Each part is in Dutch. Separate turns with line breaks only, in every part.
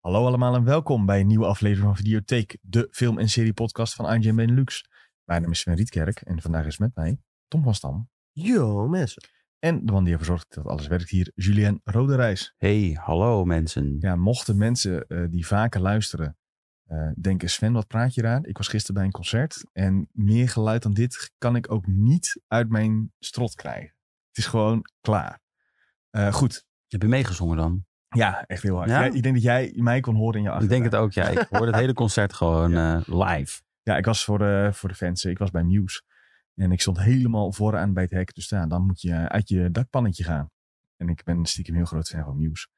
Hallo allemaal en welkom bij een nieuwe aflevering van Videotheek, de film- en serie-podcast van IGN Benelux. Mijn naam is Sven Rietkerk en vandaag is met mij Tom van Stam
Yo, mensen.
en de man die ervoor zorgt dat alles werkt hier, Julien Roderijs.
Hey, hallo mensen.
Ja, mochten mensen eh, die vaker luisteren eh, denken, Sven, wat praat je daar? Ik was gisteren bij een concert en meer geluid dan dit kan ik ook niet uit mijn strot krijgen. Het is gewoon klaar. Eh, goed,
Heb je meegezongen dan?
ja, echt heel hard.
Ja?
Jij- ik denk dat jij mij kon horen in je
Ik
achtertuin.
denk het ook, ja. Ik hoorde het hele concert gewoon eh, live.
Ja, ik was voor de, voor de fans. Ik was bij nieuws. En ik stond helemaal vooraan bij het hek. Dus ja, dan moet je uit je dakpannetje gaan. En ik ben stiekem heel groot fan van nieuws.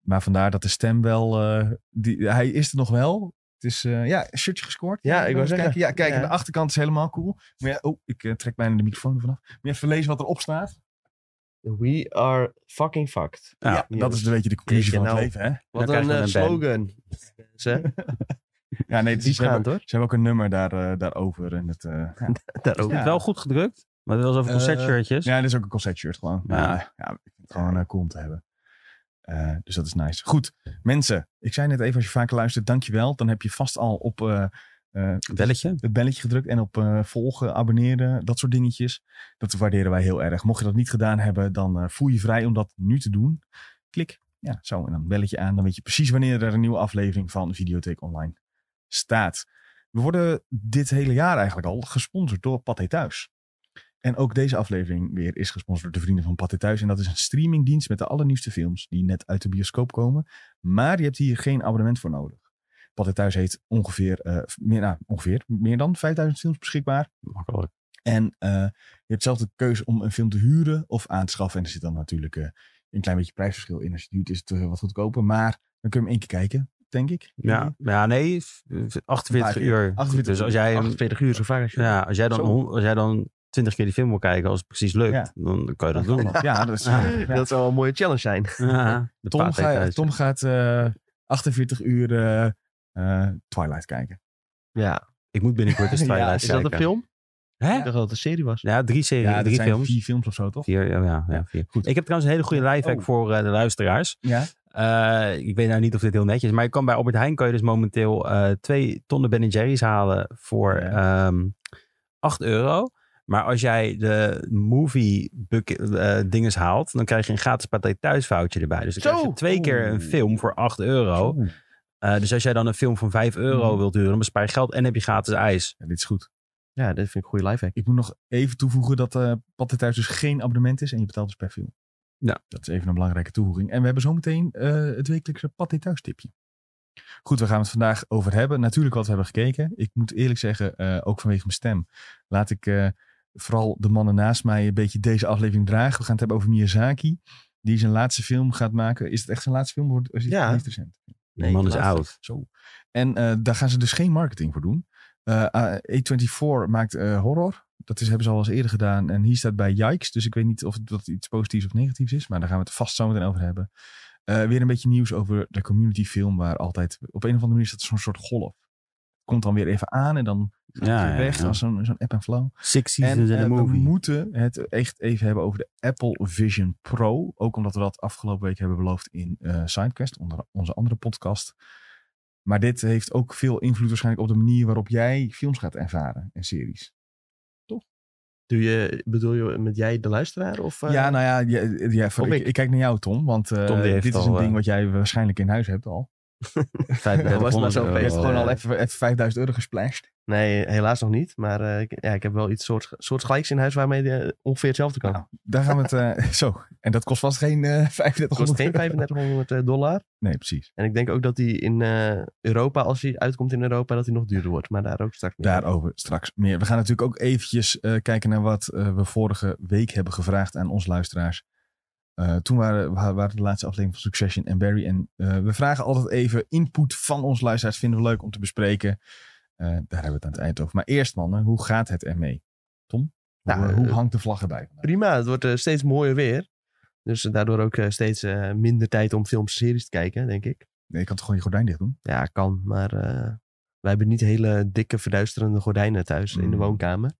Maar vandaar dat de stem wel... eh, die, hij is er nog wel. Het is, eh, ja, een shirtje gescoord.
Ja, ik
Even
wou
kijken.
zeggen.
Ja, kijk,
Ja.
aan de achterkant is helemaal cool. Maar ja, oh, ik eh, trek bijna de microfoon er vanaf. Moet je even lezen wat erop staat?
We are fucking fucked.
Ja,
dat is een beetje de conclusie
Jeetje,
van het
nou.
leven, hè?
Wat
krijg
een,
je
eh,
een band.
slogan. Mensen,
Ja, nee, het
diep
is, ze, hebben,
gaan hoor.
ze hebben ook een nummer daar, eh, daarover. En het, eh, ja.
Daar ook.
Het wel goed gedrukt, maar het was over
Eh,
concertshirtjes.
Ja, dit is ook een concertshirt gewoon.
Ja.
Ja, ja ik vind het gewoon eh, cool om te hebben. Eh, dus dat is nice. Goed, mensen. Ik zei net even, als je vaker luistert, dankjewel. Dan heb je vast al op eh, eh,
Belletje.
het belletje gedrukt en op eh, volgen, abonneren, dat soort dingetjes. Dat waarderen wij heel erg. Mocht je dat niet gedaan hebben, dan eh, voel je vrij om dat nu te doen. Klik, ja, zo en dan een belletje aan. Dan weet je precies wanneer er een nieuwe aflevering van Videotheek Online staat. We worden dit hele jaar eigenlijk al gesponsord door Pathé Thuis. En ook deze aflevering weer is gesponsord door de vrienden van Pathé Thuis. En dat is een streamingdienst met de allernieuwste films die net uit de bioscoop komen. Maar je hebt hier geen abonnement voor nodig. Pathé Thuis heeft ongeveer, eh, meer, nou, ongeveer meer dan 5000 films beschikbaar.
Makkelijk.
En eh, je hebt zelf de keuze om een film te huren of aan te schaffen. En er zit dan natuurlijk eh, een klein beetje prijsverschil in. Als je het huurt is het eh, wat goedkoper. Maar dan kun je hem één keer kijken, denk ik.
Ja, ja nee, v- v- 48
Maar-
uur.
48
dus als jij, hem-
48 uur zo vaak als je...
ja, als, jij dan,
Zo.
hon- als jij dan 20 keer die film wil kijken, als het precies lukt,
Ja.
dan kan je dat doen.
Ja, dat is... eh,
Ja.
ja.
Dat zou wel een mooie challenge zijn.
Ja, de
Tom,
Pathé
ga-
thuis.
Tom gaat eh, 48 uur eh, eh, Twilight kijken.
Ja.
Ik moet binnenkort eens
Ja,
Twilight
Is dat een
kijken.
film?
Hè?
Ik dacht dat het een serie was.
Ja, drie, serie,
Ja, dat
drie
zijn
films.
vier films of zo, toch?
Vier, ja, ja, ja, vier.
Goed.
Ik heb trouwens een hele goede lifehack
Oh.
voor eh, de luisteraars.
Ja.
Eh, ik weet nou niet of dit heel netjes is, maar je kan bij Albert Heijn kan je dus momenteel eh, twee tonnen Ben Jerry's halen voor ehm 8 euro. Maar als jij de movie bucket, eh, dinges haalt, dan krijg je een gratis paté thuisfoutje erbij. Dus dan
Zo!
krijg je twee keer een
Oeh.
film voor 8 euro.
Oeh.
Eh, dus als jij dan een film van 5 euro
Mhm.
wilt huren, dan bespaar je geld en heb je gratis ijs.
Ja, dit is goed.
Ja, dat vind ik een goede lifehack.
Ik moet nog even toevoegen dat eh Pathé Thuis dus geen abonnement is en je betaalt dus per film.
Ja.
Dat is even een belangrijke toevoeging. En we hebben zometeen eh, het wekelijkse Pathé Thuis tipje. Goed, we gaan het vandaag over hebben. Natuurlijk wat we hebben gekeken. Ik moet eerlijk zeggen, eh, ook vanwege mijn stem, laat ik eh, vooral de mannen naast mij een beetje deze aflevering dragen. We gaan het hebben over Miyazaki, die zijn laatste film gaat maken. Is het echt zijn laatste film? Wordt- Is het
Ja.
niet recent?
De
Nee,
man is
laatste.
oud.
Zo. En eh, daar gaan ze dus geen marketing voor doen. Eh, eh, A24 maakt eh, horror. Dat is, hebben ze al eens eerder gedaan. En hier staat bij Yikes. Dus ik weet niet of dat iets positiefs of negatiefs is. Maar daar gaan we het vast zo meteen over hebben. Eh, weer een beetje nieuws over de community film. Waar altijd op een of andere manier staat zo'n soort golf. Komt dan weer even aan en dan gaat het
Ja,
weer
ja,
weg.
ja.
Als zo'n zo'n app en flow.
Six
En
seasons in
eh,
a
we
movie.
moeten het echt even hebben over de Apple Vision Pro. Ook omdat we dat afgelopen week hebben beloofd in eh, Sidequest, onder onze andere podcast. Maar dit heeft ook veel invloed waarschijnlijk op de manier waarop jij films gaat ervaren en series.
Doe je, bedoel je met jij de luisteraar? Of, eh,
ja, nou ja, ja, ja, voor-
Of
ik,
ik.
ik kijk naar jou Tom, want eh,
Tom die heeft
dit is
al,
een
eh,
ding wat jij waarschijnlijk in huis hebt al.
Dat was maar
3500
zo
Je hebt
feest.
euro.
gewoon al
eh,
even, even 5000 euro gesplashed.
Nee, helaas nog niet. Maar eh, ik, ja, ik heb wel iets soort, soortgelijks in huis waarmee je ongeveer hetzelfde kan.
Nou, daar gaan we het eh, zo. En dat kost vast geen eh
Het kost
3500
geen
euro.
3500 dollar.
Nee, precies.
En ik denk ook dat die in eh, Europa, als hij uitkomt in Europa, dat hij nog duurder wordt. Maar daar ook straks meer.
Daarover straks meer. We gaan natuurlijk ook eventjes eh, kijken naar wat eh, we vorige week hebben gevraagd aan onze luisteraars. Eh, toen waren, wa- waren de laatste aflevering van Succession en Barry. En eh, we vragen altijd even input van onze luisteraars. Vinden we leuk om te bespreken. Eh, daar hebben we het aan het eind over. Maar eerst mannen, hoe gaat het ermee? Tom,
Nou,
hoe, hoe
eh,
hangt de vlag erbij? vandaag?
Prima, het wordt eh, steeds mooier weer. Dus eh, daardoor ook eh, steeds eh, minder tijd om films en series te kijken, denk ik.
Nee, je kan toch gewoon je gordijn dicht doen?
Ja, kan. Maar eh, wij hebben niet hele dikke verduisterende gordijnen thuis in de
Mm.
woonkamer.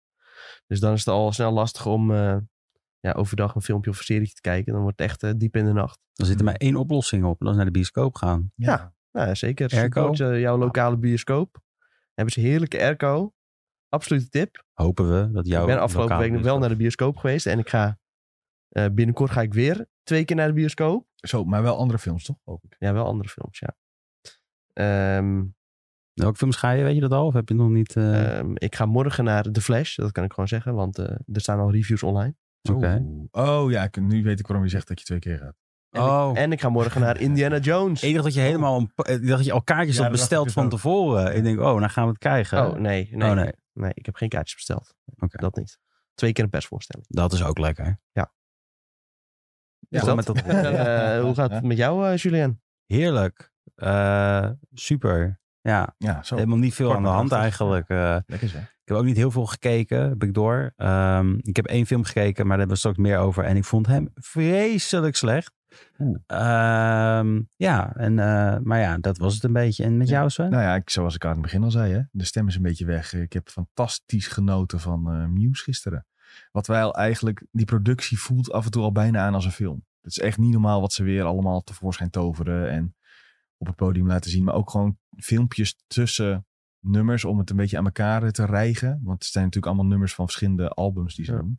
Dus dan is het al snel lastig om eh, ja, overdag een filmpje of een serie te kijken, dan wordt het echt eh, diep in de nacht.
Dan zit er maar één oplossing op. Dat is naar de bioscoop gaan.
Ja. Nou, ja, zeker.
Airco?
Support, eh, jouw lokale bioscoop. Dan hebben ze heerlijke airco. Absolute tip.
Hopen we dat jouw
ik ben afgelopen
lokaal
week nog wel
bioscoop-
naar de bioscoop geweest. En ik ga eh, binnenkort ga ik weer twee keer naar de bioscoop.
Zo, maar wel andere films toch? Hoop ik.
Ja, wel andere films, ja. Ehm,
Welke films ga je? Weet je dat al? Of heb je nog niet... eh,
ehm, ik ga morgen naar The Flash. Dat kan ik gewoon zeggen, want eh, er staan al reviews online.
Oké.
Oeh. Oh ja, ik- nu weet ik waarom je zegt dat je twee keer gaat.
En,
Oh.
ik, en ik ga morgen naar Indiana Jones.
Ik dacht dat je helemaal een, ik dacht dat je al kaartjes
Ja,
had
dat dacht
besteld
ik dus
van
ook.
tevoren. Ik denk, oh, dan gaan we het krijgen.
Oh, nee. Nee,
Oh,
nee.
nee.
ik heb geen kaartjes besteld.
Oké.
Dat niet. Twee keer een persvoorstelling.
Dat is ook lekker.
Ja,
Gewoon met dat-
Eh, hoe gaat het met jou, eh, Julien?
Heerlijk. Eh, super. Ja,
Ja, zo.
helemaal niet veel
Kort
aan de
maar
hand
krachtig.
eigenlijk. Eh,
Lekker zeg.
ik heb ook niet heel veel gekeken, heb ik door. Ehm, ik heb één film gekeken, maar daar hebben we straks meer over. En ik vond hem vreselijk slecht.
Oeh.
Ehm, ja, en, eh, maar ja, dat was het een beetje. En met
Ja.
jou, Sven?
Nou ja, ik, zoals ik aan het begin al zei, hè, de stem is een beetje weg. Ik heb fantastisch genoten van eh Muse gisteren. Wat wij al eigenlijk, die productie voelt af en toe al bijna aan als een film. Het is echt niet normaal wat ze weer allemaal tevoorschijn toveren en op het podium laten zien. Maar ook gewoon filmpjes tussen nummers om het een beetje aan elkaar te rijgen. Want het zijn natuurlijk allemaal nummers van verschillende albums die ze
Ja.
doen.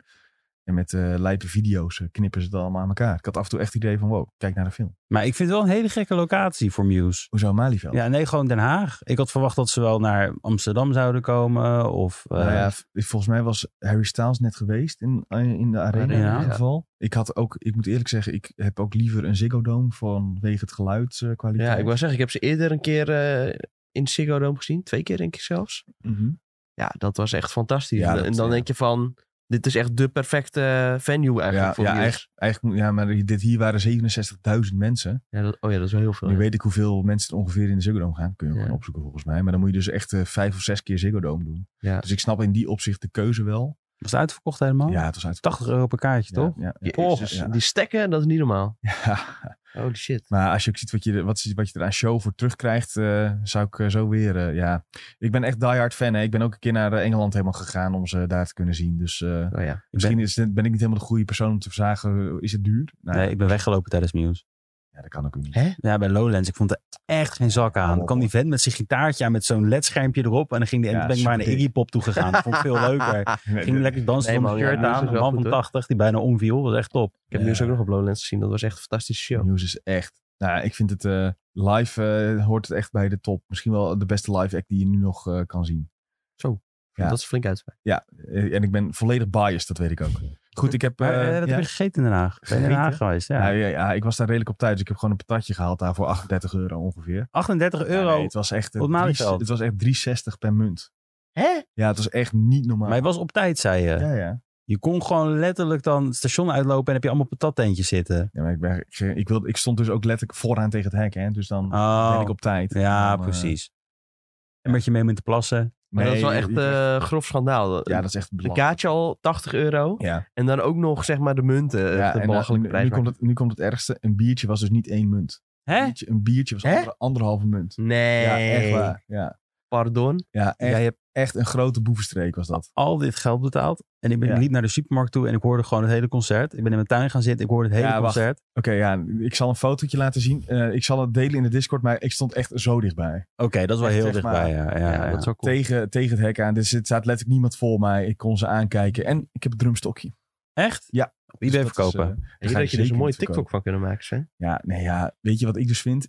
En met eh lijpe video's eh, knippen ze het allemaal aan elkaar. Ik had af en toe echt het idee van, wow, kijk naar de film.
Maar ik vind het wel een hele gekke locatie voor Muse.
Hoezo Malieveld?
Ja, nee, gewoon Den Haag. Ik had verwacht dat ze wel naar Amsterdam zouden komen. Of, eh,
Nou
Ehm,
ja, v- volgens mij was Harry Styles net geweest in, eh, in de arena in
Arena,
ieder
ja.
geval. Ik had ook, ik moet eerlijk zeggen, ik heb ook liever een Ziggo Dome vanwege het eh, geluidskwaliteit.
Ja, ik wou zeggen, ik heb ze eerder een keer eh, in Ziggo Dome gezien. Twee keer denk ik zelfs.
Mhm.
Ja, dat was echt fantastisch.
Ja,
En-
dat-
en dan
ja.
denk je van, dit is echt de perfecte eh, venue eigenlijk
Ja,
voor
ja,
Muse.
eigenlijk, eigenlijk moet- ja, maar dit hier waren 67.000 mensen.
Ja, dat, oh ja, dat is wel heel veel.
Nu
ja.
weet ik hoeveel mensen er ongeveer in de Ziggo Dome gaan. Kun je
Ja.
gewoon opzoeken volgens mij. Maar dan moet je dus echt eh, vijf of zes keer Ziggo Dome doen.
Ja. Oh.
Dus ik snap in die opzicht de keuze wel.
Was het uitverkocht helemaal?
Ja, het was uit
80 euro per kaartje, toch?
Ja, ja,
Jezus,
ja, ja.
Die stekken, dat is niet normaal.
Ja.
Holy shit.
Maar als je ook ziet wat je, wat, je- wat je er aan show voor terugkrijgt, eh, zou ik eh, zo weer... eh, ja, ik ben echt diehard fan. Hè. Ik ben ook een keer naar eh, Engeland helemaal gegaan om ze daar te kunnen zien. Dus eh,
Oh ja.
misschien is, het- ben ik niet helemaal de goede persoon om te vragen, is het duur? Nou,
Nee, ik ben weggelopen tijdens Muse.
ja, dat kan ook niet.
Hè?
Ja, bij Lowlands. Ik vond er echt geen zak aan. Er kwam die vent met zijn gitaartje aan met zo'n ledschermpje erop. En dan ging die, en
Ja,
toen ben ik maar naar
superdik.
Iggy Pop toegegaan. Dat vond ik veel leuker.
Nee,
Ging lekker dansen
Nee,
van mijn
man, ja,
shirt
Muse
aan.
is
Een
wel
man
goed,
van
hoor.
80 die bijna omviel. Dat was echt top.
Ik heb
Ja.
Muse ook nog op Lowlands gezien. Dat was echt een fantastische show.
Muse is echt... Nou, ik vind het... eh, live eh, hoort het echt bij de top. Misschien wel de beste live act die je nu nog eh, kan zien. Ja.
Dat is flink uit.
Eh, en ik ben volledig biased, dat weet ik ook. Goed, ik heb...
Maar
eh,
eh, dat
ja.
heb ik gegeten in Den Haag. Ik ben in Den
Gegeten?
Haag geweest,
Ja, ja,
ja.
ja, ik was daar redelijk op tijd. Dus ik heb gewoon een patatje gehaald daar voor 38 euro ongeveer.
38
Ja,
euro.
nee, het was echt eh,
Op
drie-
Malieveld.
het was echt 360 per munt.
Hè?
Ja, het was echt niet normaal.
Maar je was op tijd, zei je.
ja, ja.
Je kon gewoon letterlijk dan het station uitlopen en heb je allemaal patattentjes zitten.
ja maar ik, ben, ik, ik, wilde, ik stond dus ook letterlijk vooraan tegen het hek. Hè, dus dan ben
Oh,
ik op tijd.
ja,
Dan, eh,
precies. En met je mee met te plassen.
Maar dat
nee,
is wel echt
ik-
eh grof schandaal.
ja, dat is echt
Een
belachelijk.
kaartje al 80 euro.
Ja,
En dan ook nog zeg maar eh, de munten.
ja
echt
en
een
eh,
belachelijke
nu,
prijs.
nu, komt het, nu komt het ergste. Een biertje was dus niet één munt. Een
Hè?
biertje, een biertje was
Hè?
ander- anderhalve munt.
Nee.
Ja, echt waar. Ja,
Pardon.
ja echt,
Jij hebt
echt een grote boevenstreek was dat.
al dit geld betaald. En ik ben,
Ja.
liep naar de supermarkt toe en ik hoorde gewoon het hele concert. Ik ben in mijn tuin gaan zitten, ik hoorde het hele
Ja, wacht.
concert.
Oké, ja, ik zal een fotootje laten zien. Eh, ik zal het delen in de Discord, maar ik stond echt zo dichtbij.
Oké, dat is wel
Echt,
heel
zeg
dichtbij. Ja, ja,
Ja,
ja.
dat is wel cool.
tegen, tegen het hek aan. Dus er staat letterlijk niemand voor mij. Ik kon ze aankijken. En ik heb een drumstokje.
Echt?
Ja.
Op eBay
Dus dat is,
verkopen.
eh,
Ik
ga
denk
ik
dat je dus
zeker
een mooie
niet
TikTok
verkopen.
van kunnen maken. Sven.
ja, nee, ja, weet je wat ik dus vind?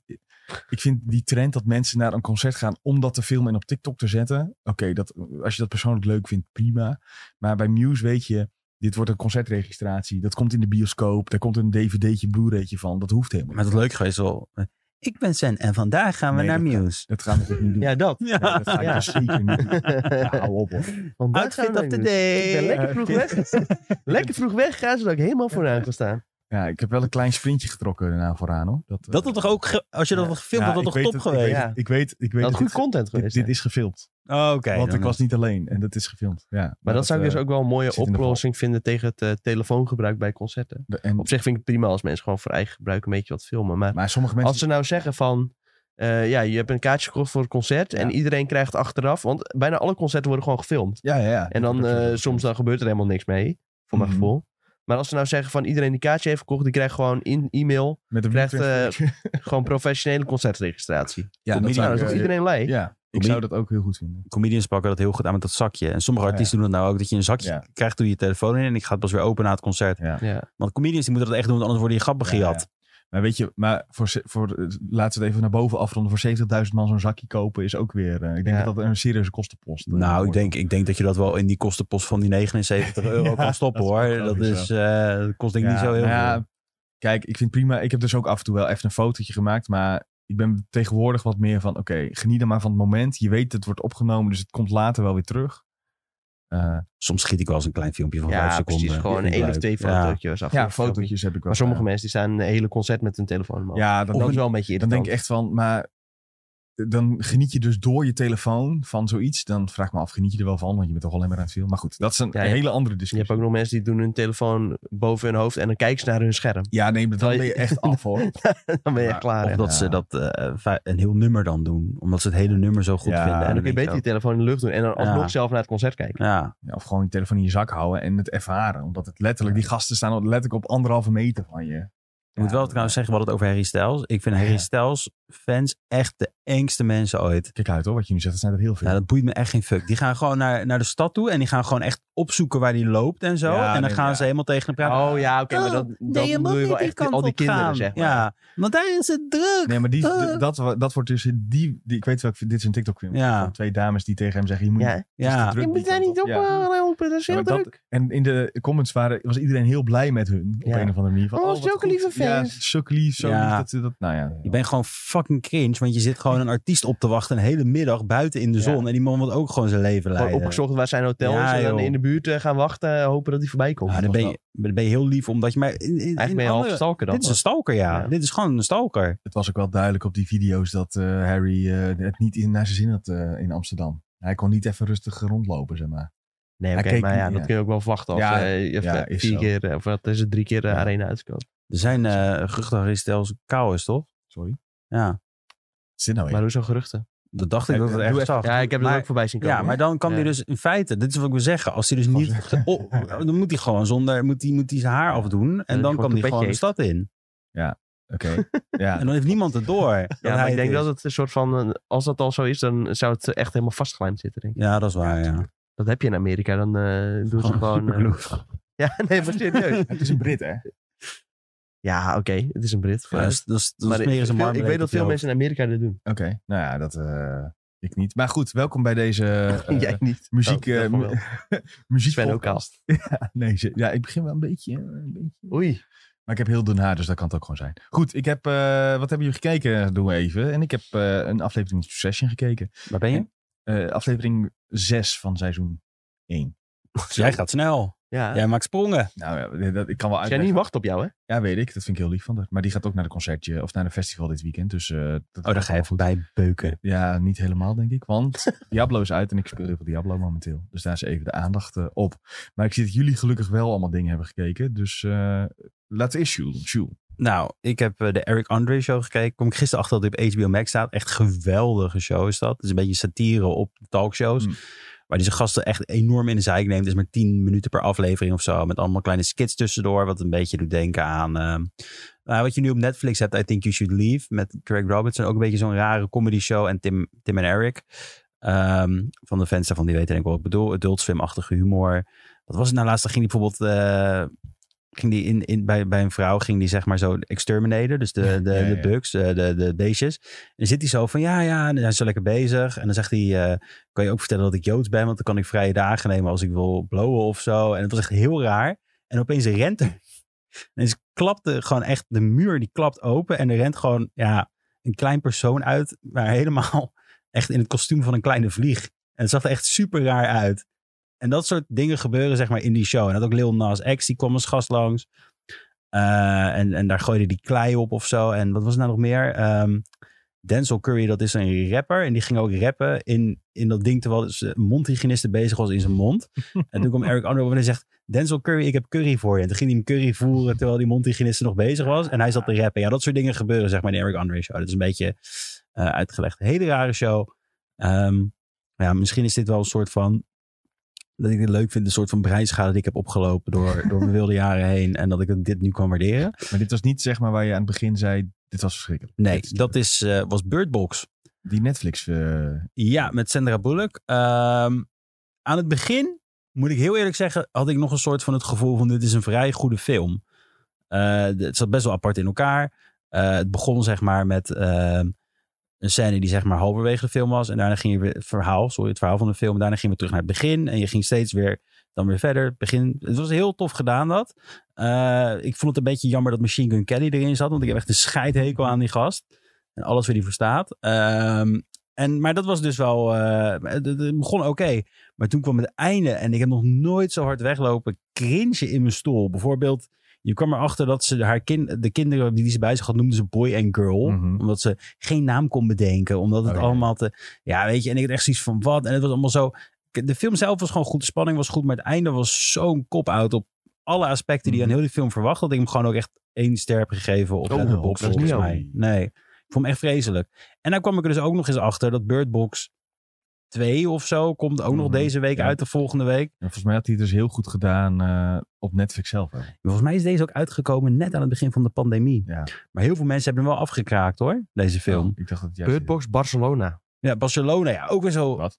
Ik vind die trend dat mensen naar een concert gaan om dat te filmen en op TikTok te zetten. Oké, dat, als je dat persoonlijk leuk vindt, prima. Maar bij Muse weet je, dit wordt een concertregistratie. Dat komt in de bioscoop. Daar komt een dvd'tje, blu-raytje van. Dat hoeft helemaal
Maar
niet.
dat is leuk geweest wel. eh, Ik ben Sen en vandaag gaan we
Nee,
naar
dat kan-
Muse.
Dat gaan we natuurlijk niet doen.
Ja, dat.
Ja.
Nee, dat ga ik
Ja.
dus zeker niet doen. Ja, hou op hoor.
Want daar gaan
Outfit
we
of the
nu.
day.
Ik ben lekker vroeg weg. lekker vroeg weggaan, zodat ik helemaal vooraan ga staan.
Ja, ik heb wel een klein sprintje getrokken daarna vooraan hoor. Dat, eh,
Dat had toch ook, ge- als je dat
Ja.
had gefilmd,
Ja,
had dat
ik
toch
weet
top
het,
geweest?
Ik weet, het, ik weet, ik weet
Dat had
het.
goed content
Dit,
geweest.
dit
hè.
is gefilmd.
Oh, Oké.
want
dan-
ik was niet alleen en eh, dat is gefilmd. Ja,
maar dat zou ik dus ook wel een mooie
Nou, eh, zit in de val.
oplossing vinden tegen het eh, telefoongebruik bij concerten.
eh, en-
Op zich vind ik het prima als mensen gewoon voor eigen gebruik een beetje wat filmen. Maar
maar sommige mensen.
Als ze nou zeggen van... eh, ja, je hebt een kaartje gekocht voor het concert en iedereen krijgt achteraf... Want bijna alle concerten worden gewoon gefilmd.
ja, ja, ja.
En dan
Dat wordt
eh,
ook zo.
soms dan gebeurt er helemaal niks mee, voor mijn
Mhm.
gevoel. Maar als ze nou zeggen van iedereen die kaartje heeft gekocht, die krijgt gewoon in e-mail
Met een
Krijgt,
bluetooth-
gewoon professionele concertregistratie.
ja, dat
comedian.
nou,
zou ik,
dat is toch
eh,
iedereen blij?
ja, ik zou dat ook heel goed vinden.
Comedians pakken dat heel goed aan met dat zakje. En sommige
Ja,
artiesten doen dat nou ook. Dat je een zakje
Ja.
krijgt, doe je telefoon in. En ik ga het pas weer open na het concert.
Ja.
Want comedians die moeten dat echt doen, want anders worden je grappen
Ja,
gejat.
Maar weet je, maar voor, ze- voor, eh, laten we het even naar boven afronden. Voor 70.000 man zo'n zakje kopen is ook weer... eh, ik denk
Ja.
dat dat een serieuze kostenpost eh,
Nou, ik
wordt.
denk, ik denk dat je dat wel in die kostenpost van die 79 euro
Ja,
kan stoppen
dat is ook
hoor. Dat,
logisch,
is, eh, dat kost denk ik niet zo heel
nou ja,
veel.
Kijk, ik vind prima. Ik heb dus ook af en toe wel even een fotootje gemaakt. Maar ik ben tegenwoordig wat meer van... Oké, geniet dan maar van het moment. Je weet, het wordt opgenomen. Dus het komt later wel weer terug. Eh,
Soms schiet ik wel eens een klein filmpje van
Ja,
5 seconden.
precies. Gewoon
Vind ik
één of
leuk.
twee
Ja.
fotootjes. af.
ja, fotootjes heb ik wel.
Maar sommige
gedaan.
mensen die staan een hele concert met hun telefoon omhoog.
Ja, dan,
dat
dan,
is wel een beetje
dan
irritant.
denk ik echt van... Maar eh, dan geniet je dus door je telefoon van zoiets. Dan vraag ik me af, geniet je er wel van? Want je bent toch alleen maar aan het filmen. Maar goed, dat is een
Ja, je-
hele andere
je hebt
discussie.
ook nog mensen die doen hun telefoon boven hun hoofd en dan kijken ze naar hun scherm.
Ja, nee, maar dan
Terwijl
ben
je-
je echt af hoor.
Dan ben je echt
Ja,
klaar.
Of
hè.
dat
Ja.
ze dat eh, va- een heel nummer dan doen. Omdat ze het hele nummer zo goed
Ja,
vinden.
En dan kun je
denk
beter die
ik
telefoon in de lucht doen en dan
Ja.
alsnog zelf naar het concert kijken.
ook, Ja,
Ja, of gewoon je telefoon in je zak houden en het ervaren. Omdat het letterlijk, die gasten staan letterlijk op anderhalve meter van je.
ik moet wel trouwens zeggen, we hadden het over Harry Styles. Ik vind Harry
Ja.
Styles fans echt de engste mensen ooit.
Kijk uit hoor, wat je nu zegt, dat zijn er heel veel.
Ja, dat boeit me echt geen fuck. Die gaan gewoon naar, naar de stad toe en die gaan gewoon echt opzoeken waar die loopt en zo.
Ja,
en dan
nee,
gaan
ja.
ze helemaal tegen hem praten.
Oh ja, oké, maar
Oh,
dat, dat
nee, je
bedoel
moet
je
niet
wel
die
echt
kant
al die
op
kinderen,
gaan.
zeg maar.
Ja, want daar is het druk.
Nee, maar die,
Eh.
d- dat, wa- dat wordt dus die, die. Ik weet wel, dit is een TikTok-film.
Ja.
Van twee dames die tegen hem zeggen: Je moet
Ja.
niet-
Ja.
het is te druk
Je moet
die
daar
kant
niet op
Ja.
eh, lopen, dat is
Ja,
heel
maar dat-
druk.
En in de comments waren, was iedereen heel blij met hun. Op
Ja.
een of andere manier. Van,
Oh,
wat
zulke
goed.
lieve fans.
Ja, zulke lief, zo
Ja.
lief Dat, ze dat, nou ja.
Je bent gewoon fucking cringe, want je zit gewoon een artiest op te wachten een hele middag buiten in de
Ja.
zon. En die man wil ook gewoon zijn leven
Gewoon
leiden.
opgezocht waar zijn hotel
Ja,
is en dan
joh.
in de buurt eh, gaan wachten, hopen dat hij voorbij komt.
Ja, dan, ben je, dan ben je heel lief, omdat je... Maar in- in- in
Eigenlijk ben je
andere-
half stalker dan.
Dit is een stalker, ja.
Ja.
Dit is gewoon een stalker.
Het was ook wel duidelijk op die video's dat eh, Harry eh, het niet in, naar zijn zin had eh, in Amsterdam. Hij kon niet even rustig rondlopen, zeg maar.
nee,
Hij
oké,
keek
maar ja,
niet,
dat
ja.
kun je ook wel verwachten als
Ja,
eh, je
ja, is
vier
zo.
keer, eh, of wat is het, drie keer de
Ja.
arena uitkoopt.
Er zijn eh geruchten dat Harry Styles kou is, toch?
Sorry.
Ja,
Zit nou
Maar
weer.
hoe zo'n geruchten?
dat dacht ik
Eh,
dat het
doe
echt
even-
zag.
Ja, ik heb het
maar,
ook voorbij zien komen.
ja, maar dan kan
Ja.
hij dus in feite, dit is wat ik wil zeggen, als hij dus
Gewoon
niet,
zeggen.
oh, dan moet hij gewoon zonder, moet hij, moet hij zijn haar afdoen en
hij
dan
gewoon
kan
een
hij gewoon de
petje
stad in.
Oké. Ja.
En dan heeft niemand het door. dat
Ja, maar
hij
ik denk
het is.
dat het een soort van, eh, als dat al zo is, dan zou het echt helemaal vastgelijmd zitten, denk ik.
Ja, dat is waar, ja.
Dat heb je in Amerika, dan eh
Oh,
doen ze gewoon... eh,
superglue.
ja, nee, maar serieus.
Het is een Brit, hè?
ja, oké, het is een Brit.
Ja, dat is- dat is- dat
maar
is meer
ik,
eens een
veel- ik weet
marmelade
dat veel
op je
mensen in Amerika dit doen.
Oké. Nou ja, dat. eh, ik niet. Maar goed, welkom bij deze. eh,
Jij niet.
muziek,
Oh,
eh,
daarvan wel.
muziek
Sven ook al.
Nee, ze- ja, ik begin wel een beetje, eh, een beetje.
Oei.
Maar ik heb heel dun haar, dus dat kan het ook gewoon zijn. Goed, ik heb, eh, wat hebben jullie gekeken? Doen we even. En ik heb eh, een aflevering Succession gekeken.
hoofd. Waar ben je?
Eh, aflevering 6 van seizoen 1.
Jij gaat snel.
Ja.
Jij maakt sprongen.
Nou ja, dat, ik kan wel
Jenny
uitleggen.
wacht op jou, hè?
Ja, weet ik. Dat vind ik heel lief van haar. Maar die gaat ook naar een concertje of naar een festival dit weekend. Dus eh, dat
Oh, daar ga je even bij beuken.
Ja, niet helemaal, denk ik. Want Diablo is uit en ik speel heel veel Diablo momenteel. Dus daar is even de aandacht eh, op. Maar ik zie dat jullie gelukkig wel allemaal dingen hebben gekeken. Dus eh, laten we eerst Sjoel doen. Sjoel.
Nou, ik heb eh, de Eric Andre show gekeken. Kom ik gisteren achter dat hij op HBO Max staat. Echt geweldige show is dat. Het is een beetje satire op talkshows.
Mm.
Waar hij zijn gasten echt enorm in de zeik neemt. Het is maar 10 minuten per aflevering of zo. Met allemaal kleine skits tussendoor. Wat een beetje doet denken aan... ehm, nou, wat je nu op Netflix hebt, I Think You Should Leave. Met Craig Robertson. Ook een beetje zo'n rare comedy show. En Tim, Tim en Eric. Ehm, van de fans daarvan, die weten denk ik wat ik bedoel. Adult Swim-achtige humor. Wat was het nou laatst? Dan ging hij bijvoorbeeld... eh, ging die in, in, bij, bij een vrouw ging die zeg maar zo de exterminator, dus de,
Ja,
de,
ja,
de
ja.
bugs, eh, de, de beestjes. En dan zit hij zo van ja, ja, en hij is zo lekker bezig. En dan zegt hij, eh, kan je ook vertellen dat ik Joods ben, want dan kan ik vrije dagen nemen als ik wil blowen of zo. En het was echt heel raar. En opeens rent er. En ze klapte gewoon echt, de muur die klapt open en er rent gewoon ja, een klein persoon uit, maar helemaal echt in het kostuum van een kleine vlieg. En het zag er echt super raar uit. En dat soort dingen gebeuren zeg maar in die show. En dat ook Lil Nas X, die kwam als gast langs. Eh, en, en daar gooide die klei op of zo. En wat was er nou nog meer? Ehm, Denzel Curry, dat is een rapper. En die ging ook rappen in, in dat ding terwijl zijn mondhygiëniste bezig was in zijn mond. En toen kwam Eric Andre op en hij zegt... Denzel Curry, ik heb curry voor je. En toen ging hij hem curry voeren terwijl die mondhygiëniste nog bezig was. En hij zat te rappen. Ja, dat soort dingen gebeuren zeg maar in de Eric Andre show. Dat is een beetje eh, uitgelegd. Hele rare show. Ehm, ja, misschien is dit wel een soort van Dat ik het leuk vind, de soort van breinschade die ik heb opgelopen door, door mijn wilde jaren heen. En dat ik dit nu kan waarderen.
Maar dit was niet zeg maar waar je aan het begin zei, dit was verschrikkelijk.
Nee,
Dit is-
dat is, eh, was Birdbox.
Die Netflix... eh,
Ja, met Sandra Bullock. Ehm, aan het begin, moet ik heel eerlijk zeggen, had ik nog een soort van het gevoel van dit is een vrij goede film. Eh, de- het zat best wel apart in elkaar. Eh, het begon zeg maar met ehm, een scène die zeg maar halverwege de film was. En daarna ging je weer het verhaal, sorry, het verhaal van de film. En daarna gingen we terug naar het begin. En je ging steeds weer, dan weer verder. Het Begin, het was heel tof gedaan dat. Eh, ik vond het een beetje jammer dat Machine Gun Kelly erin zat. Want ik heb echt een scheidhekel aan die gast. En alles wat die verstaat. Ehm, en, maar dat was dus wel. eh, het, het begon oké. Maar toen kwam het einde. En ik heb nog nooit zo hard weglopen. Cringe in mijn stoel. Bijvoorbeeld, je kwam erachter dat ze haar kind, de kinderen die ze bij zich had, noemden ze boy en girl.
Mhm.
Omdat ze geen naam kon bedenken. Omdat het
Oh, ja.
allemaal te. Ja, weet je. En ik had echt zoiets van wat. En het was allemaal zo. De film zelf was gewoon goed. De spanning was goed. Maar het einde was zo'n kop-out op alle aspecten die je aan heel die film verwacht. Dat ik hem gewoon ook echt één ster heb gegeven op
Oh,
Letterboxd,
dat is niet
volgens
zo.
mij. Nee. Ik vond hem echt vreselijk. En dan kwam ik er dus ook nog eens achter dat Bird Box 2 of zo komt ook nog
Mhm,
deze week
ja.
uit de volgende week.
Ja, volgens mij had hij het dus heel goed gedaan eh, op Netflix zelf. hè.
Volgens mij is deze ook uitgekomen net aan het begin van de pandemie.
Ja.
Maar heel veel mensen hebben hem wel afgekraakt hoor, deze film.
Ik dacht dat het juist...
Bird Box Barcelona.
Ja, Barcelona, ja, ook weer zo.
Wat?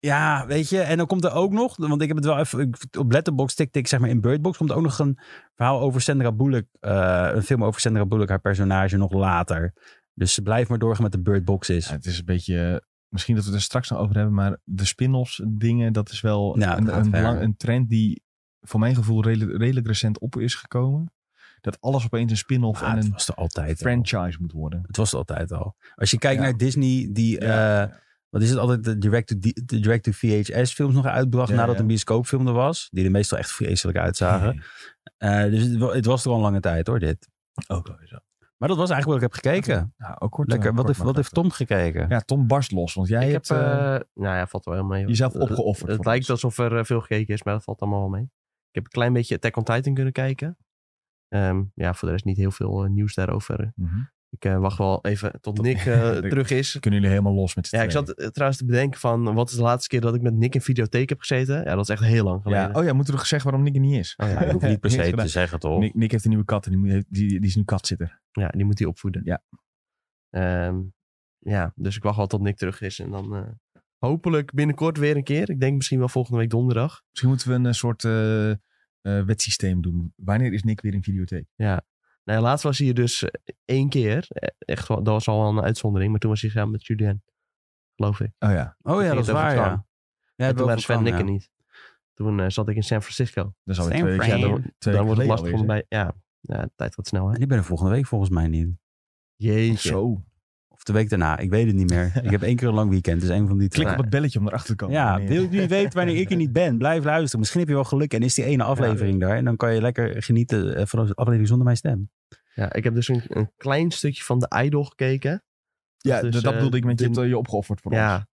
ja, weet je. En dan komt er ook nog, want ik heb het wel even ik- op Letterboxd tik tik zeg maar in Birdbox komt ook nog een verhaal over Sandra Bullock, eh, een film over Sandra Bullock, haar personage nog later. Dus ze blijft maar doorgaan met de Birdbox is.
Ja, het is een beetje... eh, Misschien dat we het er straks nog over hebben, maar de spin-offs dingen, dat is wel
Ja, het
een,
gaat
een,
ver.
belang- een trend die voor mijn gevoel redelijk, redelijk recent op is gekomen. Dat alles opeens een spin-off
Ah,
en
het
een
was er altijd. al.
franchise moet worden.
Het was er altijd al. Als je kijkt
Ja.
naar Disney, die,
Ja.
eh, wat is het altijd, de direct-to-VHS films nog uitbracht
Ja,
nadat
ja.
een bioscoopfilm er was. Die er meestal echt vreselijk uitzagen.
Nee.
Eh, dus het, wa- het was er al een lange tijd hoor, dit.
Ook wel weer zo.
Maar dat was eigenlijk wat ik heb gekeken.
Ja, ook kort,
Lekker.
eh,
Wat
kort
heeft,
maar
wat heeft
krachtig.
Tom gekeken?
Ja, Tom barst los, want jij
ik heb,
hebt eh,
eh, nou ja, valt wel helemaal mee.
jezelf
Eh,
opgeofferd.
Het
voor
lijkt
ons.
alsof er eh, veel gekeken is, maar dat valt allemaal wel mee. Ik heb een klein beetje Attack on Titan kunnen kijken. Ehm, ja, voor de rest niet heel veel eh, nieuws daarover.
Mhm.
Ik eh, wacht wel even tot Nick eh,
Ik-
terug is.
Kunnen jullie helemaal los met z'n
Ja, ik
tweeën.
zat eh, trouwens te bedenken van wat is de laatste keer dat ik met Nick in videotheek heb gezeten. Ja, dat is echt heel lang geleden.
Ja, oh ja, moeten we nog zeggen waarom Nick er niet is?
Oh ja,
Ja, dat hoeft niet per
Niks
se
gedaan.
te zeggen toch?
Nick, Nick heeft een nieuwe kat en die, moet- die, die is nu katzitter.
Ja, die moet hij opvoeden.
Ja.
Ehm, ja, dus ik wacht wel tot Nick terug is. En dan eh, hopelijk binnenkort weer een keer. Ik denk misschien wel volgende week donderdag.
Misschien moeten we een eh, soort eh eh, wetsysteem doen. Wanneer is Nick weer in videotheek?
Nou, ja, laatst was hij er dus eh, één keer. Eh, Echt, wel- dat was al wel een uitzondering. Maar toen was hij samen met Julien. Geloof ik.
Oh ja,
Oh ja,
ging
dat is
het over
waar
Twan.
ja. Ja,
en toen waren Sven en Nick
niks
er niet. Toen eh, zat ik in San Francisco.
dat is alweer
Same
twee weken
frame.
geleden.
Ja, dan-
Twee weken
dan wordt het lastig
geleden
om
alweer,
bij... Ja, ja, de tijd gaat snel hè.
En die ben er volgende week volgens mij niet.
zeg.
Jeetje.
Zo.
Of de week daarna. Ik weet het niet meer. ik heb één keer een lang weekend. Dus een van die twee.
Klik op het belletje om erachter te komen.
Ja,
wanneer-
wil je niet weten wanneer ik er niet ben? Blijf luisteren. Misschien heb je wel geluk en is die ene aflevering daar. En dan kan je lekker genieten eh, van de aflevering zonder mijn stem.
Ja, ik heb dus een, een klein stukje van de Idol gekeken.
Ja,
Dus,
dat- dat
eh,
bedoelde ik met je,
dit-
hebt, eh, je opgeofferd voor ons.
Ja.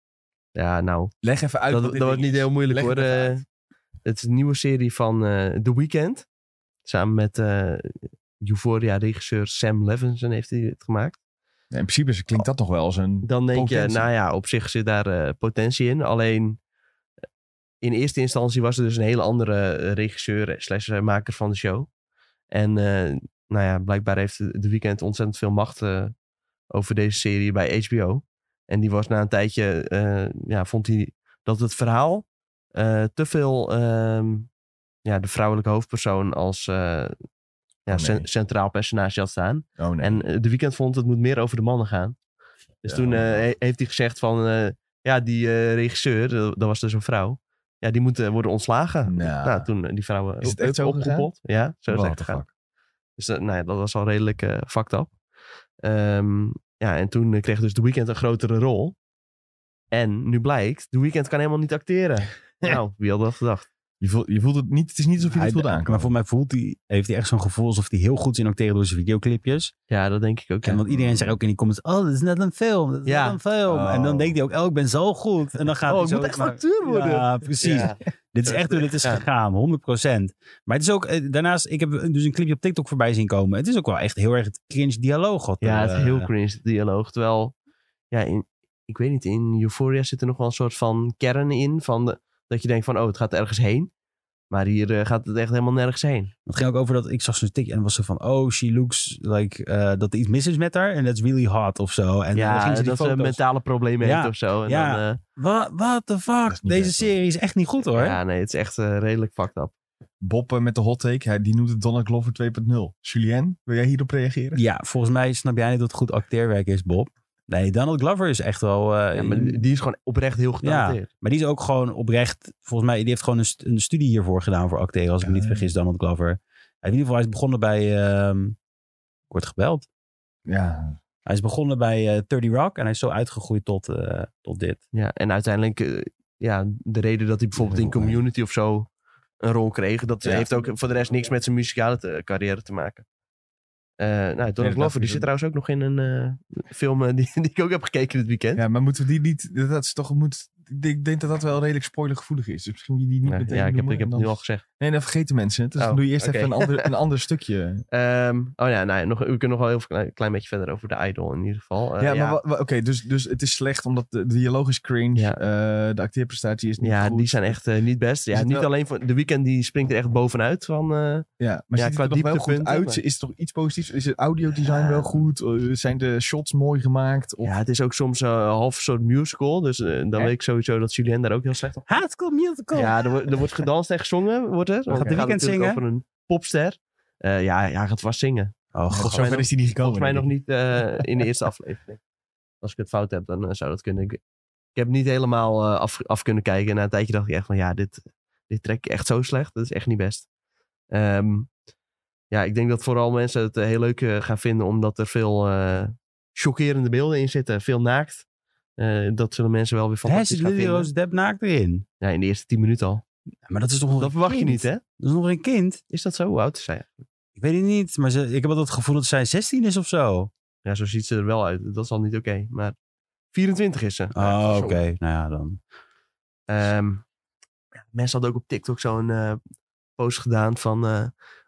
Ja, nou.
Leg even uit.
Dat,
wat
dat
dit
wordt
ding
niet
is.
heel moeilijk
Leg
hoor.
het even
Eh,
uit.
het is een nieuwe serie van eh, The Weeknd. Samen met eh, Euphoria-regisseur Sam Levinson heeft hij het gemaakt.
Ja, in principe klinkt dat nog wel als een...
Dan denk
Potentie.
je, nou ja, op zich zit daar eh, potentie in. Alleen eh, in eerste instantie was er dus een hele andere eh, regisseur slash eh, maker van de show. En eh, nou ja, blijkbaar heeft The Weeknd ontzettend veel macht eh, over deze serie bij HBO. En die was na een tijdje, eh, ja, vond hij dat het verhaal eh, te veel ehm, ja, de vrouwelijke hoofdpersoon als eh, ja,
nee.
cen- centraal personage had staan.
Oh nee.
En eh, de weekend vond het moet meer over de mannen gaan. Dus
Ja,
toen eh,
oh.
he- heeft hij gezegd van... eh, ja, die eh, regisseur, eh, dat was dus een vrouw. Ja, die moet eh, worden ontslagen.
Nou.
Nou, toen eh, die vrouw... eh,
Is het echt zo gegaan?
opgepopt. Ja, zo is het
What
echt
the
gegaan.
fuck.
Dus dat, nou ja, dat was al redelijk eh fucked up. Ehm, ja, en toen eh, kreeg dus The Weeknd een grotere rol. En nu blijkt, The Weeknd kan helemaal niet acteren. nou, wie had dat gedacht?
Je voelt, je voelt het niet, het is niet alsof je
Hij-
het voelde aankomen.
Maar voor mij voelt hij, heeft hij echt zo'n gevoel alsof hij heel goed is in acteren door zijn videoclipjes.
Ja, dat denk ik ook.
En want iedereen zegt ook in die comments, oh, dat is net een film, dat is
Ja.
net een film.
Oh.
En dan denkt hij ook, oh, ik ben zo goed. En dan gaat
Oh,
hij
ik
zo
moet echt
maar-
acteur worden.
Ja, precies.
Ja.
Dit is echt hoe dit is
Ja.
gegaan, 100%. Maar het is ook, eh, daarnaast, ik heb dus een clipje op TikTok voorbij zien komen. Het is ook wel echt heel erg het cringe dialoog. Wat
Ja,
er,
het is
eh,
heel cringe de dialoog. Terwijl, ja, in, ik weet niet, in Euphoria zit er nog wel een soort van kern in. Van de, Dat je denkt van, oh, het gaat ergens heen. Maar hier eh, gaat het echt helemaal nergens heen.
Het ging ook over dat ik zag zo'n tik en was ze van, oh, she looks like eh, dat er iets mis is met haar en that's really hot of zo. En dan ging
ja,
ze die
dat ze
foto's.
mentale problemen
Ja,
heeft of zo. En
ja.
dan, eh,
Wa- What
Dat
the
is
fuck?
niet
Deze
best,
serie is echt niet goed hoor.
ja, nee, het is echt eh, redelijk fucked up.
Bob eh, met de hot take, hij, die noemt het Donna Glover 2.0. Julien, wil jij hierop reageren?
Ja, volgens mij snap jij niet dat het goed acteerwerk is, Bob. Nee, Donald Glover is echt wel... eh,
Ja, maar die die is gewoon oprecht heel getalenteerd.
Maar die is ook gewoon oprecht, volgens mij, die heeft gewoon een, st- een studie hiervoor gedaan voor acteren, als ik me niet
Ja.
vergis, Donald Glover. Hij- In ieder geval, hij is begonnen bij, ehm ik word gebeld.
Ja,
Hij is begonnen bij eh 30 Rock en hij is zo uitgegroeid tot, eh, tot dit.
Ja. en uiteindelijk, eh, ja, de reden dat hij bijvoorbeeld in Community of zo een rol kreeg, dat
Ja.
heeft ook voor de rest niks met zijn muzikale te- carrière te maken. Eh nou, Donald
dat
Glover,
is
die zit
een-
trouwens ook nog in een eh, film eh, die, die ik ook heb gekeken dit weekend.
ja, maar moeten we die niet... Dat is toch, moet, ik denk dat dat wel redelijk spoilergevoelig is. Dus misschien moet je die niet
Ja,
meteen
ja, ik heb,
noemen
ik heb
en
het
dan-
nu al gezegd.
Nee, dan vergeten mensen het. Dus
Oh,
dan doe je eerst
oké.
even een ander, een ander stukje.
Ehm, oh ja, nou, ja, nog, we kunnen nog wel heel klein, klein beetje verder over de Idol in ieder geval. Eh,
ja, maar wa- wa- oké, dus, dus het is slecht omdat de, de dialoog is cringe.
Ja.
eh, de acteerprestatie is niet
ja,
goed.
die zijn echt eh, niet best.
Is
Ja,
het
niet
wel-
alleen van de weekend, die springt er echt bovenuit van. eh,
Ja, maar
Ja,
ziet
qua
het er nog wel goed
dieptepunten,
uit?
maar-
Is er toch iets positiefs? Is het audiodesign
Ja.
wel goed? Eh, zijn de shots mooi gemaakt? Of...
ja, het is ook soms eh, een half soort musical. Dus eh, dan
Echt?
weet ik sowieso dat Julien daar ook heel slecht op.
Haatcool, musical.
Ja, er, wordt- er wordt gedanst en gezongen, wordt er. Want
Gaat
het
de
gaat
Weeknd
natuurlijk
zingen?
Over een popster. Eh, ja, ja, hij gaat vast zingen.
Oh,
God,
god.
mij
zover
nog-
is die niet gekomen.
Volgens mij nog
denk ik.
niet eh, in de eerste aflevering. Als ik het fout heb, dan eh, zou dat kunnen. Ik, ik heb niet helemaal eh, af, af kunnen kijken. En na een tijdje dacht ik echt van, ja, dit, dit trek ik echt zo slecht. Dat is echt niet best. Ehm, ja, ik denk dat vooral mensen het eh, heel leuk eh, gaan vinden, omdat er veel eh, chockerende beelden in zitten. Veel naakt. Eh, dat zullen mensen wel weer
Hij
fantastisch
zit
gaan
Lily
vinden.
Rose Depp naakt erin.
Ja, in de eerste tien minuten al.
Maar dat is toch nog
Dat
een
verwacht je
kind?
niet, hè?
Dat is nog een kind.
Is dat zo? Hoe oud is zij?
Ik weet het niet, maar ze, ik heb altijd het gevoel dat zij 16 is of zo.
Ja, zo ziet ze er wel uit. Dat is al niet oké. Maar 24 is ze.
Oh,
Zo.
oké. Nou ja, dan.
Ehm, ja, mensen hadden ook op TikTok zo'n eh, post gedaan van... eh,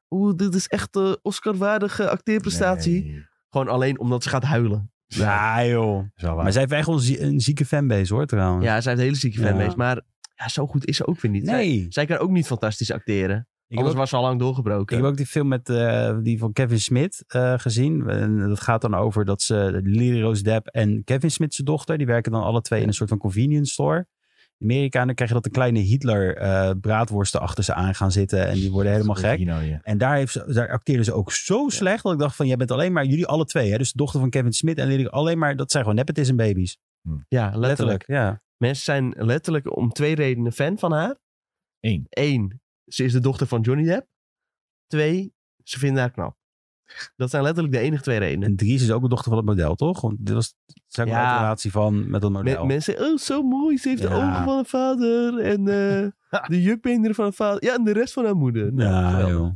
Oeh, dit is echt eh Oscar-waardige acteerprestatie.
Nee,
Gewoon alleen omdat ze gaat huilen.
Ja, joh.
is wel waar.
Maar zij heeft echt wel een zie- een zieke fanbase, hoor, trouwens.
Ja, zij heeft een hele zieke
Ah. Ja.
fanbase. Maar ja, zo goed is ze ook weer niet. Zij,
Nee.
zij kan ook niet fantastisch acteren.
Ik heb
Anders
ook-
was ze al lang doorgebroken.
Ik heb ook die film met eh, die van Kevin Smith eh, gezien. En dat gaat dan over dat ze Lily Rose Depp en Kevin Smith zijn dochter, die werken dan alle twee in een soort van convenience store. In Amerika en dan krijg je dat de kleine Hitler eh braadworsten achter ze aan gaan zitten en die worden helemaal
Goed,
gek.
Gino, ja.
En daar, heeft ze, daar acteerden ze ook zo slecht dat ik dacht van, jij bent alleen maar jullie alle twee. Hè? Dus de dochter van Kevin Smith en Lily, alleen maar, dat zijn gewoon nepotism baby's.
Ja, letterlijk.
Letterlijk, ja.
Mensen zijn letterlijk om twee redenen fan van haar.
Eén.
Eén, ze is de dochter van Johnny Depp. Twee, ze vinden haar knap. Dat zijn letterlijk de enige twee redenen.
En Dries is ook de dochter van het model, toch? Want dit was zijn ook
Ja.
een relatie van met dat
Me-
model.
mensen, oh, zo mooi. Ze heeft de
Nou. Ja.
ogen van haar vader en eh, de jukbeenderen van haar vader. Ja, en de rest van haar moeder. Nou,
ja,
geweldig.
joh.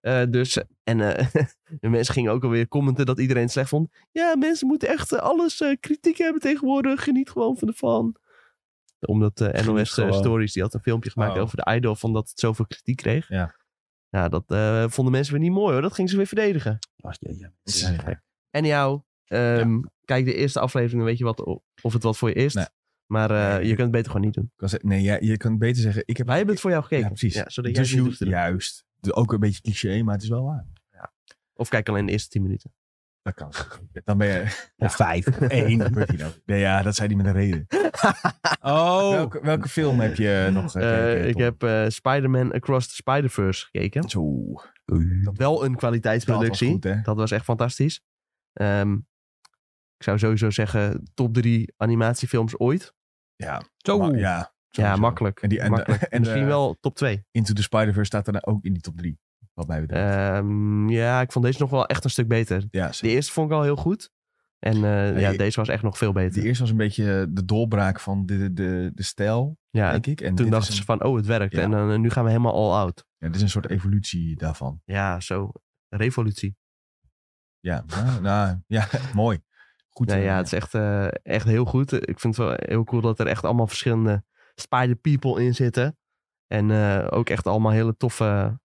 Eh, dus, en eh, de mensen gingen ook alweer commenten dat iedereen het slecht vond. Ja, mensen moeten echt eh, alles eh, kritiek hebben tegenwoordig. Geniet gewoon van de fan. Omdat eh,
Geniet
NOS eh,
gewoon.
Stories, die had een filmpje gemaakt
Oh.
over de idol van dat het zoveel kritiek kreeg.
Ja.
Ja, dat eh, vonden mensen weer niet mooi hoor. Dat gingen ze weer verdedigen.
Ach, ja, ja.
Ze zijn gek.
En jou, ehm, kijk de eerste aflevering, dan weet je wat, of het wat voor je is.
Nee.
Maar eh,
Nee.
je kunt het beter gewoon niet doen.
Ik kan zeggen- Nee, ja, je kan beter zeggen, ik heb...
Wij hebben het voor jou gekeken.
Ja, precies.
zodat jij
dus
het niet
ju-
hoeft te doen.
juist. Dus Ook een beetje cliché, maar het is wel waar.
Of kijk alleen de eerste 10 minuten.
Dat kan. Dan ben je...
Of vijf.
Eén. gebeurt hier nou. Nee, ja, dat zei die met een reden.
Oh,
Welke, welke film heb je nog gekeken,
Eh, ik
Tom?
heb eh, Spider-Man Across the Spider-Verse gekeken.
Zo.
Wel een kwaliteitsproductie.
Dat was goed, hè?
echt fantastisch. Ehm, ik zou sowieso zeggen top drie animatiefilms ooit.
Ja.
Zo.
maar- ja.
Ja,
sowieso.
makkelijk.
En die- en de-
makkelijk.
en de-
Misschien wel top 2.
Into the Spider-Verse staat daarna ook in die top 3. Wat mij betreft.
Ehm, ja, ik vond deze nog wel echt een stuk beter.
ja,
Eh, De
zeker.
eerste vond ik al heel goed. En eh, ja,
ik-
deze was echt nog veel
De
beter.
eerste was een beetje de doorbraak van de, de, de stijl,
ja, en
denk ik. En
toen
dit
dachten
is
ze
een,
van, oh, het werkt.
Ja.
En eh, nu gaan we helemaal all out.
ja, dit is een soort evolutie daarvan.
Ja, zo. Revolutie.
Ja, nou, nou, ja mooi. Goed.
Nou
eh,
ja, het is echt, eh, echt heel goed. Ik vind het wel heel cool dat er echt allemaal verschillende Spider-People in zitten. En eh, ook echt allemaal hele toffe...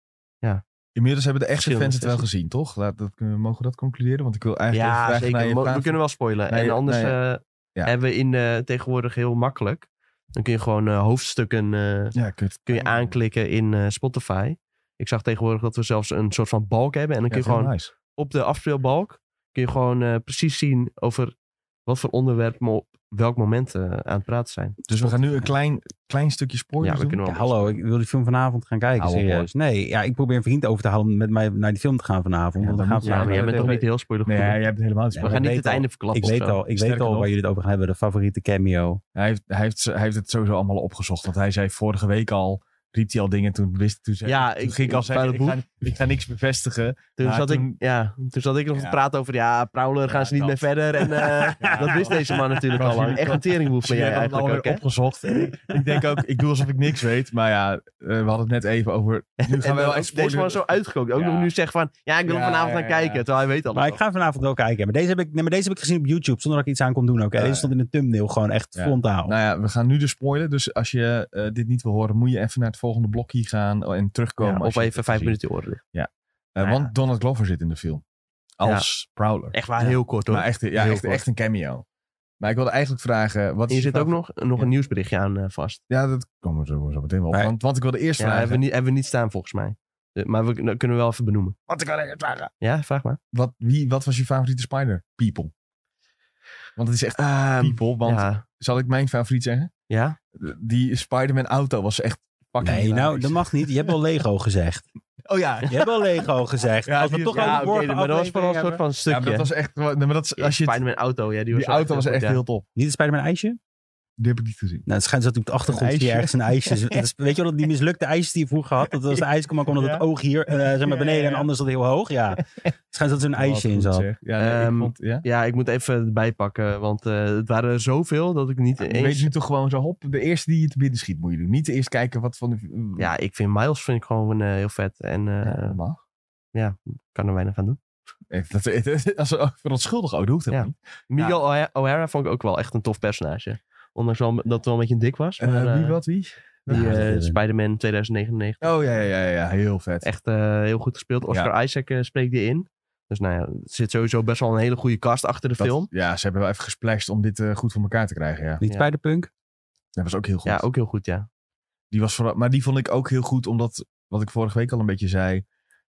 Inmiddels hebben de echte fans
verschillende
het wel gezien, toch? Laat, dat, kunnen we- mogen we dat concluderen? Want ik wil eigenlijk even
ja,
vragen naar
zeker.
je
Mo- We
favoriete-
kunnen wel spoilen.
naar je-
en anders
naar
eh,
ja.
hebben we in eh, tegenwoordig heel makkelijk Dan kun je gewoon eh, hoofdstukken eh,
Ja, kut.
kun je aanklikken in eh, Spotify. Ik zag tegenwoordig dat we zelfs een soort van balk hebben. En dan
Ja,
kun je
heel
gewoon
nice.
op de afspeelbalk kun je gewoon eh, precies zien over wat voor onderwerp we op welk moment eh, aan het praten zijn.
Dus we gaan nu een klein, klein stukje spoilers
ja, we
doen.
kunnen wel.
hallo, ik wil die film vanavond gaan kijken,
Hou op,
serieus. Nee, ja, ik probeer een vriend over te halen om met mij naar die film te gaan vanavond.
Ja,
want
dan
we gaan
moet je-
Ja, maar
vanavond
jij
naar
bent
de
toch
tv.
niet heel spoilervol.
Nee, jij hebt helemaal niet
Ja,
we
spoilers.
gaan
ik
niet
weet
het
al-
einde verklappen.
Ik weet
of zo.
al, ik weet
Sterker
al
nog.
waar jullie het over gaan hebben, de favoriete cameo.
Hij heeft, hij, heeft, hij heeft het sowieso allemaal opgezocht. Want hij zei vorige week al, riep hij al dingen. Toen, wist, toen, zei,
Ja,
toen
ik-
ging ik al
ik-
zeggen,
bij
ik
de
ga, ik ga niks bevestigen.
Toen,
Maar
zat
toen-
ik, ja, toen zat ik nog
Ja.
te praten over, ja, Prowler gaan
Ja,
ze niet
dat.
meer verder. En eh,
Ja,
dat wist deze man natuurlijk
Dat
al lang.
jullie-
Echt een teringboef
Dus
ben
Jij
jij
hebt het
eigenlijk ook,
alweer
hè?
opgezocht. En ik, ik denk ook, ik doe alsof ik niks weet. Maar ja, eh, we hadden het net even over... Nu gaan
En
we wel
dan ook
echt
deze
spoileren.
man zo uitgekookt. Ook
Ja.
nog nu zegt van, ja, ik wil
Ja,
er vanavond
ja,
naar
ja,
kijken.
ja.
Terwijl hij weet al.
Maar ik ga vanavond wel kijken. Maar deze heb ik, nee, maar deze heb ik gezien op YouTube, zonder dat ik iets aan kon doen ook. hè.
Ja,
Deze stond in de thumbnail gewoon echt
Ja.
frontaal.
Nou ja, we gaan nu dus spoilen. Dus als je eh, dit niet wil horen, moet je even naar het volgende blokje gaan oh, en terugkomen. als
of
je het
even
hebt
vijf
gezien.
minuten oren.
Eh,
Nou ja.
Want Donald Glover zit in de film. Als Prowler.
Echt waar,
Ja.
heel kort hoor.
maar echt, ja,
Heel
echt,
kort.
echt een cameo. Maar ik wilde eigenlijk vragen... Wat is
En je zit ook
favoriete-
nog, nog een nieuwsberichtje aan eh, vast.
Ja, dat komen we zo, zo meteen wel op.
Maar-
want, want ik wilde eerst
Ja,
vragen...
hebben we, niet, hebben we niet staan volgens mij. Eh, Maar we dat kunnen we wel even benoemen.
Wat ik wilde eerst vragen.
Ja, vraag maar.
Wat, wie, wat was je favoriete Spider? People. Want het is echt people. Want
Ehm, ja.
zal ik mijn favoriet zeggen?
ja?
Die Spider-Man auto was echt fucking
Nee, nou,
hilarisch.
dat mag niet. Je hebt wel Lego gezegd.
Oh ja.
Je hebt wel Lego gezegd.
Ja,
Als we
die-
toch
ja,
over
oké,
vorige
maar dat was
aflevering
vooral een soort
hebben.
van
Ja,
stukje.
maar dat was echt... Maar dat,
Ja,
als je het-
Spider-Man auto, ja, die,
die
was wel
auto was
heel
echt
goed, ja.
heel top.
Niet de Spider-Man ijsje?
Die heb ik niet gezien.
Nou, het schijnt dat op de achtergrond
Een
hier ergens
ijsje.
een ijsje. is. Dat is- Weet je wel, dat die mislukte ijsjes die je vroeger had? Dat was de ijskomma, omdat
Ja.
het oog hier, eh, zeg
Ja,
maar beneden
ja, ja.
en anders dat heel hoog. Ja, het schijnt dat er een
Wat
ijsje in
goed,
zat.
zeg. Ja, nee, ik
Ehm,
vond, ja.
Ja, ik moet even erbij pakken, want eh, het waren er zoveel dat ik niet
Je Weet
eens...
je nu toch gewoon zo, hop, de eerste die je te binnen schiet moet je doen. Niet eerst kijken wat van de...
Ja, ik vind Miles vind ik gewoon eh, heel vet en eh,
Ja, dat mag.
kan er weinig aan doen.
Eh, Dat, dat- als we verontschuldigen, oh, dat hoeft helemaal
Ja.
niet.
Miguel O'Hara- O'Hara vond ik ook wel echt een tof personage. Ondanks wel dat het wel een beetje dik was.
Eh,
maar, eh,
wie wat, wie?
Die
Ja,
eh,
dat-
Spider-Man 2099.
Oh ja, ja, ja, ja, heel vet.
Echt eh, heel goed gespeeld. Oscar Isaac eh, spreekt die in. Dus nou ja, er zit sowieso best wel een hele goede cast achter de
Dat-
film.
Ja, ze hebben wel even gesplashed om dit eh, goed voor elkaar te krijgen, ja.
Niet
Ja.
Spider-Punk?
Dat was ook heel goed.
Ja, ook heel goed, ja.
Die was vooral, maar die vond ik ook heel goed, omdat, wat ik vorige week al een beetje zei,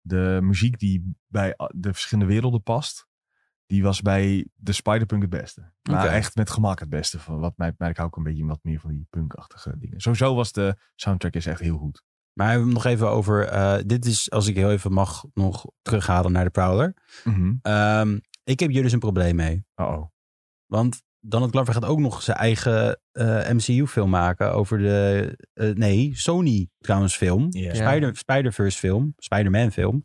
de muziek die bij a- de verschillende werelden past, die was bij de Spider-Punk het beste. Maar
Oké.
echt met gemak het beste. Van wat mij, maar ik hou ook een beetje wat meer van die punkachtige dingen. Sowieso was de soundtrack is echt heel goed.
Maar we hebben nog even over, eh, dit is, als ik heel even mag, nog terughalen naar de Prowler.
Mhm.
Ehm, ik heb hier dus een probleem mee.
Uh-oh.
Want Donald Glover gaat ook nog zijn eigen eh, MCU-film maken over de... eh, nee, Sony trouwens film.
Ja. Oh,
Spider, Spider-Verse film. Spider-Man film.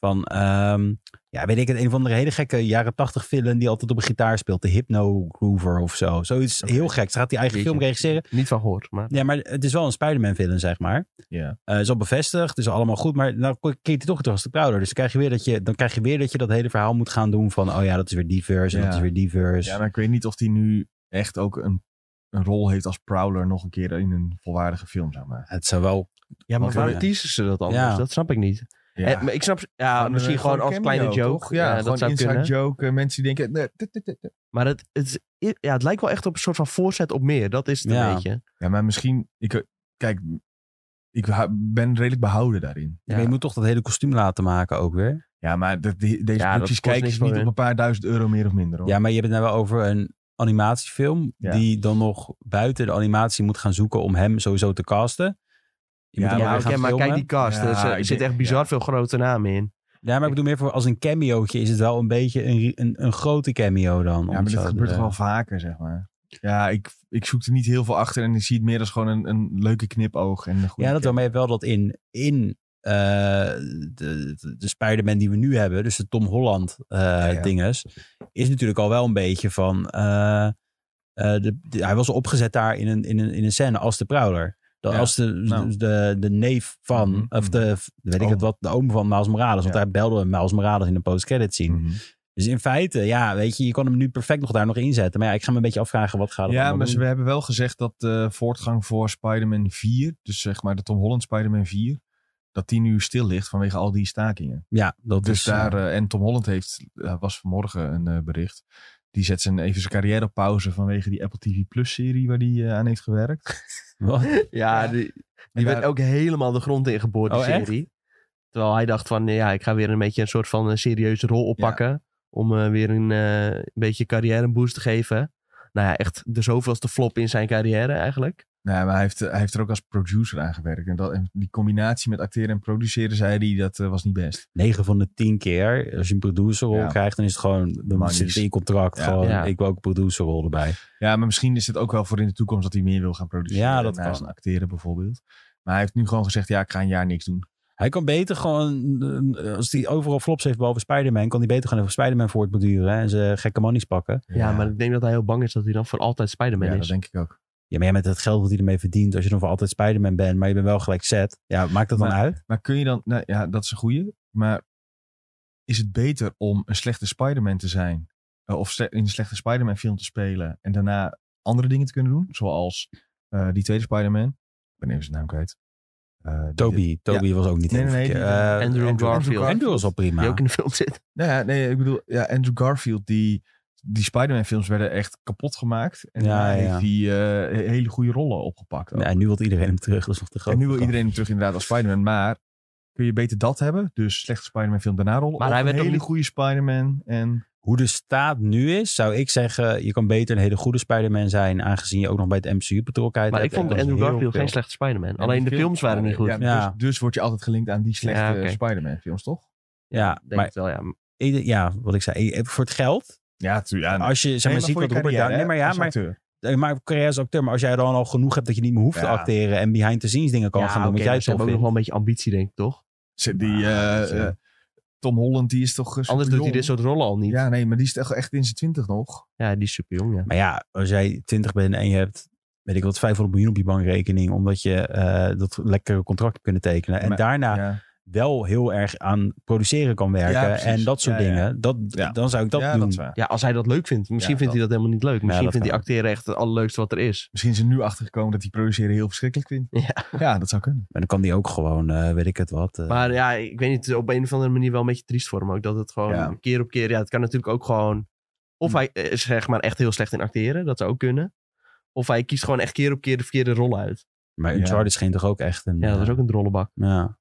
Van, ehm, ja, weet ik het, een van de hele gekke jaren tachtig film die altijd op een gitaar speelt. De Hypno Groover of zo. Zoiets
Oké.
heel geks. Gaat hij eigen
Jeetje.
film regisseren.
Niet van gehoord, maar...
Ja, maar het is wel een Spider-Man film, zeg maar.
Ja.
Eh, is al bevestigd, is al allemaal goed. Maar nou keert hij toch terug als de Prowler. Dus dan krijg, je weer dat je, dan krijg je weer dat je dat hele verhaal moet gaan doen van... Oh ja, dat is weer die verse en
Ja.
dat is weer die verse.
Ja, maar ik weet niet of die nu echt ook een, een rol heeft als Prowler nog een keer in een volwaardige film, zeg maar.
Het zou wel
Ja,
maar waarom
teasen ze dat
anders?
Dat snap ik niet.
Ja.
Eh, maar ik snap... Ja,
Gewoon,
misschien
eh,
gewoon, als
een
kleine
cameo,
joke.
toch?
Ja,
Ja,
dat
gewoon
zou
inside
kunnen.
joke. eh, mensen die denken... nee, dit, dit, dit, dit.
Maar het, het, is- ja, het lijkt wel echt op een soort van voorzet op meer. Dat is het
Ja.
een beetje.
Ja, maar misschien... Ik, eh, kijk, ik ha- ben redelijk behouden daarin.
Ja.
Ja.
maar je moet toch dat hele kostuum laten maken ook weer.
Ja, maar de- die- deze
Ja, dat
producties
kost
kijken
niks
ze
voor
niet op
hun.
een paar duizend euro meer of minder, hoor.
Ja, maar je hebt het nou wel over een animatiefilm
Ja.
die dan nog buiten de animatie moet gaan zoeken om hem sowieso te casten. Je
Ja,
moet hem
Ja,
weer
oké,
gaan
maar kijk
filmen.
die cast.
Ja,
er zit-
ik
er zit
denk-
echt bizar
ja.
veel grote namen in.
Ja, maar ik bedoel meer voor als een cameootje is het wel een beetje een, een, een grote cameo dan. om
Ja, maar
het
dit
zo te
gebeurt toch wel
zeggen.
vaker, zeg maar. Ja, ik, ik zoek er niet heel veel achter en ik zie het meer als gewoon een, een leuke knipoog. En een goede
Ja, dat wel.
kijk.
Maar je hebt wel dat in, in eh, de, de, de Spider-Man die we nu hebben, dus de Tom Holland eh
ja.
dinges, is natuurlijk al wel een beetje van... eh, eh, de, de- hij was opgezet daar in een, in een, in een scène als de Prowler. Dat
Ja,
Als de,
nou.
de, de neef van,
Mhm,
of de, weet ik
Oom.
het wat, de oom van Miles Morales. Want
Ja.
daar belden we Miles Morales in de post-credit zien.
Mhm.
Dus in feite, ja, weet je, je kan hem nu perfect nog daar nog inzetten. Maar ja, ik ga me een beetje afvragen, wat gaat er
Ja,
allemaal
maar
doen?
ze- we hebben wel gezegd dat de voortgang voor Spider-Man 4, dus zeg maar de Tom Holland Spider-Man 4, dat die nu stil ligt vanwege al die stakingen.
Ja, dat
Dus
is... eh,
daar, eh, en Tom Holland heeft, eh, was vanmorgen een eh, bericht, Die zet zijn, even zijn carrière op pauze vanwege die Apple TV Plus serie waar die eh, aan heeft gewerkt.
Wat?
Ja,
Ja.
die,
En
die werd
daar-
ook helemaal de grond ingeboord, die
Oh, echt?
serie. Terwijl hij dacht van, ja, ik ga weer een beetje een soort van eh, serieuze rol oppakken. Om eh, weer een, eh, een beetje carrière een boost te geven. Nou ja, echt de zoveelste flop in zijn carrière eigenlijk.
Nee, maar hij heeft, eh, hij heeft er ook als producer aan gewerkt. En, dat, en die combinatie met acteren en produceren, zei hij, dat eh, was niet best.
9 van de 10 keer, als je een producerrol
Ja.
krijgt, dan is het gewoon, dan
Manisch.
zit het in je contract
Ja.
gewoon,
Ja.
ik wil ook een producerrol erbij.
Ja, maar misschien is het ook wel voor in de toekomst dat hij meer wil gaan produceren. eh,
Ja, dat
naast
kan.
acteren bijvoorbeeld. Maar hij heeft nu gewoon gezegd, ja, ik ga een jaar niks doen.
Hij kan beter gewoon, eh, als hij overal flops heeft behalve Spider-Man, kan hij beter gewoon even Spider-Man voortborduren hè, en ze gekke monies pakken.
Ja, maar ik denk dat hij heel bang is dat hij dan voor altijd Spider-Man
Ja, dat
is.
denk ik ook.
Ja, maar ja, met het geld dat hij ermee verdient, als je dan voor altijd Spider-Man bent, maar je bent wel gelijk set. Ja, maakt dat dan
Maar-
uit?
Maar kun je dan, nou ja, dat is een goeie. Maar is het beter om een slechte Spider-Man te zijn? eh, of sle- in een slechte Spider-Man film te spelen en daarna andere dingen te kunnen doen? Zoals eh, die tweede Spider-Man. Ik ben even zijn naam kwijt. Eh, die-
Toby, Toby was ook niet
Nee,
heel
nee, nee,
verkeerd.
die-
Eh,
Andrew Garfield.
Andrew was al prima.
Die ook in de film zit.
Nou ja, nee, ik bedoel, ja, Andrew Garfield, die, die Spider-Man films werden echt kapot gemaakt. En
Ja,
daarna
ja.
heeft hij eh, hele goede rollen opgepakt. ook.
Ja, en nu wil iedereen hem terug, dat is nog te groot.
en nu wil iedereen hem terug inderdaad als Spider-Man, maar kun je beter dat hebben? Dus slechte Spider-Man film daarna rollen.
Maar
of
hij
een
werd ook
hele
niet-
goede Spider-Man en...
Hoe de staat nu is, zou ik zeggen, je kan beter een hele goede Spider-Man zijn, aangezien je ook nog bij het MCU betrokkenheid
Maar ik
hebt.
vond
En dat is
Andrew
heel
Garfield
veel.
geen slechte Spider-Man. Alleen de films waren niet goed.
Ja,
Ja.
Dus, dus word je altijd gelinkt aan die slechte
Ja, oké.
Spider-Man films, toch?
Ja,
Denk
maar
het wel, ja.
ieder- ja, wat ik zei, eh, voor het geld.
Ja, tuurlijk.
Als je, zeg maar, ziet wat Robert Downey... Nee, maar ja, maar, eh, maar carrière als acteur. Maar als jij dan al genoeg hebt dat je niet meer hoeft te
Ja.
acteren en behind-the-scenes dingen kan
Ja,
gaan doen,
oké,
wat jij
maar ze
tof
hebben ook nog wel
vindt.
een beetje ambitie, denk ik, toch?
Die, eh,
Ah,
eh, Tom Holland, die is toch... eh,
Anders doet hij
superjong?
dit soort rollen al niet. Ja,
Ja, nee, maar die is toch echt in zijn twintig nog.
die is super jong, ja.
Maar ja, als jij 20 bent en je hebt, weet ik wat, 500 miljoen op je bankrekening, omdat je eh, dat lekkere contract hebt kunnen tekenen. En
Maar-
daarna
ja.
wel heel erg aan produceren kan werken
Ja, precies.
en dat soort
Ja, ja.
dingen. Dat,
Ja.
Dan zou ik dat
ja,
doen.
dat is waar.
Ja, als hij dat leuk vindt. Misschien
Ja,
vindt hij dat helemaal niet leuk. Misschien
dat
vindt hij
kan.
acteren echt het allerleukste wat er is.
Misschien is er nu achtergekomen dat die produceren heel verschrikkelijk vindt. Ja, dat zou kunnen.
Maar dan kan die ook gewoon, eh, weet ik het wat. eh,
Maar ja, ik weet niet, het is op een of andere manier wel een beetje triest voor hem ook. Dat het gewoon
Ja.
keer op keer, ja, het kan natuurlijk ook gewoon... Of hij eh, is zeg maar echt heel slecht in acteren, dat zou ook kunnen. Of hij kiest gewoon echt keer op keer de verkeerde rol uit.
maar
ja.
Uncharted scheen toch ook echt een...
Ja, dat is
eh,
ook een drollenbak.
ja.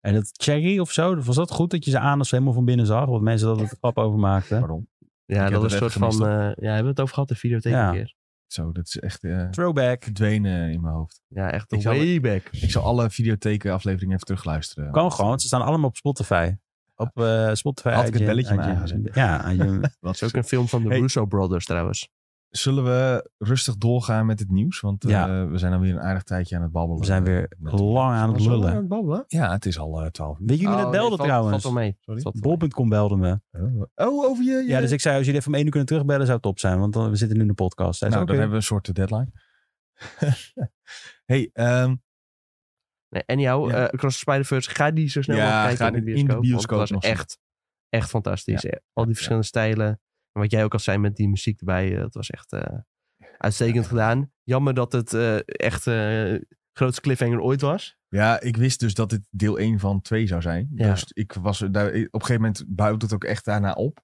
En dat Cherry of zo, was dat goed dat je ze aan als helemaal van binnen zag? Want mensen dat het grap over maakten.
Waarom?
Ja,
heb
dat
het
is een soort
even gemist,
van... eh ja, hebben we het over gehad, de videotheek
Ja.
een keer.
Zo, dat is echt eh,
Throwback.
verdwenen in mijn hoofd.
Ja, echt
Ik zou-
way back.
Ik zal alle videothekenafleveringen even terugluisteren.
Kan gewoon, want ze staan allemaal op Spotify. Op eh, Spotify.
Had ik het
iTunes,
belletje maar
iTunes.
aangezet.
Ja, iTunes.
Wat
Dat is ook een film van de
Hey.
Russo Brothers trouwens.
Zullen we rustig doorgaan met het nieuws? Want eh,
Ja.
we zijn alweer een aardig tijdje aan het babbelen.
we zijn weer
Met-
lang aan het lullen.
babbelen?
Ja, het is al eh, 12 uur.
Weet jullie net belden trouwens?
Valt wel mee.
Sorry?
Valt wel mee.
Bol.com belde me.
Oh, over je... je-
Ja, dus ik zei, als jullie even om één uur kunnen terugbellen, zou het top zijn. Want dan, we zitten nu in de podcast. Hij
Nou,
zei,
dan
oké.
hebben we een soort eh, deadline. hey, ehm,
Nee, en jou,
Ja.
eh, Across the Spider-Verse, ga die zo snel
Ja,
mogelijk
ga
kijken in de
dit in de
bioscoop.
bioscoop
want het
nog
was
zien.
echt, echt fantastisch. Eh, Al die verschillende stijlen. En wat jij ook al zei met die muziek erbij, eh, dat was echt eh, uitstekend gedaan. Jammer dat het eh, echt eh, de grootste cliffhanger ooit was.
Ja, ik wist dus dat dit deel 1 van 2 zou zijn.
Ja.
Dus ik was er daar, op een gegeven moment built het ook echt daarna op.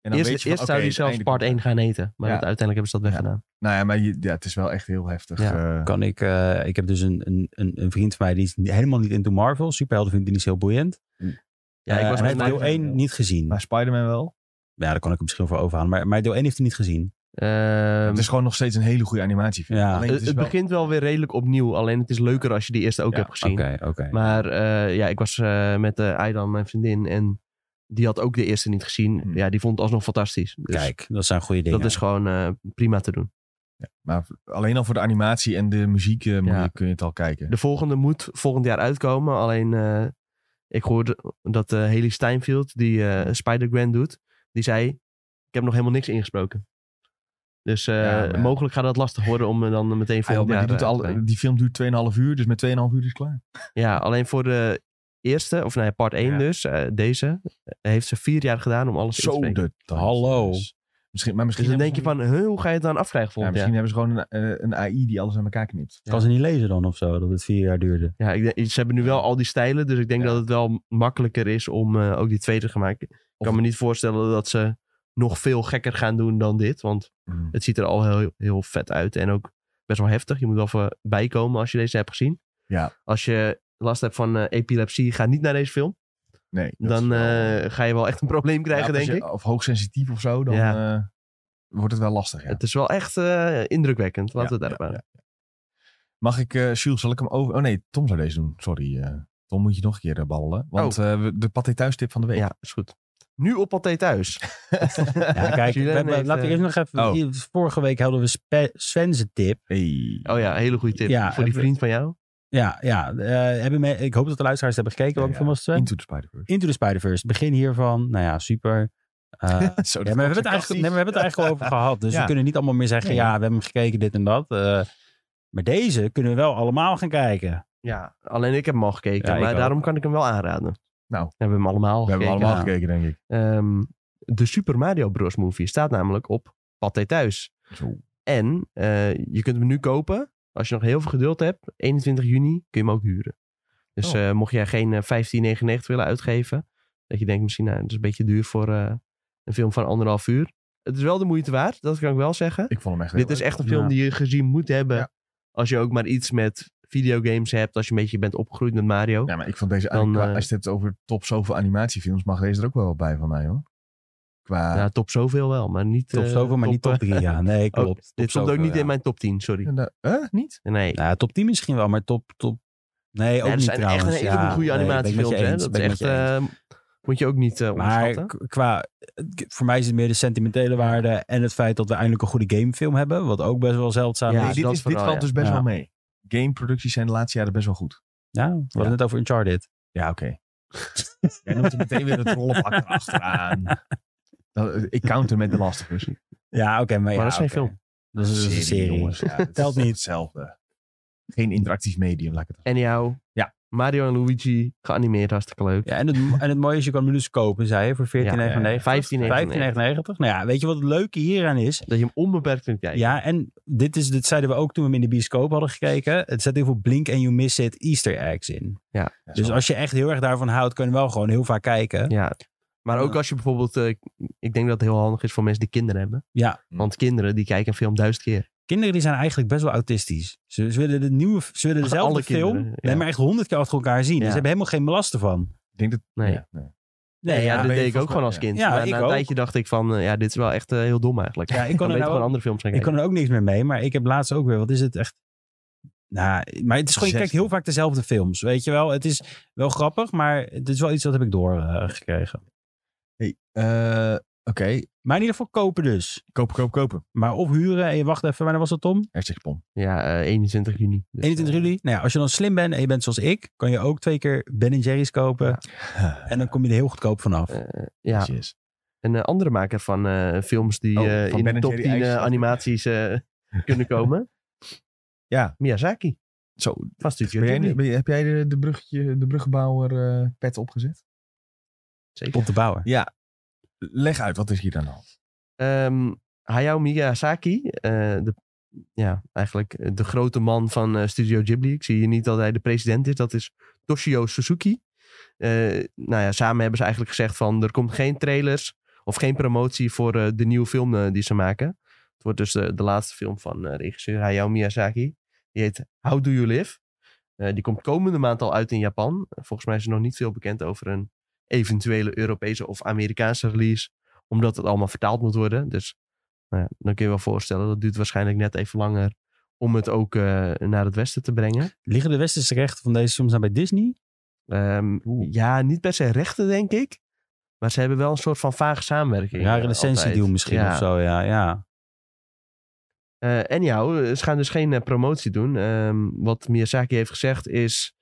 En
eerst
weet je van,
eerst
oké,
zou die
het
zelfs
einde
part
komt.
1 gaan heten. Maar
Ja.
dat, uiteindelijk hebben ze dat weggedaan.
Nou ja, maar je- ja, het is wel echt heel heftig.
Ja.
eh,
kan ik, eh, ik heb dus een, een, een, een vriend van mij die is niet- helemaal niet into Marvel. Superhelden vindt hij niet zo heel boeiend.
Ja,
Eh,
ik was
en hij
met
heeft
mij-
deel 1 niet gezien.
maar Spider-Man wel.
Ja, daar kan ik hem misschien voor overhalen. Maar, maar deel 1 heeft hij niet gezien.
Ehm,
het is gewoon nog steeds een hele goede animatiefilm.
Ja.
Alleen
het,
het is
het
wel-
begint wel weer redelijk opnieuw. Alleen het is leuker als je die eerste ook
Ja,
hebt gezien.
oké.
Maar eh, ja, ik was eh, met eh Aidan, mijn vriendin, en die had ook de eerste niet gezien.
Hmm.
Ja, die vond het alsnog fantastisch. Dus
Kijk, dat zijn goede dingen.
dat is gewoon eh, prima te doen.
Maar alleen al voor de animatie en de muziek eh, moet
Ja.
je- kun je het al kijken.
De volgende moet volgend jaar uitkomen. Alleen eh, ik hoorde dat eh Haley Steinfeld, die eh, Spider-Gwen doet, die zei: Ik heb nog helemaal niks ingesproken. Dus eh,
Ja, maar-
mogelijk gaat dat lastig worden om eh, dan meteen
Ah, joh,
volgend
maar
jaar...
die, doet
eh,
al-
te brengen.
die film duurt 2,5 uur, dus met 2,5 uur is het klaar.
Ja, alleen voor de eerste, of nee, part 1
Ja.
dus, eh, deze, eh, heeft ze vier jaar gedaan om alles in te
Zo
spreken.
de tijd.
Hallo.
Dus Misschien, maar misschien
Dus dan denk je
hebben
van, huh, hoe ga je het dan afkrijgen
ze- ja,
volgend
misschien
jaar?
hebben ze gewoon een, eh, een AI die alles aan elkaar knipt.
Kan ze niet lezen dan of zo, dat het vier jaar duurde.
Ja, ik denk, ze hebben nu wel al die stijlen, dus ik denk
Ja.
dat het wel makkelijker is om eh, ook die tweede te gaan maken. Ik
Of-
kan me niet voorstellen dat ze nog veel gekker gaan doen dan dit. Want
Mm.
het ziet er al heel, heel vet uit. En ook best wel heftig. Je moet wel even bijkomen als je deze hebt gezien.
Ja.
Als je last hebt van eh, epilepsie, ga niet naar deze film.
Nee, dat is
Dan
wel-
eh, ga je wel echt een probleem krijgen,
Ja, Oh, als
denk
je-
ik.
Of hoogsensitief of zo, dan
Ja.
eh, wordt het wel lastig. Ja.
Het is wel echt eh, indrukwekkend. Laten we
Ja,
het daarop
ja, ja.
aan.
Mag ik, eh Jules, zal ik hem over... Oh nee, Tom zou deze doen. Sorry, eh, Tom moet je nog een keer eh, babbelen. Want eh, we- de paté thuis tip van de week.
Oh. Ja, is goed. Nu op Pathé thuis.
Ja, kijk, we
Julien
hebben-
heeft,
laten we
eh,
even nog even...
oh.
hier- Vorige week hadden we Spe- Sven's tip.
Hey.
Oh ja, eh, hele goede tip.
Ja,
Voor die
even-
vriend van jou.
Ja, ja eh, hebben me, ik hoop dat de luisteraars het hebben gekeken. Welke
Ja,
film was het, Sven?
Into the Spider-Verse.
Into the Spider-Verse. Begin hiervan. Nou ja, super. Eh,
Zo, dat
ja, maar we
was
hebben, het eigenlijk,
sarcastisch.
nee, maar we hebben het eigenlijk al over gehad. Dus
Ja.
we kunnen niet allemaal meer zeggen,
Nee.
ja, we hebben hem gekeken, dit en dat. Eh, maar deze kunnen we wel allemaal gaan
Eh,
kijken.
Ja, alleen ik heb hem al gekeken.
Ja, ik
maar
ook.
daarom kan ik hem wel aanraden.
Nou.
We hebben hem allemaal
We hebben
gekeken.
allemaal
ja.
gekeken, denk ik.
Ehm, de Super Mario Bros. movie staat namelijk op Pathé Thuis.
Zo.
En eh, je kunt hem nu kopen. Als je nog heel veel geduld hebt, 21 juni kun je hem ook huren. Dus
Oh.
eh, mocht jij geen eh, 15,99 willen uitgeven. Dat je denkt misschien, nou, dat is een beetje duur voor eh, een film van anderhalf uur. Het is wel de moeite waard, dat kan ik wel zeggen.
Ik vond hem echt
Dit
heel
is
leuk.
echt een film die je gezien moet hebben.
Ja.
Als je ook maar iets met videogames hebt. Als je een beetje bent opgegroeid met Mario.
Ja, maar ik vond deze...
Dan,
eigenlijk qua-
eh,
als je het hebt over top zoveel animatiefilms, mag deze er ook wel wat bij van mij, hoor. Qua...
Ja, top zoveel wel, maar niet...
Top
eh,
zoveel, maar niet top
eh,
3. Ja, nee,
oh,
klopt. Top
dit stond ook
zoveel,
niet
ja.
in mijn top 10, sorry.
en daar- eh, niet?
Nee.
Nou, top 10 misschien wel, maar top... top... Nee, ook
Ja, er
niet
zijn
trouwens.
echt een heleboel
Ja,
goede
nee, ben ik met je
animatiefilms, hè.
eens,
Dat
ben
is
ik met
echt...
je eens.
eh, moet je ook niet eh,
Maar
onderschatten.
k- qua, voor mij is het meer de sentimentele waarde en het feit dat we eindelijk een goede gamefilm hebben, wat ook best wel zeldzaam
Ja,
is.
nee, dit,
dat
is, dit
vooral,
valt
ja.
dus best
Ja.
wel mee. Gameproducties zijn de laatste jaren best wel goed.
Ja, we hadden
Ja.
het over Uncharted.
Ja, oké. Jij noemt er meteen weer het rollenpak erachteraan. Dat- eh, Ik counter met de Last of Us.
Ja, oké, maar, ja,
dat is dus geen
oké.
film.
Dat is, dat is een serie.
jongens. Ja, het
Telt
is
niet.
Hetzelfde. Geen interactief medium, laat ik het
En jou,
Ja.
Mario en Luigi, geanimeerd, hartstikke leuk.
Ja, en het, en het mooie is, je kan hem dus kopen, zei je, voor 14,99.
€15,99.
15,99. Nou ja, weet je wat het leuke hieraan is?
Dat je hem onbeperkt kunt kijken.
Ja, en dit, is, dit zeiden we ook toen we hem in de bioscoop hadden gekeken. Het zet heel veel blink en you miss it easter eggs in.
Ja,
Dus
zo.
als je echt heel erg daarvan houdt, kun je hem wel gewoon heel vaak kijken.
Ja. Maar ook
Ja.
als je bijvoorbeeld... eh, ik denk dat het heel handig is voor mensen die kinderen hebben.
Ja.
Want kinderen, die kijken een film duizend keer.
Kinderen die zijn eigenlijk best wel autistisch. Ze, ze willen de nieuwe, ze willen
Ach,
dezelfde
alle
film,
kinderen, ja.
nee, maar echt honderd keer achter elkaar zien. Dus
Ja.
Ze hebben helemaal geen belast ervan.
Ik denk dat...
Nee.
Ja, nee.
Nee, ja,
ja,
dat
ben je
deed ik
volgens
ook gewoon
mij-
als kind.
Ja,
maar
ik
na een
ook.
tijdje dacht ik van... eh, ja, dit is wel echt eh, heel dom eigenlijk.
Ja, ik kon
Dan
er
beter
nou
gewoon andere films gaan
Ik
kijken.
kon er ook niks meer mee, maar ik heb laatst ook weer, wat is het echt? Nou, maar het is gewoon, je kijkt heel vaak dezelfde films, weet je wel. Het is wel grappig, maar het is wel iets dat heb ik doorgekregen.
Eh, oké.
maar in ieder geval kopen dus.
Kopen, kopen, kopen.
Maar of huren en je wacht even, wanneer was dat Tom?
Hashtag pom.
Ja, eh, 21 juni. Dus,
21
eh,
juli? Nou ja, als je dan slim bent en je bent zoals ik, kan je ook twee keer Ben Jerry's kopen. En dan kom je er heel goedkoop vanaf.
eh, ja,
Yes.
een eh, andere maker van eh, films die
Oh,
eh,
van
in
Ben en
de top
Jerry
10 eh,
IJs.
animaties eh, kunnen komen.
Ja.
Miyazaki.
Zo.
Van Studio
Ben jij
Ghibli.
niet- ben je- heb jij de, de, bruggetje, de bruggebouwer eh, pet opgezet?
Zeker.
Op de bouwer.
Ja. Leg uit, wat is hier dan al?
Ehm, Hayao Miyazaki. eh, de, ja, eigenlijk eh, de grote man van eh, Studio Ghibli. Ik zie hier niet dat hij de president is. Dat is Toshio Suzuki. Eh, nou ja, samen hebben ze eigenlijk gezegd van... er komt geen trailers of geen promotie voor eh, de nieuwe film eh, die ze maken. Het wordt dus de, de laatste film van eh, regisseur Hayao Miyazaki. Die heet How Do You Live? Eh, die komt komende maand al uit in Japan. Volgens mij is er nog niet veel bekend over een eventuele Europese of Amerikaanse release. Omdat het allemaal vertaald moet worden. Dus nou ja, dan kun je wel voorstellen, dat duurt waarschijnlijk net even langer om het ook eh, naar het westen te brengen.
Liggen de westerse rechten van deze films aan bij Disney?
Ehm,
Oeh.
ja, niet per se rechten, denk ik. Maar ze hebben wel een soort van vage samenwerking.
Rare
eh,
licentiedeal
altijd.
misschien
Ja.
of zo, ja. ja.
Eh, en ja, ze gaan dus geen eh, promotie doen. Ehm, wat Miyazaki heeft gezegd is...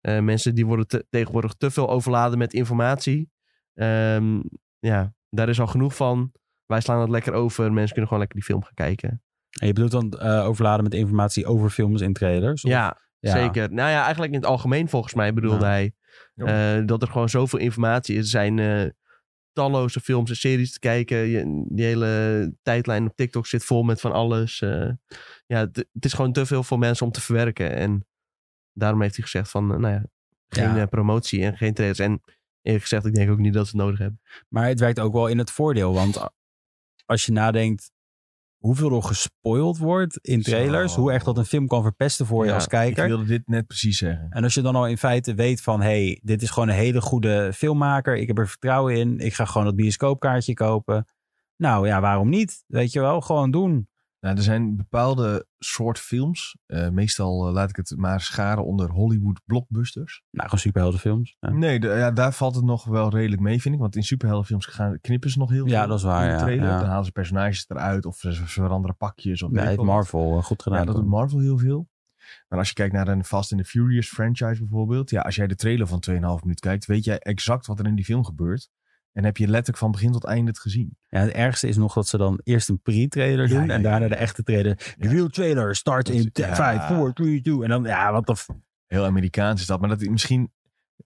eh, mensen die worden te- tegenwoordig te veel overladen met informatie. Ehm, ja, daar is al genoeg van. Wij slaan dat lekker over. Mensen kunnen gewoon lekker die film gaan kijken.
En je bedoelt dan eh, overladen met informatie over films en trailers? of-
Ja, zeker. Nou ja, eigenlijk in het algemeen volgens mij bedoelde
Ja.
hij... eh, dat er gewoon zoveel informatie is. Er zijn eh, talloze films en series te kijken. Je, die hele tijdlijn op TikTok zit vol met van alles. eh. ja, het- het is gewoon te veel voor mensen om te verwerken. En daarom heeft hij gezegd van, eh, nou ja, geen
Ja.
eh, promotie en geen trailers. En eerlijk gezegd, ik denk ook niet dat ze het nodig hebben.
Maar het werkt ook wel in het voordeel, want als je nadenkt hoeveel er gespoild wordt in
Zo.
trailers, hoe erg dat een film kan verpesten voor je
Ja,
als
Ik
kijker.
wilde dit net precies zeggen.
En als je dan al in feite weet van, hé, hey, dit is gewoon een hele goede filmmaker. Ik heb er vertrouwen in. Ik ga gewoon dat bioscoopkaartje kopen. Nou ja, waarom niet? Weet je wel, gewoon doen.
Nou, er zijn bepaalde soort films. eh, meestal eh, laat ik het maar scharen onder Hollywood blockbusters.
Nou, gewoon superheldenfilms. Ja,
Nee, de- ja, daar valt het nog wel redelijk mee, vind ik. Want in superheldenfilms gaan, knippen ze nog heel
Ja,
veel
dat is waar,
in de
ja,
trailer.
ja.
Dan halen ze personages eruit of ze, ze veranderen pakjes. Of
Nee,
weet ik
heeft
wat.
Marvel eh, goed gedaan.
Ja, dat doet Marvel heel veel. Maar als je kijkt naar een Fast and the Furious franchise bijvoorbeeld. Ja, als jij de trailer van 2,5 minuut kijkt, weet jij exact wat er in die film gebeurt. En heb je letterlijk van begin tot einde het gezien.
Ja, het ergste is nog dat ze dan eerst een
Ja,
pre-trailer doen
ja,
en
ja,
daarna
ja.
de echte trailer. De
Ja.
real trailer start
Dat
in
is-
5,
ja.
4, 3, 2. En dan, ja, wat de... f-
Heel Amerikaans is dat. Maar dat misschien,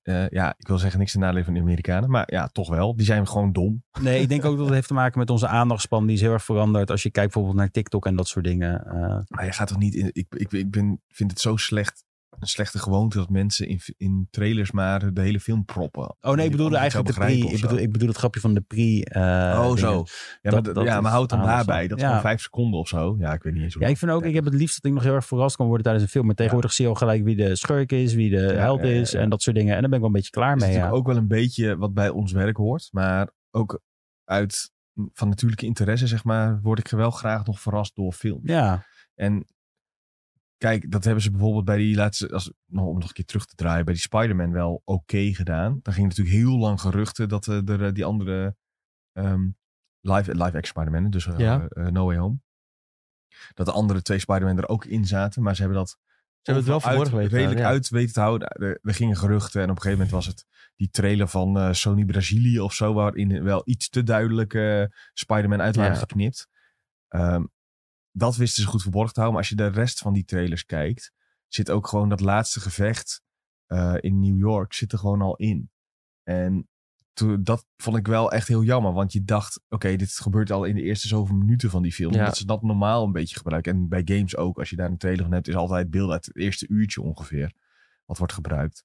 eh, ja, ik wil zeggen niks ten nadele van de Amerikanen. Maar ja, toch wel. Die zijn gewoon dom.
Nee, ik denk ook dat het heeft te maken met onze aandachtspan. Die is heel erg veranderd als je kijkt bijvoorbeeld naar TikTok en dat soort dingen. eh.
Maar je gaat toch niet in. Ik, ik, ik ben, vind het zo slecht. Een slechte gewoonte dat mensen in, in trailers maar de hele film proppen.
Oh nee, ik
Die
bedoelde
anders zou
eigenlijk de pre.
begrijpen of
Ik
zo.
bedoel, ik bedoel het grapje van de pre. eh,
oh,
dingen.
zo. Ja, maar,
Dat-
dat,
dat
ja,
is
maar houd dan
aandacht.
daarbij. Dat is
Ja.
gewoon vijf seconden of zo. Ja, ik weet niet eens hoe
Ja, ik vind ook, ik heb het liefst dat ik nog heel erg verrast kan worden tijdens een film. Maar tegenwoordig zie je al gelijk wie de schurk is, wie de held
ja, ja,
is
ja.
en dat soort dingen. En dan ben ik wel een beetje klaar
is
mee.
natuurlijk
Ja.
ook wel een beetje wat bij ons werk hoort. Maar ook uit van natuurlijke interesse, zeg maar, word ik wel graag nog verrast door film.
ja,
En kijk, dat hebben ze bijvoorbeeld bij die laatste, als, nou, om nog een keer terug te draaien, bij die Spider-Man wel oké gedaan. Daar ging natuurlijk heel lang geruchten dat eh, er eh, die andere ehm, live, live action Spider-Man, dus eh,
Ja.
eh, No Way Home, dat de andere twee Spider-Man er ook in zaten, maar ze hebben dat
Ze hebben het wel
overal
verborgen
uit-
weten.
redelijk
ja.
uit weten te houden. Er, er gingen geruchten en op een gegeven moment was het die trailer van eh, Sony Brazilië of zo, waarin wel iets te duidelijk eh, Spider-Man uit waren
Ja.
geknipt. Ehm, dat wisten ze goed verborgen te houden. Maar als je de rest van die trailers kijkt, zit ook gewoon dat laatste gevecht eh, in New York zit er gewoon al in. En toen, dat vond ik wel echt heel jammer, want je dacht, oké, dit gebeurt al in de eerste zoveel minuten van die film.
Ja.
Dat ze dat normaal een beetje gebruiken. En bij games ook, als je daar een trailer van hebt, is altijd beeld uit het eerste uurtje ongeveer, wat wordt gebruikt.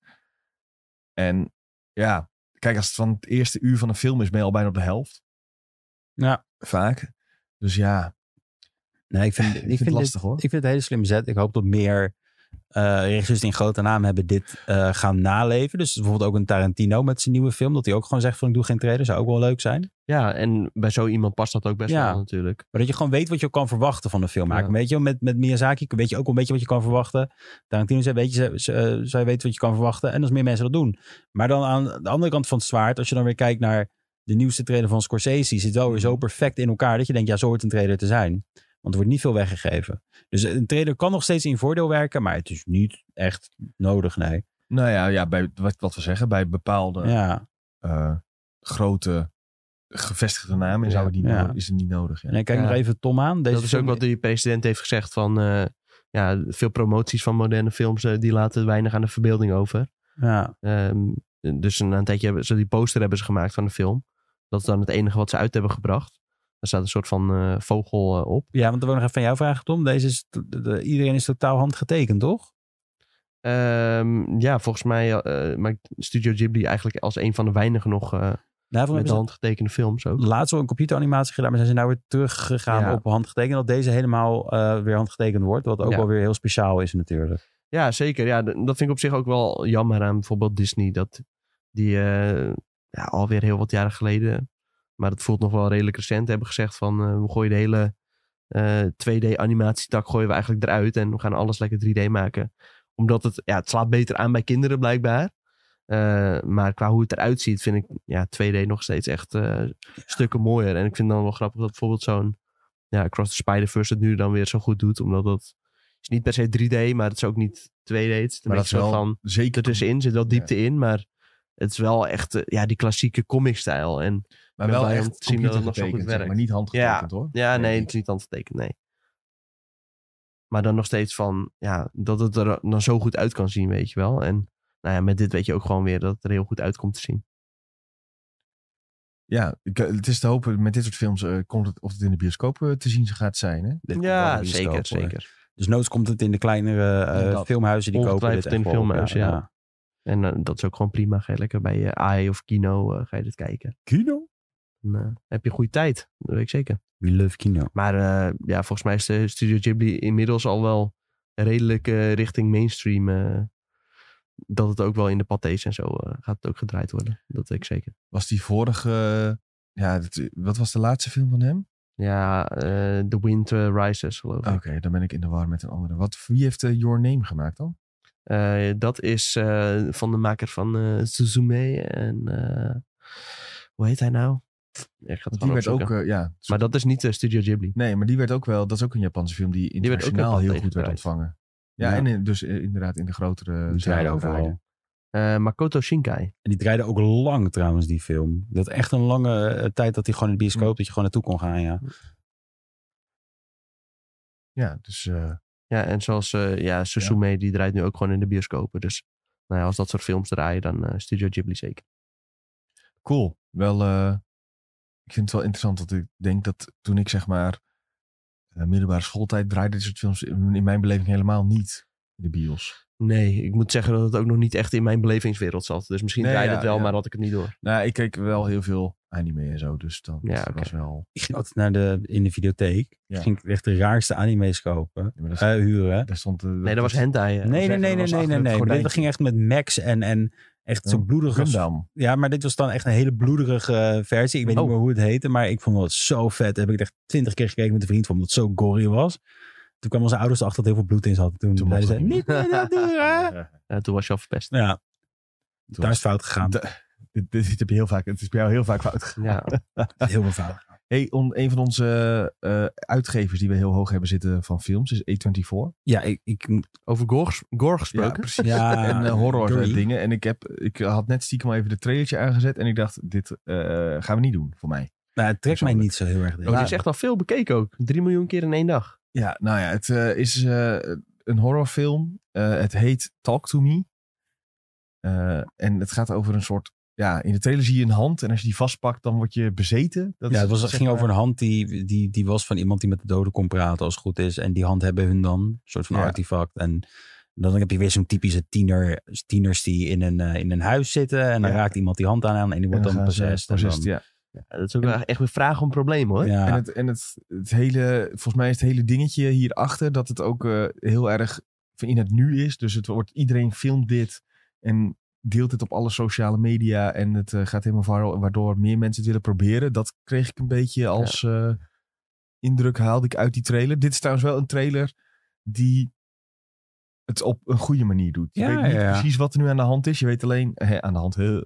En ja, kijk, als het van het eerste uur van een film is, ben je al bijna op de helft.
Ja.
Vaak. Dus ja,
nee, ik
ik,
vind, ik
vind het
dit-
lastig hoor.
Ik vind het een hele slimme zet. Ik hoop dat meer eh, regisseurs die een grote naam hebben dit eh, gaan naleven. Dus bijvoorbeeld ook een Tarantino met zijn nieuwe film. Dat hij ook gewoon zegt van ik doe geen trailer. Zou ook wel leuk zijn.
Ja, en bij zo iemand past dat ook best
Ja.
wel natuurlijk.
Maar dat je gewoon weet wat je kan verwachten van een filmmaker.
Ja.
Weet je, wel, met, met Miyazaki weet je ook wel een beetje wat je kan verwachten. Tarantino zei, weet je, ze, ze, eh, zij weet wat je kan verwachten. En als meer mensen dat doen. Maar dan aan de andere kant van het zwaard. Als je dan weer kijkt naar de nieuwste trailer van Scorsese. Zit wel weer
Mhm.
zo perfect in elkaar dat je denkt, ja zo hoort een trailer te zijn. Want er wordt niet veel weggegeven. Dus een trailer kan nog steeds in je voordeel werken, maar het is niet echt nodig, nee.
Nou ja, ja bij, wat, wat we zeggen, bij bepaalde
Ja.
eh, grote gevestigde namen
Ja.
zou het niet
Ja.
nodig- is het niet nodig.
En
Ja.
ik kijk
Ja.
nog even Tom aan. Deze
dat is ook
film-
wat die president heeft gezegd van... eh, ja, veel promoties van moderne films, eh, die laten weinig aan de verbeelding over.
Ja,
Ehm, dus een, een tijdje hebben ze die poster hebben ze gemaakt van de film. Dat is dan het enige wat ze uit hebben gebracht. Daar staat een soort van eh, vogel eh, op.
ja, want dan wil ik nog even van jou vragen, Tom. Deze is, t- de- de- iedereen is totaal handgetekend, toch?
Ehm, ja, volgens mij eh, maakt Studio Ghibli eigenlijk als een van de weinigen nog eh,
Daarvoor
met de
hebben
hand getekende films ook.
ze laatst al een computeranimatie gedaan, maar zijn ze nou weer teruggegaan
Ja.
op handgetekend. Dat deze helemaal eh, weer handgetekend wordt, wat ook
Ja.
wel weer heel speciaal is natuurlijk.
Ja, zeker. Ja, d- dat vind ik op zich ook wel jammer aan bijvoorbeeld Disney. Dat die eh, ja, alweer heel wat jaren geleden, maar dat voelt nog wel redelijk recent, hebben gezegd van eh, we gooien de hele eh, 2D-animatietak gooien we eigenlijk eruit en we gaan alles lekker 3D maken. Omdat het, ja, het slaat beter aan bij kinderen blijkbaar. Eh, maar qua hoe het eruit ziet, vind ik ja, 2D nog steeds echt eh, stukken mooier. En ik vind dan wel grappig dat bijvoorbeeld zo'n ja, Cross the Spider-Verse het nu dan weer zo goed doet. Omdat dat is niet per se 3D, maar het is ook niet 2D. Het is
Maar dat is wel
van
zeker.
ertussenin, zit wel diepte in. Maar het is wel echt eh, ja, die klassieke comic-stijl. En
maar
Ik
wel
ben blij om
echt
te zien dat het nog zo
computergetekend,
goed
zeg
werkt.
Maar niet handgetekend hoor.
ja,
Denk
nee,
ik.
het is niet aan te tekenen, nee. Maar dan nog steeds van, ja, dat het er dan zo goed uit kan zien, weet je wel. En nou ja, met dit weet je ook gewoon weer dat het er heel goed uit komt te zien.
Ja, ik- eh, het is te hopen met dit soort films eh, komt het, of het in de bioscoop eh, te zien gaat zijn. Hè?
Dit komt wel
ja,
weer
zeker,
scope, hoor.
zeker.
Dus noods komt het in de kleinere eh,
Inderdaad.
filmhuizen die kopen dit
Ongetwijfeld
echt
in de
wel op,
filmhuizen, ja. E eh, En eh, dat is ook gewoon prima. Ga je lekker bij je AI of Kino eh, ga je dit kijken.
Kino?
Dan eh, heb je goede tijd. Dat weet ik zeker.
We love kino.
Maar eh, ja, volgens mij is de Studio Ghibli inmiddels al wel redelijk eh, richting mainstream. eh, dat het ook wel in de patés en zo eh, gaat het ook gedraaid worden. Dat weet ik zeker.
Was die vorige... eh, Ja, dat- wat was de laatste film van hem?
Ja, eh The Wind eh, Rises geloof
Oké,
ik.
dan ben ik in de war met een andere. Wat, wie heeft eh, Your Name gemaakt dan?
Eh, dat is eh, van de maker van eh, Suzume en... eh, hoe heet hij nou? Ja, ik ga
Want die
het gewoon
werd ook...
opzoeken.
eh, ja,
Maar dat is niet eh, Studio Ghibli.
Nee, maar die werd ook wel... Dat is ook een Japanse film die
werd ook
internationaal
heel
heel
goed
goed werd
gedraaid.
ontvangen. Ja,
Ja.
en in- dus eh, inderdaad in de grotere...
Die draaiden
zalen
overal.
draaide.
Eh, Makoto Shinkai.
En die draaide ook lang trouwens, die film. Dat echt een lange eh, tijd dat hij gewoon in de
Hm.
bioscoop, dat je gewoon naartoe kon gaan, ja.
Ja, dus... eh,
Ja, en zoals eh, ja, Suzume, die draait nu ook gewoon in de bioscopen. Dus nou ja, als dat soort films draaien, dan eh, Studio Ghibli zeker.
Cool. Wel, eh, ik vind het wel interessant dat ik denk dat toen ik zeg maar eh, middelbare schooltijd draaide dit soort films in in mijn beleving helemaal niet in de bios.
Nee, ik moet zeggen dat het ook nog niet echt in mijn belevingswereld zat. Dus misschien
Nee,
draaide
ja,
het wel,
ja.
maar had ik het niet door.
Nou, ik keek wel heel veel anime en zo, dus dat
Ja, oké.
was wel...
Ik ging altijd naar de, in de videotheek.
Ja.
Ik ging echt de raarste anime's kopen,
Ja, maar dat-
eh, huren.
daar stond, eh,
Nee, dat was
Hen
hentai. eh.
Nee, nee,
zeggen, dat
nee, nee,
was
nee,
achter
nee.
het
nee. Maar
gordijntje.
Dat ging echt met Max en, en echt zo
Ja,
bloederig als
Gundam.
Ja, maar dit was dan echt een hele bloederige eh, versie. Ik weet
Oh.
niet meer hoe het heette, maar ik vond het zo vet. Heb ik echt twintig keer gekeken met een vriend van, omdat het zo gory was. Toen kwamen onze ouders erachter dat heel veel bloed in zat. Toen,
Toen mocht
zeiden ze,
het niet
niet meer dat doen, hè?
Eh,
Eh, toen was je al verpest.
Ja,
toen
daar is
was-
fout gegaan.
Da- dit, dit, dit heb je heel vaak, het is bij jou heel vaak fout gegaan.
Ja.
Heel veel fout.
Hey, on- een van onze eh, uitgevers die we heel hoog hebben zitten van films is A24.
Ja, ik... ik nou,
Over gore, gore
Ja,
gesproken.
precies.
ja,
en eh, horror
gory.
eh, dingen. En ik, heb, ik had net stiekem even de trailertje aangezet. En ik dacht, dit eh, gaan we niet doen voor mij.
Nou, het trekt mij
Persoonlijk.
niet zo heel erg. denk
Oh,
ik.
die is echt al veel bekeken ook. Drie miljoen keer in één dag.
Ja, nou ja, het eh, is eh, een horrorfilm. Eh, het heet Talk to Me. Eh, en het gaat over een soort... Ja, in de trailer zie je een hand. En als je die vastpakt, dan word je bezeten. Dat
Ja,
is
het, was, het
zeg
ging
maar-
over een hand die, die, die was van iemand die met de doden kon praten als het goed is. En die hand hebben hun dan, een soort van
Ja.
artefact. En dan heb je weer zo'n typische tiener, tieners die in een, eh, in een huis zitten. En dan
Ja.
raakt iemand die hand aan en die
En
wordt dan,
gaan ze
possessed. en
possessed,
dan-
ja.
Ja, dat is ook wel echt weer vraag om problemen hoor.
ja.
En, het, en het, het hele, volgens mij is het hele dingetje hierachter dat het ook eh, heel erg van in het nu is. Dus het wordt, iedereen filmt dit en deelt het op alle sociale media en het eh, gaat helemaal viral. Waardoor meer mensen het willen proberen. Dat kreeg ik een beetje als eh, indruk haalde ik uit die trailer. Dit is trouwens wel een trailer die het op een goede manier doet. Je
Ja,
weet niet
ja, ja.
precies wat er nu aan de hand is. Je weet alleen, hè, aan de hand, hè,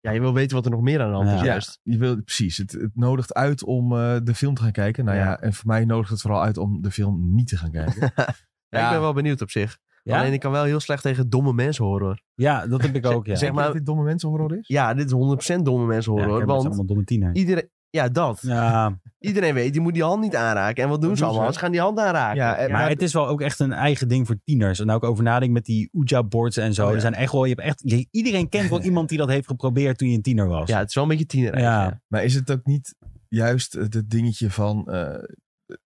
Ja, je wil weten wat er nog meer aan de hand is
Ja.
juist.
je wil, precies, het, het nodigt uit om eh, de film te gaan kijken. Nou ja.
Ja.
en voor mij nodigt het vooral uit om de film niet te gaan kijken.
Ja,
Ja.
ik ben wel benieuwd op zich.
Ja?
Alleen ik kan wel heel slecht tegen domme mensen horen hoor.
Ja, dat heb ik ook. Ja.
Zeg
Denk je
maar-
dat dit domme mensen horror is?
Ja, dit is 100% domme mensen
Ja,
horen hoor.
ja, maar het zijn
Want
allemaal domme tieners.
iedereen... Ja, dat.
Ja,
Iedereen weet, je moet die hand niet aanraken. En wat doen
Wat
ze
doen ze?
allemaal? Ze gaan die hand aanraken.
Ja, en-
maar het is wel ook echt een eigen ding voor tieners. En nou ik over nadenk met die Ouija-boards en zo.
Oh, ja.
er zijn echt wel, je hebt echt, je- iedereen kent wel iemand die dat heeft geprobeerd toen je een tiener was.
ja, het is wel een beetje tiener.
Ja.
Maar is het ook niet juist eh, het dingetje van... eh,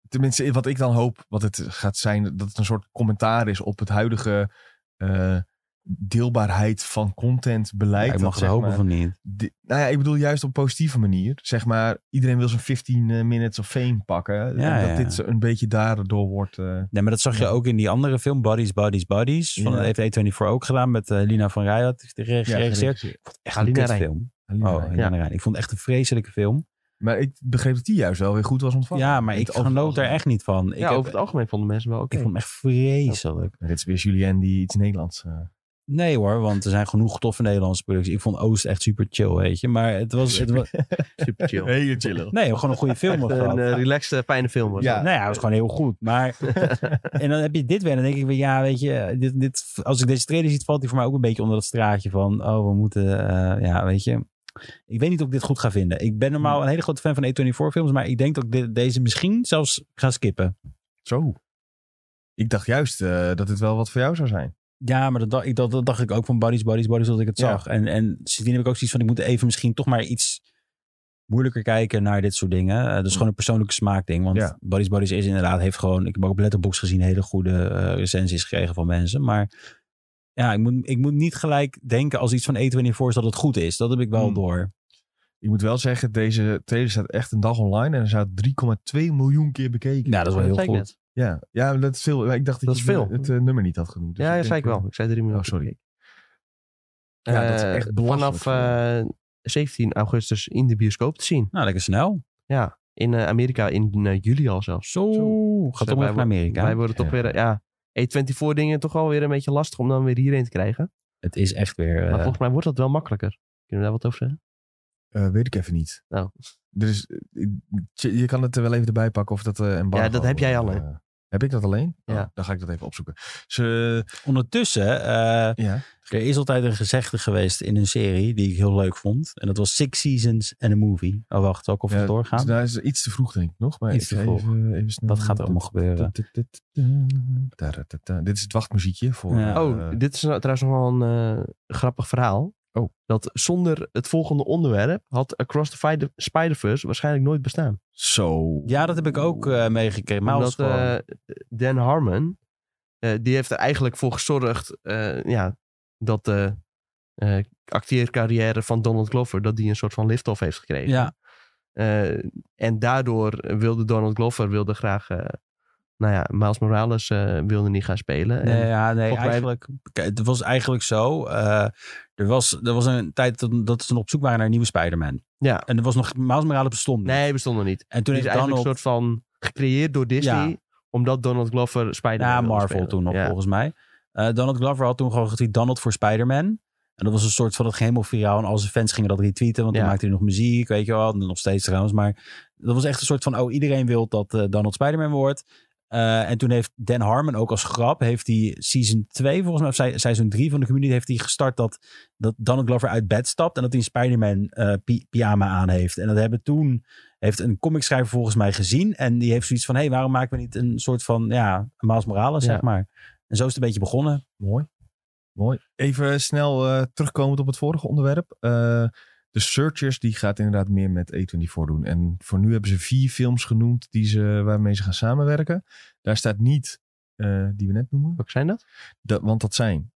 tenminste, wat ik dan hoop, wat het gaat zijn... dat het een soort commentaar is op het huidige... eh, deelbaarheid van contentbeleid.
Ja, ik
Dat
mag het
zeg
hopen
maar-
van niet.
di- nou ja, ik bedoel juist op een positieve manier. Zeg maar, iedereen wil zijn 15 minutes of fame pakken.
Ja,
en dat
ja.
dit zo een beetje daardoor wordt... eh,
Nee, maar dat zag je ook in die andere film, Buddies, Buddies, Buddies. Van
Ja.
heeft A24 ook gedaan met eh, Lina van Rij had geregisseerd.
geregisseerd.
echt een
Lina
kutfilm.
Aline
Oh,
Rijn.
Lina Rijn. Ik vond het echt een vreselijke film.
Maar ik begreep dat die juist wel weer goed was ontvangen.
ja, maar
In
ik
het overal
genoot er
gezien.
echt niet van. Ik,
Ja,
heb-
over het algemeen vonden mensen wel oké.
ik vond hem echt vreselijk.
Maar Dit is weer Julien die iets Nederlands... eh,
Nee hoor, want er zijn genoeg toffe Nederlandse producties. Ik vond Oost echt super chill, weet je. Maar het was... Het was
super chill.
Hele chill.
nee, gewoon een goede film. was dat.
Een eh, relaxed, eh, fijne film was
Ja.
dat.
Nou ja, het was gewoon heel goed. Maar, en dan heb je dit weer. Dan denk ik weer, ja, weet je, dit, dit, als ik deze trailer ziet, valt die voor mij ook een beetje onder dat straatje van, oh, we moeten, eh, ja, weet je. Ik weet niet of ik dit goed ga vinden. Ik ben normaal een hele grote fan van A24 films, maar ik denk dat ik dit- deze misschien zelfs ga skippen.
Zo. Ik dacht juist eh, dat het wel wat voor jou zou zijn.
Ja, maar dat, dacht ik- dat, dat dacht ik ook van Buddies, Buddies, Buddies, dat ik het
Ja.
zag. En, en sindsdien heb ik ook zoiets van, ik moet even misschien toch maar iets moeilijker kijken naar dit soort dingen. Eh, dat is gewoon een persoonlijke smaakding. Want
Ja.
Buddies, Buddies is inderdaad, heeft gewoon, ik heb ook op Letterboxd gezien, hele goede eh, recensies gekregen van mensen. Maar ja, ik moet, ik moet niet gelijk denken als iets van A24 is dat het goed is. Dat heb ik wel
Hmm.
door.
Ik moet wel zeggen, deze trailer staat echt een dag online en er staat 3,2 miljoen keer bekeken.
Ja, dat is wel
zei
heel
ik
goed.
net.
Ja, ja dat is veel. Ik dacht dat,
Dat
je
is veel.
het eh, nummer niet had genoemd. Dus
ja, dat
denk,
zei ik wel.
eh,
Ik zei 3 miljoen.
oh, sorry.
Ja,
dat is echt belachelijk.
Vanaf eh, 17 augustus in de bioscoop te zien.
Nou, lekker snel.
Ja, in eh, Amerika in eh, juli al zelfs.
Zo. Gaat
Dus, eh,
om even naar
wij wo-
Amerika.
Wij worden toch
Ja.
weer, eh, ja, E24 dingen toch wel weer een beetje lastig om dan weer hierheen te krijgen.
het is echt weer... eh,
Maar volgens mij wordt dat wel makkelijker. Kunnen we daar wat over zeggen?
eh, weet ik even niet.
Nou.
Dus eh, je je kan het er wel even erbij pakken of dat eh embargo,
Ja, dat heb jij al, hè?
eh, heb ik dat alleen? Oh,
Ja.
Dan ga ik dat even opzoeken. Ze,
ondertussen, eh,
ja.
er is altijd een gezegde geweest in een serie die ik heel leuk vond. En dat was Six Seasons and a Movie. Oh, wacht. Zal ik of
Ja,
het doorgaan?
Nou, is iets te vroeg denk ik nog. Maar
Iets
ik
te
ga
vroeg.
Even, even snel-
Wat gaat er allemaal gebeuren?
Taratata. Dit is het wachtmuziekje voor...
Ja.
eh,
oh, dit is nou trouwens nog wel een eh, grappig verhaal.
Oh.
Dat zonder het volgende onderwerp had Across the Fi- Spider-Verse waarschijnlijk nooit bestaan.
Zo.
Ja, dat heb ik ook eh, meegekregen.
Omdat
Milestone.
eh, Dan Harmon, eh, die heeft er eigenlijk voor gezorgd eh, ja, dat de eh, acteercarrière van Donald Glover, dat die een soort van lift-off heeft gekregen.
ja,
Eh, en daardoor wilde Donald Glover wilde graag, eh, nou ja, Miles Morales eh, wilde niet gaan spelen.
nee,
en,
ja, nee
volgens mij-
eigenlijk, kijk, het was eigenlijk zo. eh, er, was, er was een tijd dat, dat ze op zoek waren naar een nieuwe Spider-Man.
ja.
En er was nog Miles Morales bestond niet.
nee bestond nog niet.
en toen
Toen is
heeft
eigenlijk
Donald...
een soort van gecreëerd door Disney.
Ja.
Omdat Donald Glover Spider-Man
Ja,
wilde
Marvel
spelen.
toen nog,
Ja.
volgens mij. Eh, Donald Glover had toen gewoon getweet Donald voor Spider-Man. En dat was een soort van het helemaal viraal. En al zijn fans gingen dat retweeten. Want
Ja.
dan maakte hij nog muziek, weet je wel. En nog steeds trouwens. Maar dat was echt een soort van... Oh, iedereen wil dat eh, Donald Spider-Man wordt. Eh, en toen heeft Dan Harmon ook als grap... Heeft hij season 2, volgens mij, of se- seizoen 3 van de community... Heeft hij gestart dat, dat Donald Glover uit bed stapt. En dat hij een Spider-Man eh, pi- pyjama aan heeft. En dat hebben toen... Heeft een comicschrijver volgens mij gezien. En die heeft zoiets van... Hé, hey, waarom maken we niet een soort van... Ja, Miles Morales,
Ja.
zeg maar. En zo is het een beetje begonnen.
Mooi. Mooi. Even snel eh, terugkomend op het vorige onderwerp. Eh, de Searchers die gaat inderdaad meer met A24 doen. En voor nu hebben ze vier films genoemd die ze, waarmee ze gaan samenwerken. Daar staat niet, eh, die we net noemen,
Welke zijn dat?
dat, want dat zijn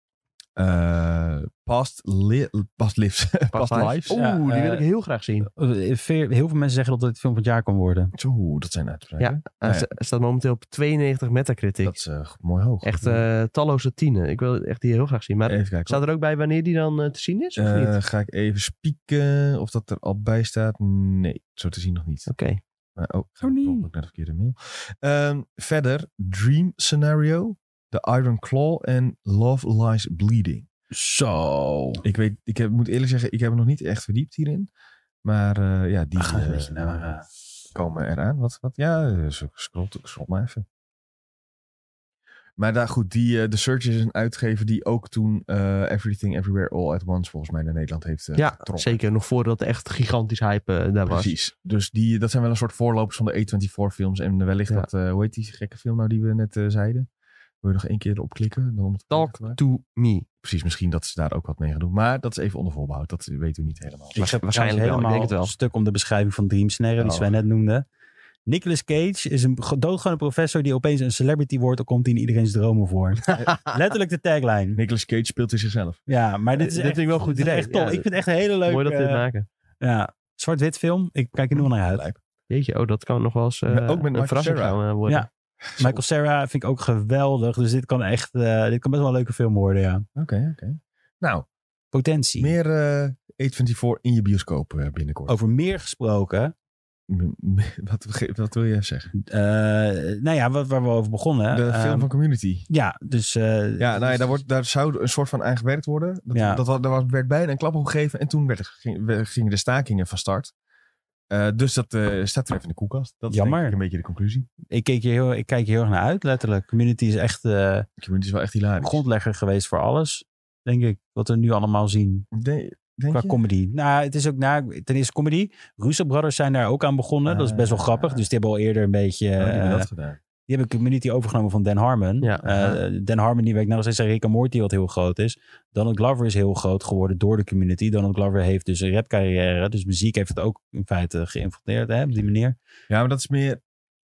eh, Past, li past Lives, Eh, Past, Lives.
Oeh,
Ja,
die wil
eh,
ik heel graag zien.
Eh, Veel, heel veel mensen zeggen dat het film van het jaar kan worden.
Zo, dat zijn uitspraken.
Hij
nou ja.
sta- staat momenteel op 92 Metacritic.
Dat is eh, mooi hoog.
echt eh, talloze tienen. Ik wil echt die heel graag zien. Maar
even kijken.
staat er ook bij wanneer die dan eh, te zien is? Of
hoor.
niet?
Eh,
Oké.
ga ik even spieken of dat er al bij staat? Nee, zo te zien nog niet. Maar, oh, ga
Oh,
ik
nee.
per ongeluk naar de verkeerde mail. Ehm, verder, Dream Scenario, The Iron Claw en Love Lies Bleeding.
Zo.
Ik, weet, ik heb, moet eerlijk zeggen, ik heb me nog niet echt verdiept hierin. Maar eh, ja, die
Ach, een
eh,
beetje naar, eh,
komen eraan. Wat, wat, ja, eh, zo- scroll, scroll maar even. Maar daar goed, die, eh The Search is een uitgever die ook toen eh, Everything Everywhere All at Once volgens mij naar Nederland heeft eh,
ja,
getrokken.
zeker. Nog voordat er echt gigantisch hype eh, daar was.
Precies. Dus die, dat zijn wel een soort voorlopers van de A24 films. En wellicht
Ja.
dat, eh hoe heet die gekke film nou die we net eh, zeiden? Wil je nog één keer erop klikken? Dan om het
Talk
te maken?
to me.
Precies, misschien dat ze daar ook wat mee gaan doen. Maar dat is even onder voorbehoud. Dat weten we niet helemaal.
Ik heb
waarschijnlijk wel, ik
helemaal
denk het wel.
een stuk om de beschrijving van Dream Scenario, die
Oh.
Sven net noemde. Nicolas Cage is een ge- doodgewone professor die opeens een celebrity wordt. Dan komt hij in iedereen's dromen voor. Eh, Letterlijk de tagline.
Nicolas Cage speelt in zichzelf.
Ja, maar dit
Dit
is
vind
echt,
ik wel een goed
dit is
idee.
echt tof.
Ja,
ik vind het echt een hele leuke...
Mooi dat we dit
eh,
maken.
Ja, zwart-wit film. Ik kijk er nu al naar uit.
Lijp.
Jeetje, oh, dat kan nog wel eens eh,
Met- ook met Michael
een verrassing
Cera.
gaan eh, worden.
Ja. Michael Cera vind ik ook geweldig. Dus dit kan echt... eh, dit kan best wel een leuke film worden, ja.
Oké, oké. Nou,
Potentie.
meer eh A24 in je bioscoop eh, binnenkort.
Over meer gesproken.
M- m- Wat, ge- wat wil jij zeggen?
Eh, nou ja, wat, waar we over begonnen.
De
Ehm,
film van Community.
Ja, dus... eh,
Ja, nou ja,
dus-
daar, wordt, daar zou een soort van aan gewerkt worden. Dat,
Ja.
dat, wa- daar was- werd bijna een klap op gegeven. En toen werd, er- ging, we- gingen de stakingen van start. Eh, dus dat eh, staat er even in de koelkast. Dat is denk
Jammer.
ik een beetje de conclusie.
ik, keek hier heel, ik kijk hier heel erg naar uit, letterlijk. Community is echt eh,
Community is wel echt hilarisch.
grondlegger geweest voor alles. Denk ik, wat we nu allemaal zien
De- denk
qua
je?
comedy. Nou, het is ook na, ten eerste comedy. Russo Brothers zijn daar ook aan begonnen. dat is best wel
Ah.
grappig. Dus die hebben al eerder een beetje...
Oh, die hebben
eh,
dat gedaan.
Die hebben Community overgenomen van Dan Harmon.
Ja.
Eh, Dan Harmon die werkt nou nog steeds aan Rick en Morty, wat heel groot is. Donald Glover is heel groot geworden door de Community. Donald Glover heeft dus een rapcarrière. Dus muziek heeft het ook in feite geïnfiltreerd hè, op die manier.
Ja, maar dat is meer...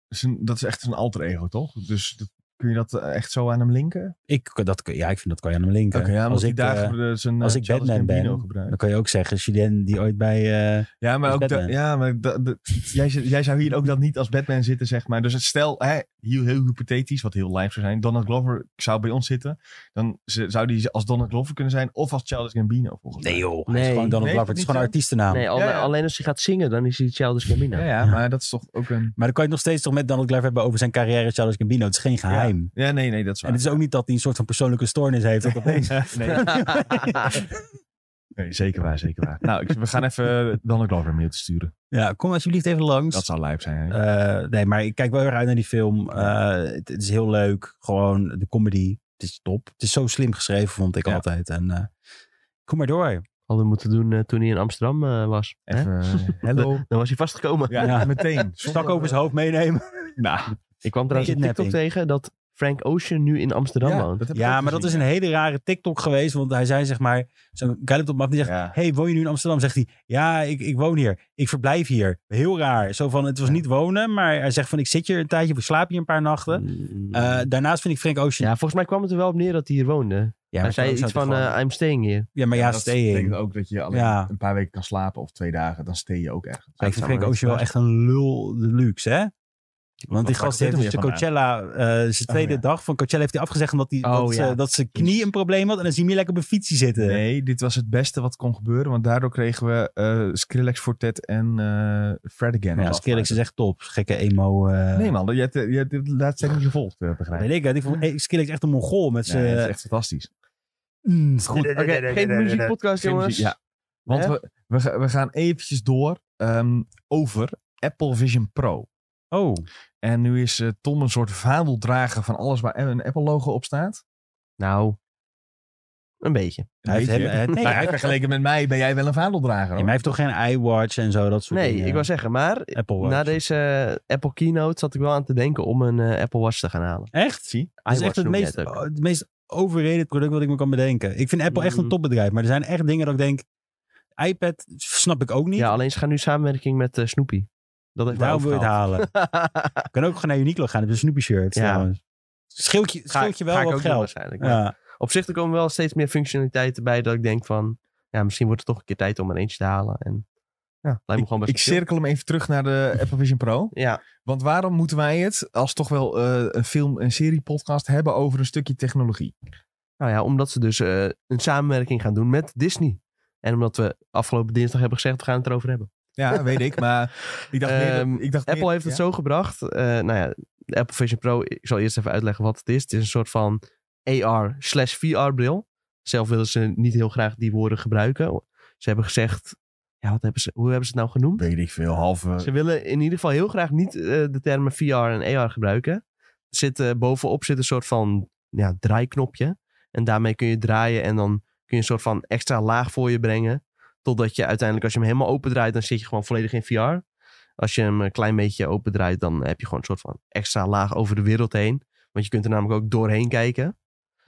is een- dat is echt een alter ego, toch? Dus dat Kun je dat eh, echt zo aan hem linken?
Ik, dat, kun- ja, ik vind dat kan je aan hem linken.
Oké, ja,
als
ik
ik,
daar
eh,
gebru- zijn, eh,
als ik
Charles
Batman ben,
Gambino gebruikt.
dan kan je ook zeggen, Julien die ooit bij... eh,
Ja, maar,
als
ook da-
Batman.
ja, maar da- da- jij, z- jij zou hier ook dat niet als Batman zitten, zeg maar. Dus het stel, hè, heel, heel hypothetisch, wat heel lijf zou zijn. Donald Glover zou bij ons zitten. Dan ze- zou die als Donald Glover kunnen zijn of als Charles Gambino, volgens mij.
nee joh, het is
Nee.
gewoon Donald
Nee,
Glover. Het is
niet
gewoon een
zo.
artiestennaam.
Nee, alle-
Ja, ja.
alleen als hij gaat zingen, dan is hij Childish Gambino.
Ja, ja, maar dat is toch ook een...
Maar dan kan je het nog steeds toch met Donald Glover hebben over zijn carrière Charles Gambino. Het is geen geheim.
Ja, nee, nee, dat is waar.
En het is ook niet dat hij een soort van persoonlijke stoornis heeft. dat opeens-
nee, nee, zeker waar, zeker waar. Nou, ik- we gaan even Donald Glover een mail te sturen.
Ja, kom alsjeblieft even langs.
Dat zou lijf zijn, hè?
Eh, nee, maar ik kijk wel heel erg uit naar die film. Eh, het, het is heel leuk. Gewoon de comedy. Het is top. Het is zo slim geschreven, vond ik
Ja.
altijd. En eh, kom maar door.
Hadden we moeten doen eh, toen hij in Amsterdam eh, was. hè?
Even, eh, hello.
Dan was hij vastgekomen.
Ja,
Ja.
meteen.
Stak over zijn hoofd meenemen.
Nou,
Ik kwam trouwens een TikTok
Kidnapping.
tegen dat Frank Ocean nu in Amsterdam woont.
dat heb ik
Ja,
ook
maar dat is
gezien.
een hele rare TikTok geweest. Want hij zei zeg maar, zo'n guy loopt op me af die zegt,
Ja.
hey, woon je nu in Amsterdam? Zegt hij, ja, ik, ik woon hier. Ik verblijf hier. Heel raar. Zo van, het was niet wonen, maar hij zegt van, ik zit hier een tijdje, ik slaap hier een paar nachten.
Mm.
Eh, daarnaast vind ik Frank Ocean...
ja, volgens mij kwam het er wel op neer dat hij hier woonde.
maar
hij zei
Frank
iets
zou
van,
toch
eh, I'm staying here.
ja, maar ja,
Ja, dat
staying.
betekent ook dat je alleen
Ja.
een paar weken kan slapen of twee dagen. Dan stee je ook echt.
Maar ik vind
zou
Frank
me
Ocean wel
verbazen.
echt een lul deluxe, hè? Want die
waar
gast
komt
heeft
dit
dus de
weer vandaan?
Coachella, eh, zijn tweede
ja.
dag van Coachella heeft hij afgezegd omdat hij,
Oh,
dat, ze-
ja.
dat zijn knie een probleem had. En dan zie je hem lekker op een fietsje zitten.
Nee, dit was het beste wat kon gebeuren. Want daardoor kregen we eh, Skrillex Fortet en eh Fred again.
ja, Skrillex is echt top. Gekke emo. eh
Nee man, je hebt, eh, je hebt de laatste tijd niet gevolgd, eh, begrijp ik.
Weet ik, het. ik vond eh, Skrillex echt een mongool met
Nee, dat is eh,
zijn... eh, mm,
echt fantastisch.
goed.
Oké, geen muziekpodcast,
Geen
jongens.
muziek, Ja. Want
Hè?
we, we, ga- we gaan eventjes door ehm, over Apple Vision Pro.
Oh,
En nu is eh, Tom een soort vaandeldrager van alles waar een Apple logo op staat.
Nou, een beetje.
Een
hij heeft,
beetje.
hem- eh, nee,
Maar
hij,
vergeleken met mij ben jij wel een vaandeldrager.
nee,
hoor.
maar hij heeft toch geen iWatch en zo, dat soort
Nee,
dingen.
ik wou zeggen, maar
eh, Apple Watch.
na deze eh, Apple Keynote zat ik wel aan te denken om een eh, Apple Watch te gaan halen.
Echt?
Zie?
Dat is
iWatch
echt het
noem je
meest, oh,
het ook.
het meest overrated product wat ik me kan bedenken. Ik vind Apple echt een
Mm.
topbedrijf, maar er zijn echt dingen dat ik denk... iPad snap ik ook niet.
Ja, alleen ze gaan nu samenwerking met eh, Snoopy. Dat heeft mij
Daarom wil je het
overgehaald.
halen. Je kan ook gewoon naar Uniqlo gaan. Heb je een Snoopy shirt
Ja.
trouwens. Scheelt je, scheelt je wel
Ga ik
wat
ook doen
geld.
waarschijnlijk. maar
Ja.
Op zich er komen wel steeds meer functionaliteiten bij dat ik denk van, ja, misschien wordt het toch een keer tijd om er eentje te halen. En ja, lijkt me
Ik,
gewoon best
ik
chill.
cirkel hem even terug naar de Apple Vision Pro.
Ja,
Want waarom moeten wij het als toch wel eh, een film- en serie-podcast hebben over een stukje technologie?
nou ja, omdat ze dus eh, een samenwerking gaan doen met Disney. En omdat we afgelopen dinsdag hebben gezegd, we gaan het erover hebben.
Ja, weet ik, maar ik dacht, meer dat-
Ehm,
ik dacht
Apple
meer-
heeft het
ja?
zo gebracht. eh, nou ja, de Apple Vision Pro, ik zal eerst even uitleggen wat het is. Het is een soort van AR slash VR bril. Zelf willen ze niet heel graag die woorden gebruiken. Ze hebben gezegd, ja, wat hebben ze, hoe hebben ze het nou genoemd?
Weet ik veel, halve...
Ze willen in ieder geval heel graag niet eh, de termen VR en AR gebruiken. Er Zit, eh, bovenop zit een soort van ja, draaiknopje. En daarmee kun je draaien en dan kun je een soort van extra laag voor je brengen. Totdat je uiteindelijk, als je hem helemaal opendraait, dan zit je gewoon volledig in VR. Als je hem een klein beetje opendraait, dan heb je gewoon een soort van extra laag over de wereld heen. Want je kunt er namelijk ook doorheen kijken.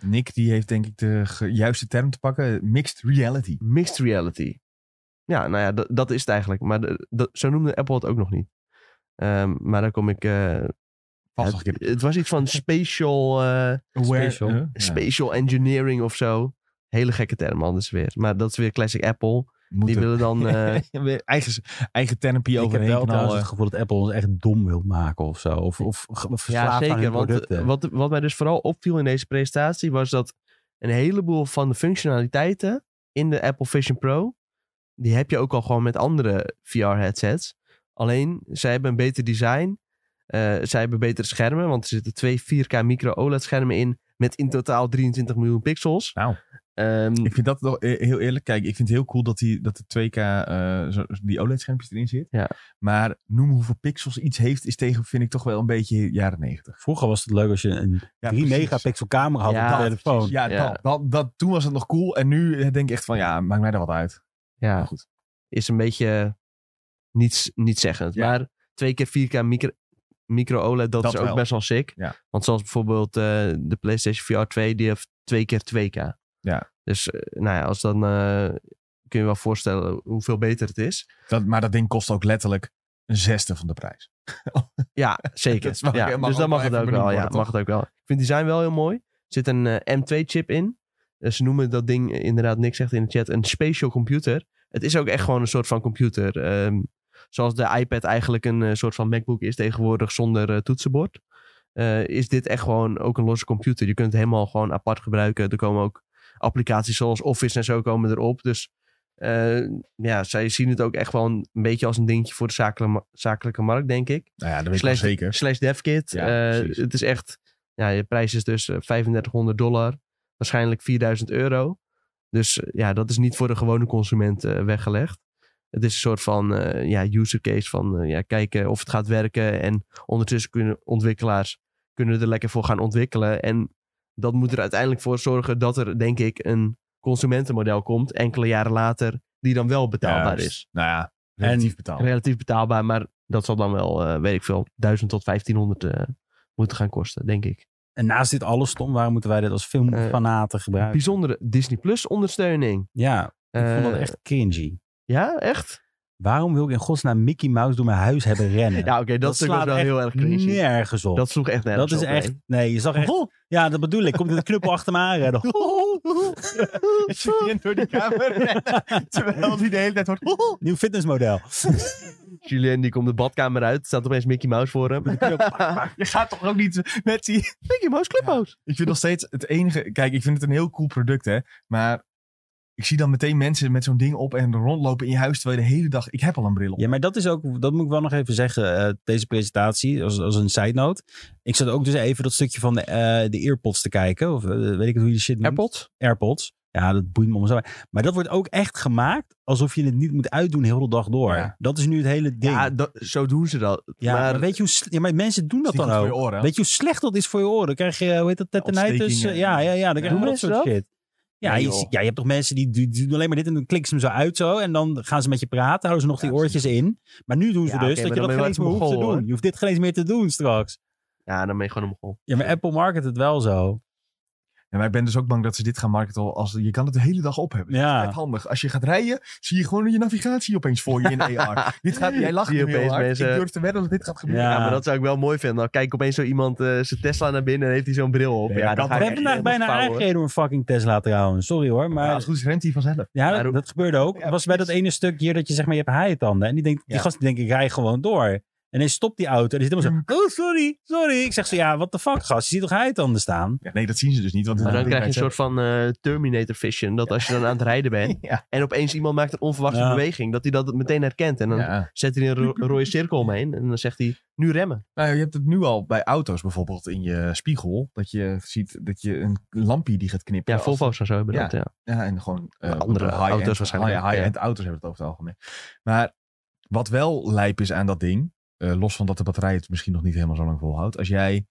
Nick die heeft denk ik de ge- juiste term te pakken. Mixed reality.
Mixed reality. Ja, nou ja, dat- dat is het eigenlijk. Maar de- dat- zo noemde Apple het ook nog niet. Ehm, maar daar kom ik eh,
Vast
Ja,
nog een
het,
keer.
het was iets van spatial, eh,
Aware-
special.
eh, ja.
spatial engineering of zo. Hele gekke term anders weer. Maar dat is weer classic Apple.
Moet
Die
er-
willen dan... eh,
Weer eigen, eigen termpje
Ik heb wel
overheen
trouwens
knallen.
het gevoel dat Apple ons echt dom wil maken of zo. Of, of, ge- of verslaafd
ja,
aan
zeker.
hun
Want
producten.
eh, wat, wat mij dus vooral opviel in deze presentatie was dat een heleboel van de functionaliteiten in de Apple Vision Pro, die heb je ook al gewoon met andere VR-headsets. Alleen, zij hebben een beter design. eh, zij hebben betere schermen, want er zitten twee 4K micro OLED-schermen in met in totaal 23 miljoen pixels.
Nou.
Ehm,
Ik vind dat nog eh, heel eerlijk. Kijk, ik vind het heel cool dat, die, dat de 2K, eh, zo- die OLED-schermpjes erin zit.
Ja.
Maar noem hoeveel pixels iets heeft, is tegen, vind ik toch wel een beetje jaren 90.
Vroeger was het leuk als je een
Ja,
3
precies.
megapixel camera had
Ja,
op de telefoon.
Ja,
Ja.
Dat, dat, dat- toen was het nog cool. En nu eh, denk ik echt van, ja, maakt mij daar wat uit.
ja,
Maar goed.
is een beetje eh, niets, nietszeggend.
Ja.
Maar twee keer 4K micro, micro OLED, dat,
Dat
is ook
wel.
best wel sick.
Ja.
Want zoals bijvoorbeeld eh, de PlayStation VR 2, die heeft twee keer 2K.
Ja.
Dus eh, nou ja, als dan eh, kun je wel voorstellen hoeveel beter het is.
Dat, maar dat ding kost ook letterlijk een zesde van de prijs.
Ja, zeker.
Dat is wel-
ja.
ja, mag
dus
ook
dan
wel
mag het
even
ook wel.
benoemd
Ja,
worden,
mag het ook wel. Ik vind het design wel heel mooi. Er zit een M2-chip in. Eh, ze noemen dat ding eh, inderdaad, Nick zegt in de chat, een spatial computer. Het is ook echt gewoon een soort van computer. Ehm, zoals de iPad eigenlijk een eh, soort van MacBook is tegenwoordig zonder eh, toetsenbord. eh, is dit echt gewoon ook een losse computer. Je kunt het helemaal gewoon apart gebruiken. Er komen ook applicaties zoals Office en zo komen erop. Dus eh, ja, zij zien het ook echt wel een beetje als een dingetje voor de zakelijke, ma- zakelijke markt, denk ik.
Nou ja, dat weet ik wel
Slash-
zeker.
Slash DevKit.
Ja,
Eh,
precies.
het is echt, ja, je prijs is dus eh, 3500 dollar, waarschijnlijk 4000 euro. Dus eh, ja, dat is niet voor de gewone consument eh, weggelegd. Het is een soort van eh, ja, user case van eh, ja, kijken of het gaat werken. En ondertussen kunnen ontwikkelaars kunnen er lekker voor gaan ontwikkelen. En dat moet er uiteindelijk voor zorgen dat er, denk ik, een consumentenmodel komt. Enkele jaren later, die dan wel betaalbaar
Juist.
is.
Nou ja,
En-
relatief betaald.
Relatief betaalbaar, maar dat zal dan wel, eh, weet ik veel, 1000 tot 1500 eh, moeten gaan kosten, denk ik.
En naast dit alles stom, waarom moeten wij dit als
Eh,
filmfanaten gebruiken?
Bijzondere Disney Plus ondersteuning.
Ja, ik vond dat
Eh,
echt cringy.
Ja, echt?
Waarom wil ik in godsnaam Mickey Mouse door mijn huis hebben rennen?
Ja, oké, dat, is was wel
echt
heel erg crazy.
nergens op.
Dat sloeg echt nergens
Dat is
op,
echt...
nee.
Nee, je zag echt...
Oh.
Ja, dat bedoel ik. Komt een knuppel achter me aanrennen.
door die kamer. Terwijl die de hele tijd wordt...
Nieuw fitnessmodel.
Julien die komt de badkamer uit, staat opeens Mickey Mouse voor hem.
Je gaat toch ook niet met die...
Mickey Mouse Clubhouse.
Ik vind nog steeds het enige... Kijk, ik vind het een heel cool product, hè. Maar ik zie dan meteen mensen met zo'n ding op en rondlopen in je huis... terwijl je de hele dag... Ik heb al een bril op.
Ja, maar dat is ook, dat moet ik wel nog even zeggen, eh, deze presentatie, als, als een side note. Ik zat ook dus even dat stukje van de, eh, de earpods te kijken, of eh, weet ik het hoe je die shit noemt.
AirPods?
AirPods. Ja, dat boeit me om zo. Maar dat wordt ook echt gemaakt alsof je het niet moet uitdoen heel de dag door.
Ja.
Dat is nu het hele ding.
Ja,
Ja,
dat, zo doen ze dat.
maar,
maar,
weet je hoe, sle- ja, maar mensen doen dat
Is niet
dan
goed
ook.
voor je oren.
Weet je hoe slecht dat is voor je oren? Dan krijg je, eh, hoe heet dat, tetanitis?
Ontstekingen.
eh, Ja, ja, ja. Dan krijg je
Doen
dat
mensen
soort shit. Ja,
Nee,
je,
joh.
ziet- ja, je hebt toch mensen die, die, die doen alleen maar dit en dan klikken ze hem zo uit zo. En dan gaan ze met je praten, houden ze nog die
Ja,
oortjes in. Maar nu doen ze
Ja,
dus
oké, maar
dat je
dan
dat
ben je
geen eens meer
wel
hoeft
echt
te
een Mongool,
doen. Je hoeft dit geen eens meer te doen straks.
ja, dan ben je gewoon een mogol.
Ja, maar Apple market het wel zo.
Ah,
Ja, maar ik ben dus ook bang dat ze dit gaan marketen als... Je kan het de hele dag op hebben.
Ja.
Echt handig. Als je gaat rijden, zie je gewoon je navigatie opeens voor je in AR. dit gaat, jij lacht
Zie je
nu heel
opeens
hard.
mensen-
Ik durf te wedden dat dit gaat gebeuren.
Ja.
Ja, maar dat zou ik wel mooi vinden. Dan kijk opeens zo iemand eh, zijn Tesla naar binnen en heeft hij zo'n bril op.
Ja,
Ja,
dat
dan
kan
ga
We
ik
wel.
echt
hebben vandaag
helemaal
bijna
fout, hoor.
aangereden door een fucking Tesla trouwens. Sorry hoor,
Maar als
maar
het goed is, remt hij vanzelf.
Ja,
Maar
dat,
hoe-
dat gebeurde ook.
Ja,
was bij dat
precies.
ene stuk hier dat je zeg maar je hebt haaientanden. En die, denkt, die
Ja.
gast die denkt, ik rij gewoon door. En hij stopt die auto. En die zit helemaal zo, oh sorry, sorry. Ik zeg zo, ja, what the fuck gast. Je ziet toch haaientanden staan?
Ja, nee, dat zien ze dus niet. Want
Maar
dat
dan
ding
krijg je een soort
rijdt
van eh, Terminator vision. Dat als je dan aan het rijden bent
zelf. Ja.
en opeens iemand maakt een onverwachte
Ja.
beweging, dat hij dat meteen herkent. En dan
Ja.
zet hij een ro- een rode cirkel omheen en dan zegt hij, nu remmen.
Nou, je hebt het nu al bij auto's bijvoorbeeld in je spiegel. Dat je ziet dat je een lampje die gaat knippen.
Ja,
Als-
Volvo's en zo hebben
Ja.
dat, ja.
Ja, en gewoon eh,
Andere
high-end-
auto's waarschijnlijk
high-
ook,
High-end auto's hebben het over het algemeen. Maar wat wel lijp is aan dat ding. eh, los van dat de batterij het misschien nog niet helemaal zo lang volhoudt. Als jij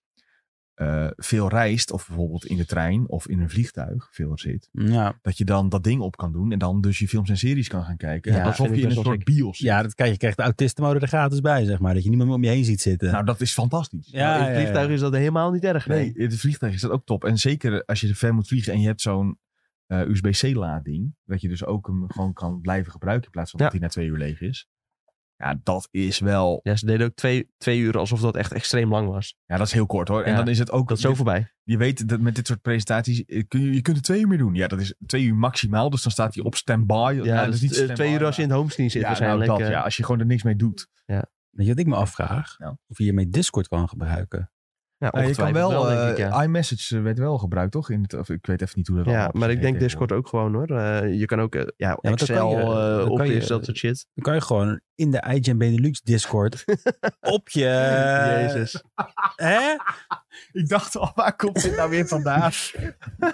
eh, veel reist, of bijvoorbeeld in de trein of in een vliegtuig veel zit.
Ja,
Dat je dan dat ding op kan doen. En dan dus je films en series kan gaan kijken.
Ja,
alsof
vind
je
ik
in een
best wel
soort bios zit.
ja dat krijg je krijgt de autistenmode er gratis bij, zeg maar. Dat je niemand meer om je heen ziet zitten.
Nou, dat is fantastisch.
ja,
Maar Nou, in het vliegtuig is dat helemaal niet erg, nee.
Nee, in het vliegtuig is dat ook top. En zeker als je ver moet vliegen en je hebt zo'n eh, USB-C laading. Dat je dus ook hem gewoon kan blijven gebruiken in plaats van
Ja.
dat hij na twee uur leeg is. Ja, dat is wel...
Ja, ze deden ook twee, twee uur alsof dat echt extreem lang was.
Ja, dat is heel kort hoor. En
Ja,
dan is het ook...
Dat is zo voorbij.
Je weet dat met dit soort presentaties eh, kun je, je kunt er twee uur mee doen. Ja, dat is twee uur maximaal. Dus dan staat hij op standby. Ja,
Ja,
dat
dus
is niet
eh,
standby,
twee uur als je in het homestead zit
maar- Ja, nou,
waarschijnlijk.
dat,
eh.
ja, als je gewoon er niks mee doet.
Weet je wat ik me afvraag?
Nou.
Of je hiermee Discord kan gebruiken.
Ja,
Nou, je kan
ongetwijfeld
wel...
denk ik,
eh,
ja.
iMessage eh, werd wel gebruikt toch? In het, of, ik weet even niet hoe dat
Ja,
allemaal
maar ik denk
precies
Discord ook gewoon hoor. Eh, je kan ook eh, ja,
dan
Excel,
kan je-
eh,
dan kan
Office,
je-
dat soort shit.
Dan kan je gewoon in de IGN Benelux Discord op je...
Eh,
Jezus.
Hè?
heet. Ik dacht al, waar komt dit nou weer vandaan?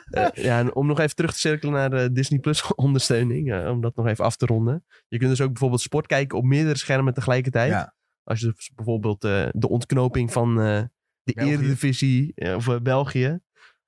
Eh, ja, en om nog even terug te cirkelen naar eh, Disney Plus ondersteuning, eh, om dat nog even af te ronden. Je kunt dus ook bijvoorbeeld sport kijken op meerdere schermen tegelijkertijd.
Ja.
Als je dus bijvoorbeeld eh, de ontknoping van eh, de
België.
Eredivisie eh, of eh, België.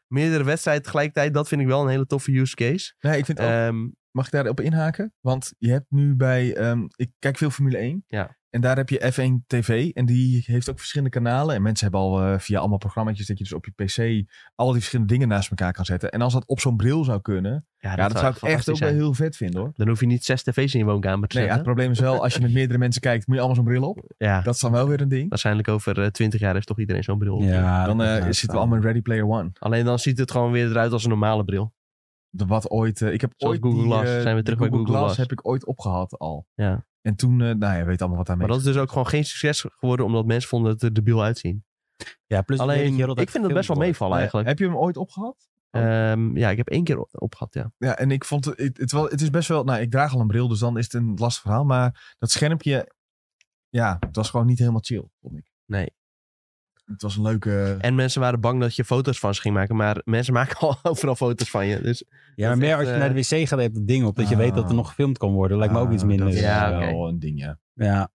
Meerdere wedstrijden tegelijkertijd, dat vind ik wel een hele toffe use case.
Nee, ik vind het ook
Ehm,
Mag ik daarop inhaken? Want je hebt nu bij. ehm, ik kijk veel Formule 1.
Ja.
En daar heb je F1 TV. En die heeft ook verschillende kanalen. En mensen hebben al eh, via allemaal programma's dat je dus op je PC al die verschillende dingen naast elkaar kan zetten. En als dat op zo'n bril zou kunnen, ja, dat, zou ik echt ook
fantastisch
wel
zijn.
heel vet vinden hoor.
Dan hoef je niet zes tv's in je woonkamer te
Nee, ja, het
zetten.
probleem is wel, als je met meerdere mensen kijkt, moet je allemaal zo'n bril op.
Ja,
Dat is dan wel weer een ding.
waarschijnlijk over eh, twintig jaar heeft toch iedereen zo'n bril. op.
Ja,
Dan
dat
eh,
gaat
zitten we
wel.
allemaal in Ready Player One.
Alleen dan ziet het gewoon weer eruit als een normale bril.
De wat ooit. eh, ik heb
Zoals
ooit
Google
die,
Glass.
eh,
Zijn we
die
terug bij Google Glass.
heb ik ooit opgehad al.
Ja.
En toen, eh nou ja, weet allemaal wat daarmee.
Maar dat is dus ook gewoon geen succes geworden, omdat mensen vonden het er debiel uitzien.
Ja, plus het idee dat
Alleen,
je heel de tijd
ik vind dat best wel
gefilmd
meevallen eigenlijk.
Heb je hem ooit opgehad?
Ehm, ja, ik heb één keer op- opgehad, ja.
Ja, en ik vond het, het, het wel, het is best wel, nou ik draag al een bril, dus dan is het een lastig verhaal. Maar dat schermpje, ja, het was gewoon niet helemaal chill, vond ik.
Nee.
Het was een leuke...
En mensen waren bang dat je foto's van ze ging maken, maar mensen maken al overal foto's van je. Dus
wordt. Ja, maar
Dat is
meer
echt,
als je
eh,
naar de wc gaat, heb je dat ding op. Dat je
Ah.
weet dat er nog gefilmd kan worden. Lijkt me ook iets
Ah,
minder. eh,
Dat is
Ja,
wel
oké.
een ding, ja.
Ja.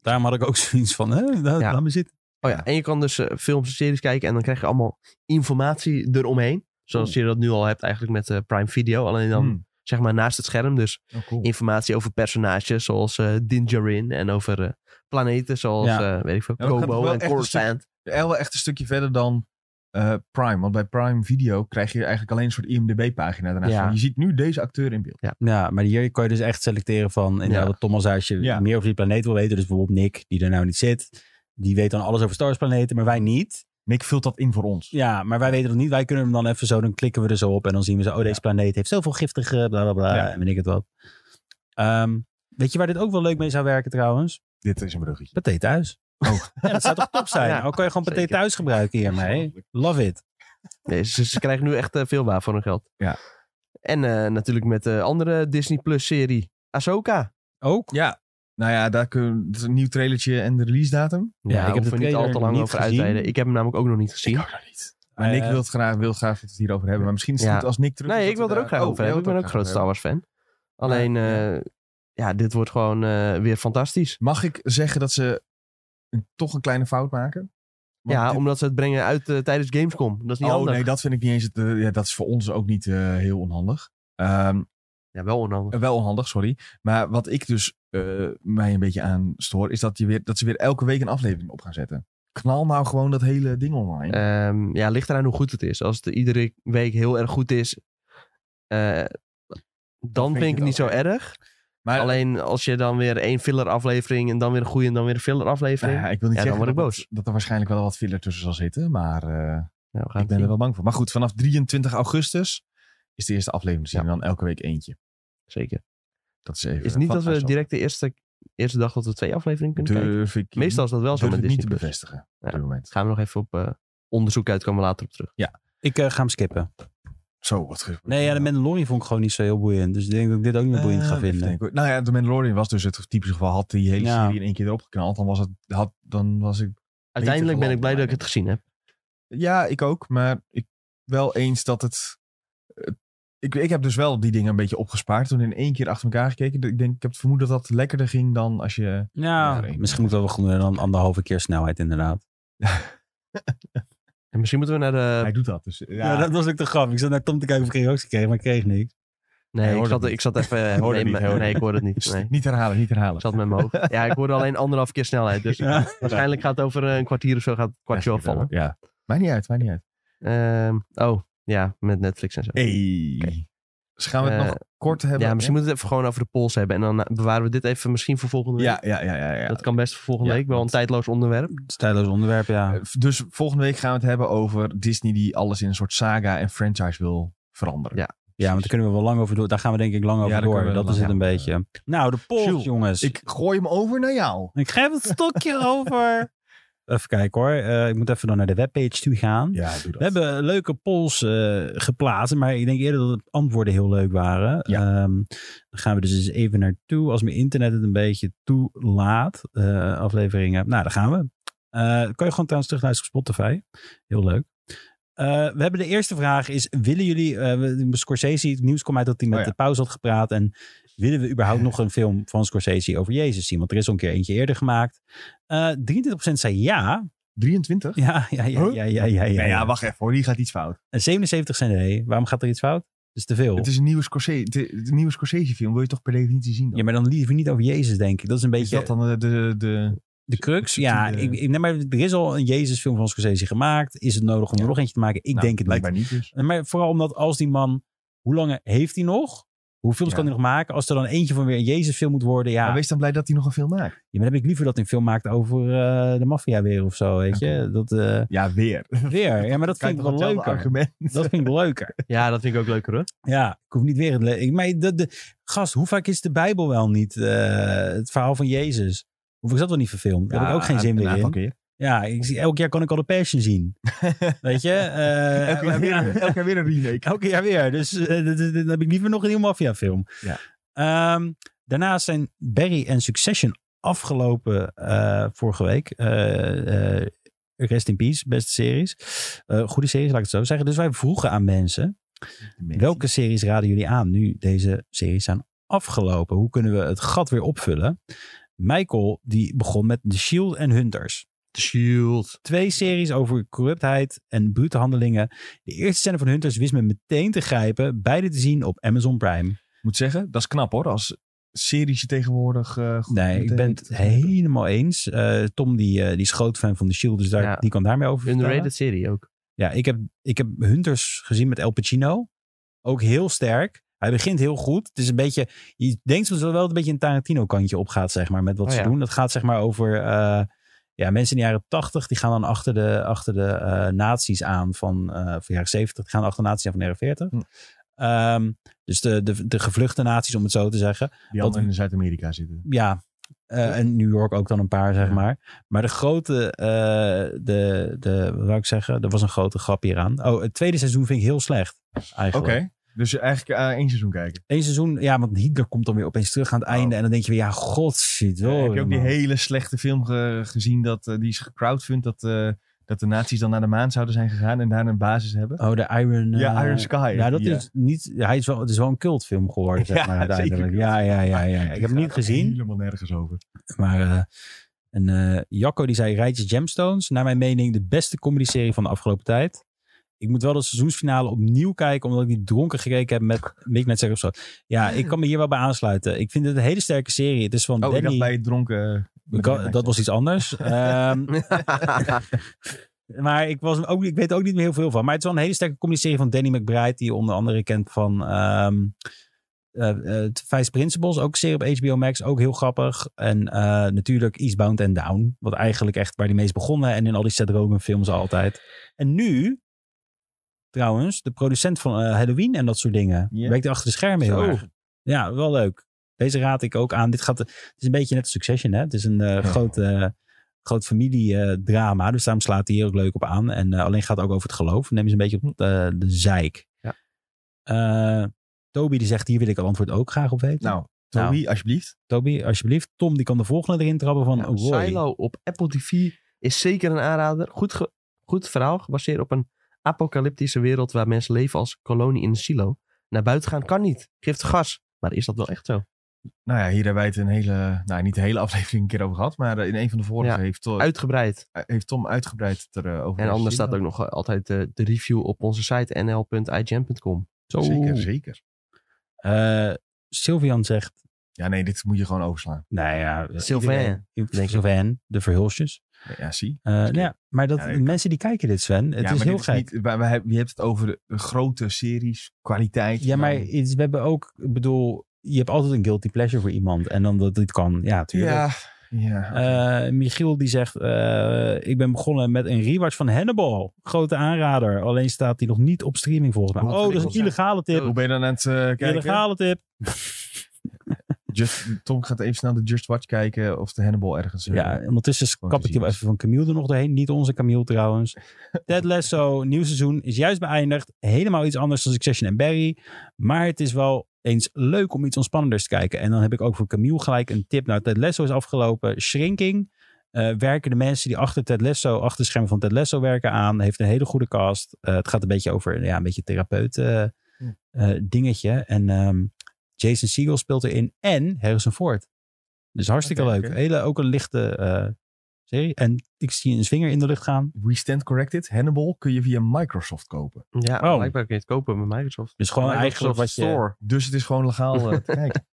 Daarom had ik ook zoiets van, hè, laat,
Ja.
laat me zitten.
Oh ja, en je kan dus eh, films en series kijken en dan krijg je allemaal informatie eromheen. Zoals
Mm.
je dat nu al hebt eigenlijk met eh, Prime Video. Alleen dan
Hmm.
zeg maar naast het scherm. Dus
Oh, cool.
informatie over personages zoals eh Din Djarin en over eh, planeten zoals,
Ja.
eh, weet ik veel,
Ja, maar het gaat toch
Kobo
wel
en
echt een
Coruscant.
Wel echt een stukje verder dan eh, Prime. Want bij Prime Video krijg je eigenlijk alleen een soort IMDB-pagina daarnaast.
Ja.
van, Je ziet nu deze acteur in beeld.
Ja, maar hier kan je dus echt selecteren van, inderdaad,
Ja.
wat Thomas zei, als je
Ja.
meer over die planeet wil weten. Dus bijvoorbeeld Nick, die er nou niet zit. Die weet dan alles over Star Wars planeten, maar wij niet.
Nick vult dat in voor ons.
Ja, maar wij weten dat niet. Wij kunnen hem dan even zo, dan klikken we er zo op. En dan zien we zo, oh, deze planeet heeft zoveel giftige, bla bla bla.
Ja.
En weet ik het wat. Ehm, weet je waar dit ook wel leuk mee zou werken trouwens?
Dit is een bruggetje.
Pathé thuis.
Oh.
Ja, dat zou toch top zijn?
Ja,
Ook kan je gewoon pathé
zeker.
thuis gebruiken hiermee. Love it.
Nee, ze, ze krijgen nu echt eh, veel waar voor hun geld.
Ja.
En eh, natuurlijk met de andere Disney Plus serie, Ahsoka.
Ook?
Ja. Nou ja, daar kun, het is een nieuw trailertje en de release datum.
Ja, ik heb
hoef
de
er niet
trailer
al te lang
niet
over
gezien.
uitweiden. Ik heb hem namelijk ook nog niet gezien.
nog niet. Maar Nick
Eh,
wil het graag, wil graag dat we het hierover hebben. Maar misschien is het
Ja.
goed als Nick terug is
Nee,
dat
ik wil
we
er ook
daar-
graag
Oh,
over
jij
hebben. Ik ben
wilt
ook
er
groot
graag over
Star Wars fan. Alleen,
ja.
eh, ja, dit wordt gewoon eh, weer fantastisch.
hebben. Mag ik zeggen dat ze een- toch een kleine fout maken? Want
ja,
dit-
omdat ze het brengen uit eh, tijdens Gamescom. Dat is niet
Oh
handig.
nee, dat vind ik niet eens. Het, eh, ja, dat is voor ons ook niet eh, heel onhandig. Ehm,
Ja, wel onhandig.
wel onhandig, sorry. Maar wat ik dus eh, mij een beetje aan stoor, is dat, je weer, dat ze weer elke week een aflevering op gaan zetten. Knal nou gewoon dat hele ding online.
Ehm, ja, ligt eraan hoe goed het is. Als het iedere week heel erg goed is, eh, dan vind
je
ik
het
het niet zo
ook
erg.
maar
Alleen als je dan weer één filler aflevering en dan weer een goede en dan weer een filler
nou
aflevering.
ja, ik wil niet
Ja, dan
zeggen
word ik
dat,
boos.
dat er waarschijnlijk wel wat filler tussen zal zitten. Maar eh,
Ja, we gaan
ik ben
het
er
zien.
wel bang voor. Maar goed, vanaf 23 augustus is de eerste aflevering te zien. En dan elke week eentje.
Zeker.
Dat is even.
Is niet dat we
vastgesteld.
direct de eerste, eerste dag dat we twee afleveringen kunnen kijken.
Durf ik
Meestal is dat wel
durf
zo met
ik niet te
Disney Plus.
bevestigen.
Ja.
Op dit moment.
Gaan we nog even op eh, onderzoek uit, komen we later op terug.
Ik eh, ga hem skippen.
Zo, wat ge-
Nee, ja, de Mandalorian vond ik gewoon niet zo heel boeiend. Dus ik denk dat ik dit ook niet meer boeiend
Eh,
ga
even
vinden.
denken. Nou ja, de Mandalorian was dus het typische geval. Had die hele
Ja.
serie in één keer erop geknald. Dan was, het, had, dan was ik...
Uiteindelijk ben ik
verland,
blij dat
maar-
ik het gezien heb.
Ja, ik ook. Maar ik wel eens dat het... het- ik, ik heb dus wel die dingen een beetje opgespaard. Toen in één keer achter elkaar gekeken. Ik denk, ik heb het vermoeden dat dat lekkerder ging dan als je...
Ja,
Ja, ik-
misschien moeten we wel gewoon dan anderhalve keer snelheid inderdaad.
En misschien moeten we naar de
Hij doet dat. Dus, ja,
Ja, dat was ook de grap. Ik zat naar Tom te kijken of ik reactie kreeg, maar ik kreeg niks.
Nee, ik
hoorde
zat,
het
ik zat even. eh,
hoorde het
nee,
niet,
maar-
hij hoorde
nee, ik hoorde het niet.
Sst,
Nee.
Niet herhalen, niet herhalen.
Ik zat met mijn hoofd. Ja, ik hoorde alleen anderhalf keer snelheid. Dus
Ja.
waarschijnlijk gaat het over eh, een kwartier of zo gaat het kwartje afvallen.
Ja. Maakt niet uit, maakt niet uit.
Ehm, oh, ja, met Netflix en zo.
Hey. Dus gaan we het
Eh,
nog kort hebben?
ja, misschien moeten we het even gewoon over de polls hebben. En dan eh, bewaren we dit even misschien voor volgende week.
Ja, ja, ja, ja. ja.
Dat kan best voor volgende
Ja,
week. Wel een
want-
tijdloos onderwerp.
Stijloos onderwerp, ja.
Eh, Dus volgende week gaan we het hebben over Disney die alles in een soort saga en franchise wil veranderen.
Ja.
Ja, want daar kunnen we wel lang over door. Daar gaan we denk ik lang over
daar
door.
kunnen we
Dat
lang-
is het
ja.
een beetje. Nou, de polls,
Jules,
jongens.
Ik gooi hem over naar jou.
Ik geef het stokje over. Even kijken hoor. Eh, ik moet even dan naar de webpage toe gaan.
Ja, doe dat.
We hebben leuke polls eh, geplaatst, maar ik denk eerder dat de antwoorden heel leuk waren.
Ja.
Ehm, dan gaan we dus eens even naartoe. Als mijn internet het een beetje toelaat, eh, afleveringen. Nou, daar gaan we. Eh, kan je gewoon trouwens terugluisteren op Spotify. Heel leuk. Eh, we hebben de eerste vraag is, willen jullie, eh, we- Scorsese, het nieuws komt uit dat hij met
Oh ja.
de pauze had gepraat. En willen we überhaupt nog een film van Scorsese over Jezus zien? Want er is al een keer eentje eerder gemaakt. Eh 23% zei ja.
23?
Ja, ja, ja,
Huh?
ja, ja, ja. ja,
Nou ja,
ja.
wacht even hoor, die gaat iets fout.
En 77 zijn nee. Waarom gaat er iets fout? is te veel.
Het is een nieuwe Scorsese, de, de nieuwe Scorsese film. Wil je toch per definitie zien dan?
Ja, maar dan liever niet over Jezus, denk ik. Dat is een beetje...
Is dat dan de, de, de-
De crux?
Subtiele-
Ja, ik, ik, nee, maar er is al een Jezus-film van Scorsese gemaakt. Is het nodig om er
Ja.
nog eentje te maken? Ik
Nou,
denk het niet.
blijkbaar niet. dus.
Maar vooral omdat als die man... Hoe lang heeft hij nog? Hoe films
Ja.
kan hij nog maken? Als er dan eentje van weer een Jezus-film moet worden, ja.
Maar wees dan blij dat hij nog een film maakt.
ja, maar dan heb ik liever dat hij een film maakt over eh, de maffia weer of zo, weet je? Dat, eh,
Ja, weer.
weer. Ja, maar dat
Kijk,
vind ik wel
hetzelfde
leuker.
argument.
Dat vind ik leuker.
Ja, dat vind ik ook leuker hoor.
Ja, ik hoef niet weer het... le- ik- Maar de, de, gast, hoe vaak is de Bijbel wel niet eh, het verhaal van Jezus? Hoe vaak is dat wel niet verfilmd? Daar heb ik ook geen zin
een
meer
aantal
in.
keer.
Ja, ik zie, elk jaar kan ik al de Passion zien. Weet je? eh,
Elke keer weer,
ja,
elke keer weer een remake.
elk jaar weer. Dus eh, d- d- d- dan heb ik liever nog een nieuwe maffia film.
Ja.
Ehm, daarnaast zijn Barry en Succession afgelopen eh, vorige week. Eh, eh, Rest in Peace, beste series. Eh, goede series, laat ik het zo zeggen. Dus wij vroegen aan mensen, welke series raden jullie aan nu deze series zijn afgelopen? Hoe kunnen we het gat weer opvullen? Michael, die begon met The Shield en Hunters
The Shield.
twee series over corruptheid en brute handelingen. De eerste scène van Hunters wist me meteen te grijpen. Beide te zien op Amazon Prime.
Ik moet zeggen, dat is knap hoor. Als series je tegenwoordig eh, goed
Nee, ik
meteen
ben
weet
het
te grijpen.
helemaal eens. Eh, Tom die, eh, die is groot fan van The Shield, dus daar,
Ja.
die kan daarmee over vertellen.
Underrated serie ook.
Ja, ik heb, ik heb Hunters gezien met El Pacino. Ook heel sterk. Hij begint heel goed. Het is een beetje. Je denkt soms wel dat het een beetje een Tarantino-kantje op gaat, zeg maar, met wat
Oh
ze
ja.
doen. Dat gaat zeg maar over. eh, ja, mensen in de jaren 80 die gaan dan achter de, achter de eh, nazi's aan van, eh van de jaren 70, die gaan achter de nazi's aan van de jaren 40.
Hm.
Ehm, dus de, de, de gevluchte nazi's, om het zo te zeggen
Die
Wat-
allemaal in Zuid-Amerika zitten.
ja. eh, en New York ook dan een paar, zeg
Ja.
maar. Maar de grote, eh, de, de, wat wil ik zeggen? Er was een grote grap hieraan. Oh, het tweede seizoen vind ik heel slecht, eigenlijk.
Oké, dus eigenlijk eh, één seizoen kijken.
Eén seizoen, ja, want Hitler komt dan weer opeens terug aan het einde. En dan denk je weer, ja, godverdomme.
Oh. Eh, heb je ook die
man.
hele slechte film ge- gezien dat eh, die is gecrowdfund dat, eh, dat de nazi's dan naar de maan zouden zijn gegaan en daar een basis hebben?
Oh, de Iron...
ja,
eh,
Iron Sky.
Ja, dat
Ja.
is niet... Hij is wel, het is wel een cultfilm geworden, zeg
Ja,
maar,
zeker
uiteindelijk.
cult.
Ja, ja, ja, ja. Ik heb hem
Die
niet
gaat
gezien.
Helemaal nergens over.
Maar eh, en, eh, Jacco die zei Rijtje Gemstones. Naar mijn mening de beste comedyserie van de afgelopen tijd. Ik moet wel de seizoensfinale opnieuw kijken. Omdat ik die dronken gekeken heb met Midnight Sex of zo. Ja, ik kan me hier wel bij aansluiten. Ik vind het een hele sterke serie. Het is van
Oh, ik dacht
Danny...
bij het dronken.
Ik kan- dat was iets anders. Ehm, maar ik, was ook, ik weet er ook niet meer heel veel van. Maar het is wel een hele sterke comedyserie van Danny McBride. Die je onder andere kent van ehm eh, eh, Vice Principles. Ook een serie op HBO Max. Ook heel grappig. En eh, natuurlijk Eastbound and Down. Wat eigenlijk echt waar die meest begonnen. En in al die Seth Rogen films altijd. En nu... Trouwens, de producent van eh, Halloween en dat soort dingen.
Ja.
Werkt achter de schermen heel
Zo.
erg. Ja, wel leuk. Deze raad ik ook aan. Dit gaat, het is een beetje net Succession, hè? Het is een eh, groot, eh, groot familiedrama. dus daarom slaat hij hier ook leuk op aan. En eh, alleen gaat het ook over het geloof. Neem eens een beetje
Hm.
op eh, de zeik.
Ja.
Eh, Toby die zegt, hier wil ik het antwoord ook graag op weten.
Nou, Toby, alsjeblieft.
Toby, alsjeblieft. Tom, die kan de volgende erin trabben van
Ja,
Nou,
Roy.
Silo op Apple TV is zeker een aanrader. Goed, ge- goed verhaal, gebaseerd op een apocalyptische wereld waar mensen leven als kolonie in een silo. Naar buiten gaan kan niet. Geeft gas. Maar is dat wel echt zo?
Nou ja, hier hebben wij het een hele, nou niet de hele aflevering een keer over gehad, maar eh, in een van de vorige
Ja,
heeft, to-
Uitgebreid.
heeft Tom uitgebreid het erover. over.
En anders staat ook nog eh, altijd eh, de review op onze site nl.igm.com.
Zo.
Zeker,
Oh.
zeker.
Eh, Sylvian zegt,
Ja, nee, dit moet je gewoon overslaan.
nou ja.
Sylvain,
iedereen-
denk ik.
Sylvain, de verhulsjes.
Ja, zie.
Eh, nou ja, maar dat,
Ja, ik-
mensen die kijken dit, Sven. Het
ja,
is
maar
heel
dit
gek.
niet- wij- wij- je hebt het over de, de grote series, kwaliteit. Nou,
Ja, maar
dan-
het is- we hebben ook, ik bedoel, je hebt altijd een guilty pleasure voor iemand. En dan dat dit kan, ja, tuurlijk.
Ja, ja.
Eh, Michiel die zegt, eh, ik ben begonnen met een rewatch van Hannibal. Grote aanrader. Alleen staat die nog niet op streaming volgens mij.
Hoe
Oh, dat is
ingewikkeld
een
zijn.
illegale tip.
Hoe ben je dan aan het eh, kijken?
Illegale tip.
Just, Tom gaat even snel de Just Watch kijken of de Hannibal ergens... eh,
Ja, ondertussen
Gewoon
kap ik die
gezien
wel even van Camille er nog doorheen. Niet onze Camille trouwens. Ted Lasso, nieuw seizoen, is juist beëindigd. Helemaal iets anders dan Succession en Barry. Maar het is wel eens leuk om iets ontspannenders te kijken. En dan heb ik ook voor Camille gelijk een tip. Nou, Ted Lasso is afgelopen. Shrinking. Eh, werken de mensen die achter Ted Lasso, achter de schermen van Ted Lasso werken aan. Heeft een hele goede cast. Eh, het gaat een beetje over ja, een beetje therapeut eh,
Hm.
eh, dingetje. En ehm, Jason Segel speelt erin. En Harrison Ford. Dus hartstikke
Oké,
leuk.
oké.
Hele, ook een lichte eh, serie. En ik zie een vinger in de lucht gaan.
We Stand Corrected, Hannibal, kun je via Microsoft kopen.
Ja,
Oh.
blijkbaar kun je het kopen met Microsoft.
Dus gewoon eigenlijk
Microsoft
wat je...
Store. Dus het is gewoon legaal eh, te kijken.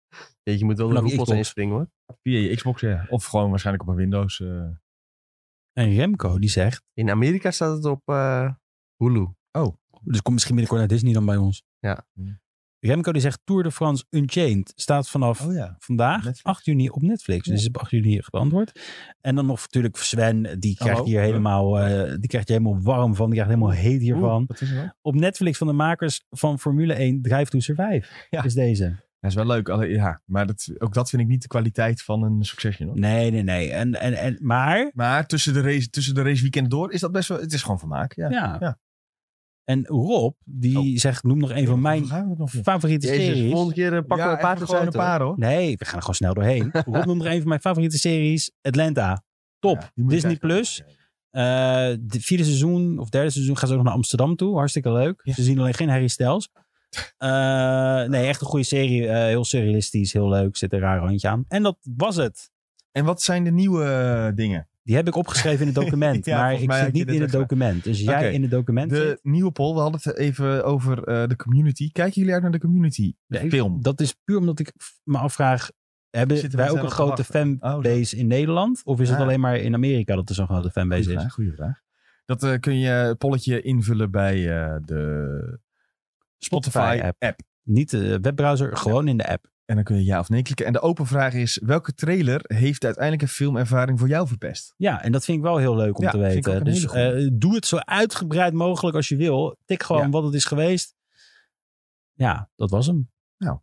Jeetje, je moet wel de
Vanaf
roepels
Xbox.
inspringen hoor.
Via je Xbox, ja. Of gewoon waarschijnlijk op een Windows. eh.
En Remco die zegt,
In Amerika staat het op eh, Hulu.
dus kom misschien binnenkort naar Disney dan bij ons.
Ja.
Remco die zegt Tour de France Unchained staat vanaf
Oh ja.
vandaag
Netflix.
8 juni op Netflix. Dus is op 8 juni geantwoord. En dan nog natuurlijk Sven, die krijgt
Hallo.
hier helemaal, eh, die krijgt hier helemaal warm van, die krijgt helemaal heet hiervan.
oh. Oeh, Wat is er dan?
Op Netflix van de makers van Formule 1 Drive to Survive
Ja.
is deze.
Dat is wel leuk, alle- ja. Maar dat, ook dat vind ik niet de kwaliteit van een Succession. Hoor.
Nee, nee, nee. En, en, en, maar,
Maar tussen de, race, tussen de raceweekenden door is dat best wel... Het is gewoon vermaak, ja.
ja.
Ja.
En Rob, die
Oh.
zegt, noem nog een van mijn
Gaan we het nog doen?
favoriete
Jezus,
series.
volgende keer eh, pakken
Ja,
we een paar
even
gewoon
gewoon een paar, hoor.
Nee, we gaan er gewoon snel doorheen. Rob noemt er een van mijn favoriete series. Atlanta. Top.
Ja, die moet ik
Disney
eigenlijk
Plus.
ook kijken.
Eh, de vierde seizoen of derde seizoen gaan ze ook naar Amsterdam toe. Hartstikke leuk.
Ja.
Ze zien alleen geen Harry Styles. Eh, nee, echt een goede serie. Eh, heel surrealistisch, heel leuk. Zit een raar randje aan. En dat was het.
En wat zijn de nieuwe eh, dingen?
Die heb ik opgeschreven in het document.
Ja,
maar
volgens
ik
mij
zit
had je
niet
dit
in het
ook
document. Dus jij
Oké.
in het document
De
zit.
nieuwe poll, we hadden het even over eh, de community. Kijken jullie uit naar de community? De
Nee,
film.
Dat is puur omdat ik f- me afvraag. Hebben
Zitten
wij
mensen
ook een
daarop te
grote fanbase in Nederland? Of is het
Oh, Ja.
alleen maar in Amerika dat er zo'n grote fanbase
Goeie
is?
vraag, goeie vraag. Dat eh, kun je het polletje invullen bij eh, de
app.
Spotify-app.
Niet de webbrowser, gewoon in de app.
En dan kun je ja of nee klikken. En de open vraag is, welke trailer heeft uiteindelijk een filmervaring voor jou verpest?
Ja, en dat vind ik wel heel leuk om
Ja,
te
vind ik ook
weten.
een
Dus
hele goeie.
eh, doe het zo uitgebreid mogelijk als je wil. Tik gewoon
Ja.
wat het is geweest. Ja, dat was hem.
Nou.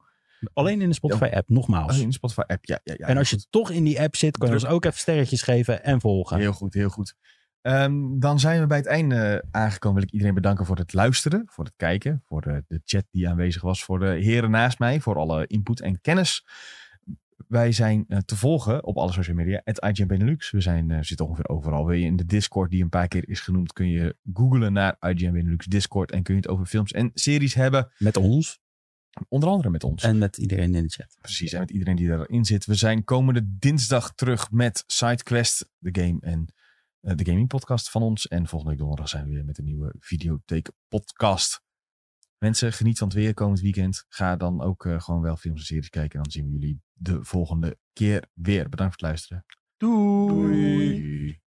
Alleen in de Spotify-app, nogmaals.
Oh, in de Spotify-app, ja. ja, ja
en als je toch in die app zit, kan je
Druk.
ons ook even sterretjes geven en volgen.
Heel goed, heel goed. Ehm, dan zijn we bij het einde aangekomen. Wil ik iedereen bedanken voor het luisteren, voor het kijken, voor eh, de, de chat die aanwezig was, voor de heren naast mij, voor alle input en kennis. Wij zijn eh, te volgen op alle social media, het IGN Benelux. We zijn, eh, zitten ongeveer overal. Wil je in de Discord, die een paar keer is genoemd, kun je googlen naar IGN Benelux Discord en kun je het over films en series hebben.
Met ons
Onder andere met ons.
en met iedereen in de chat.
Precies, en met iedereen die erin zit. We zijn komende dinsdag terug met SideQuest, de game en eh, de gaming podcast van ons. En volgende week donderdag zijn we weer met een nieuwe videotheek podcast. Mensen, geniet van het weer komend weekend. Ga dan ook eh, gewoon wel films en series kijken. En dan zien we jullie de volgende keer weer. Bedankt voor het luisteren. Doei.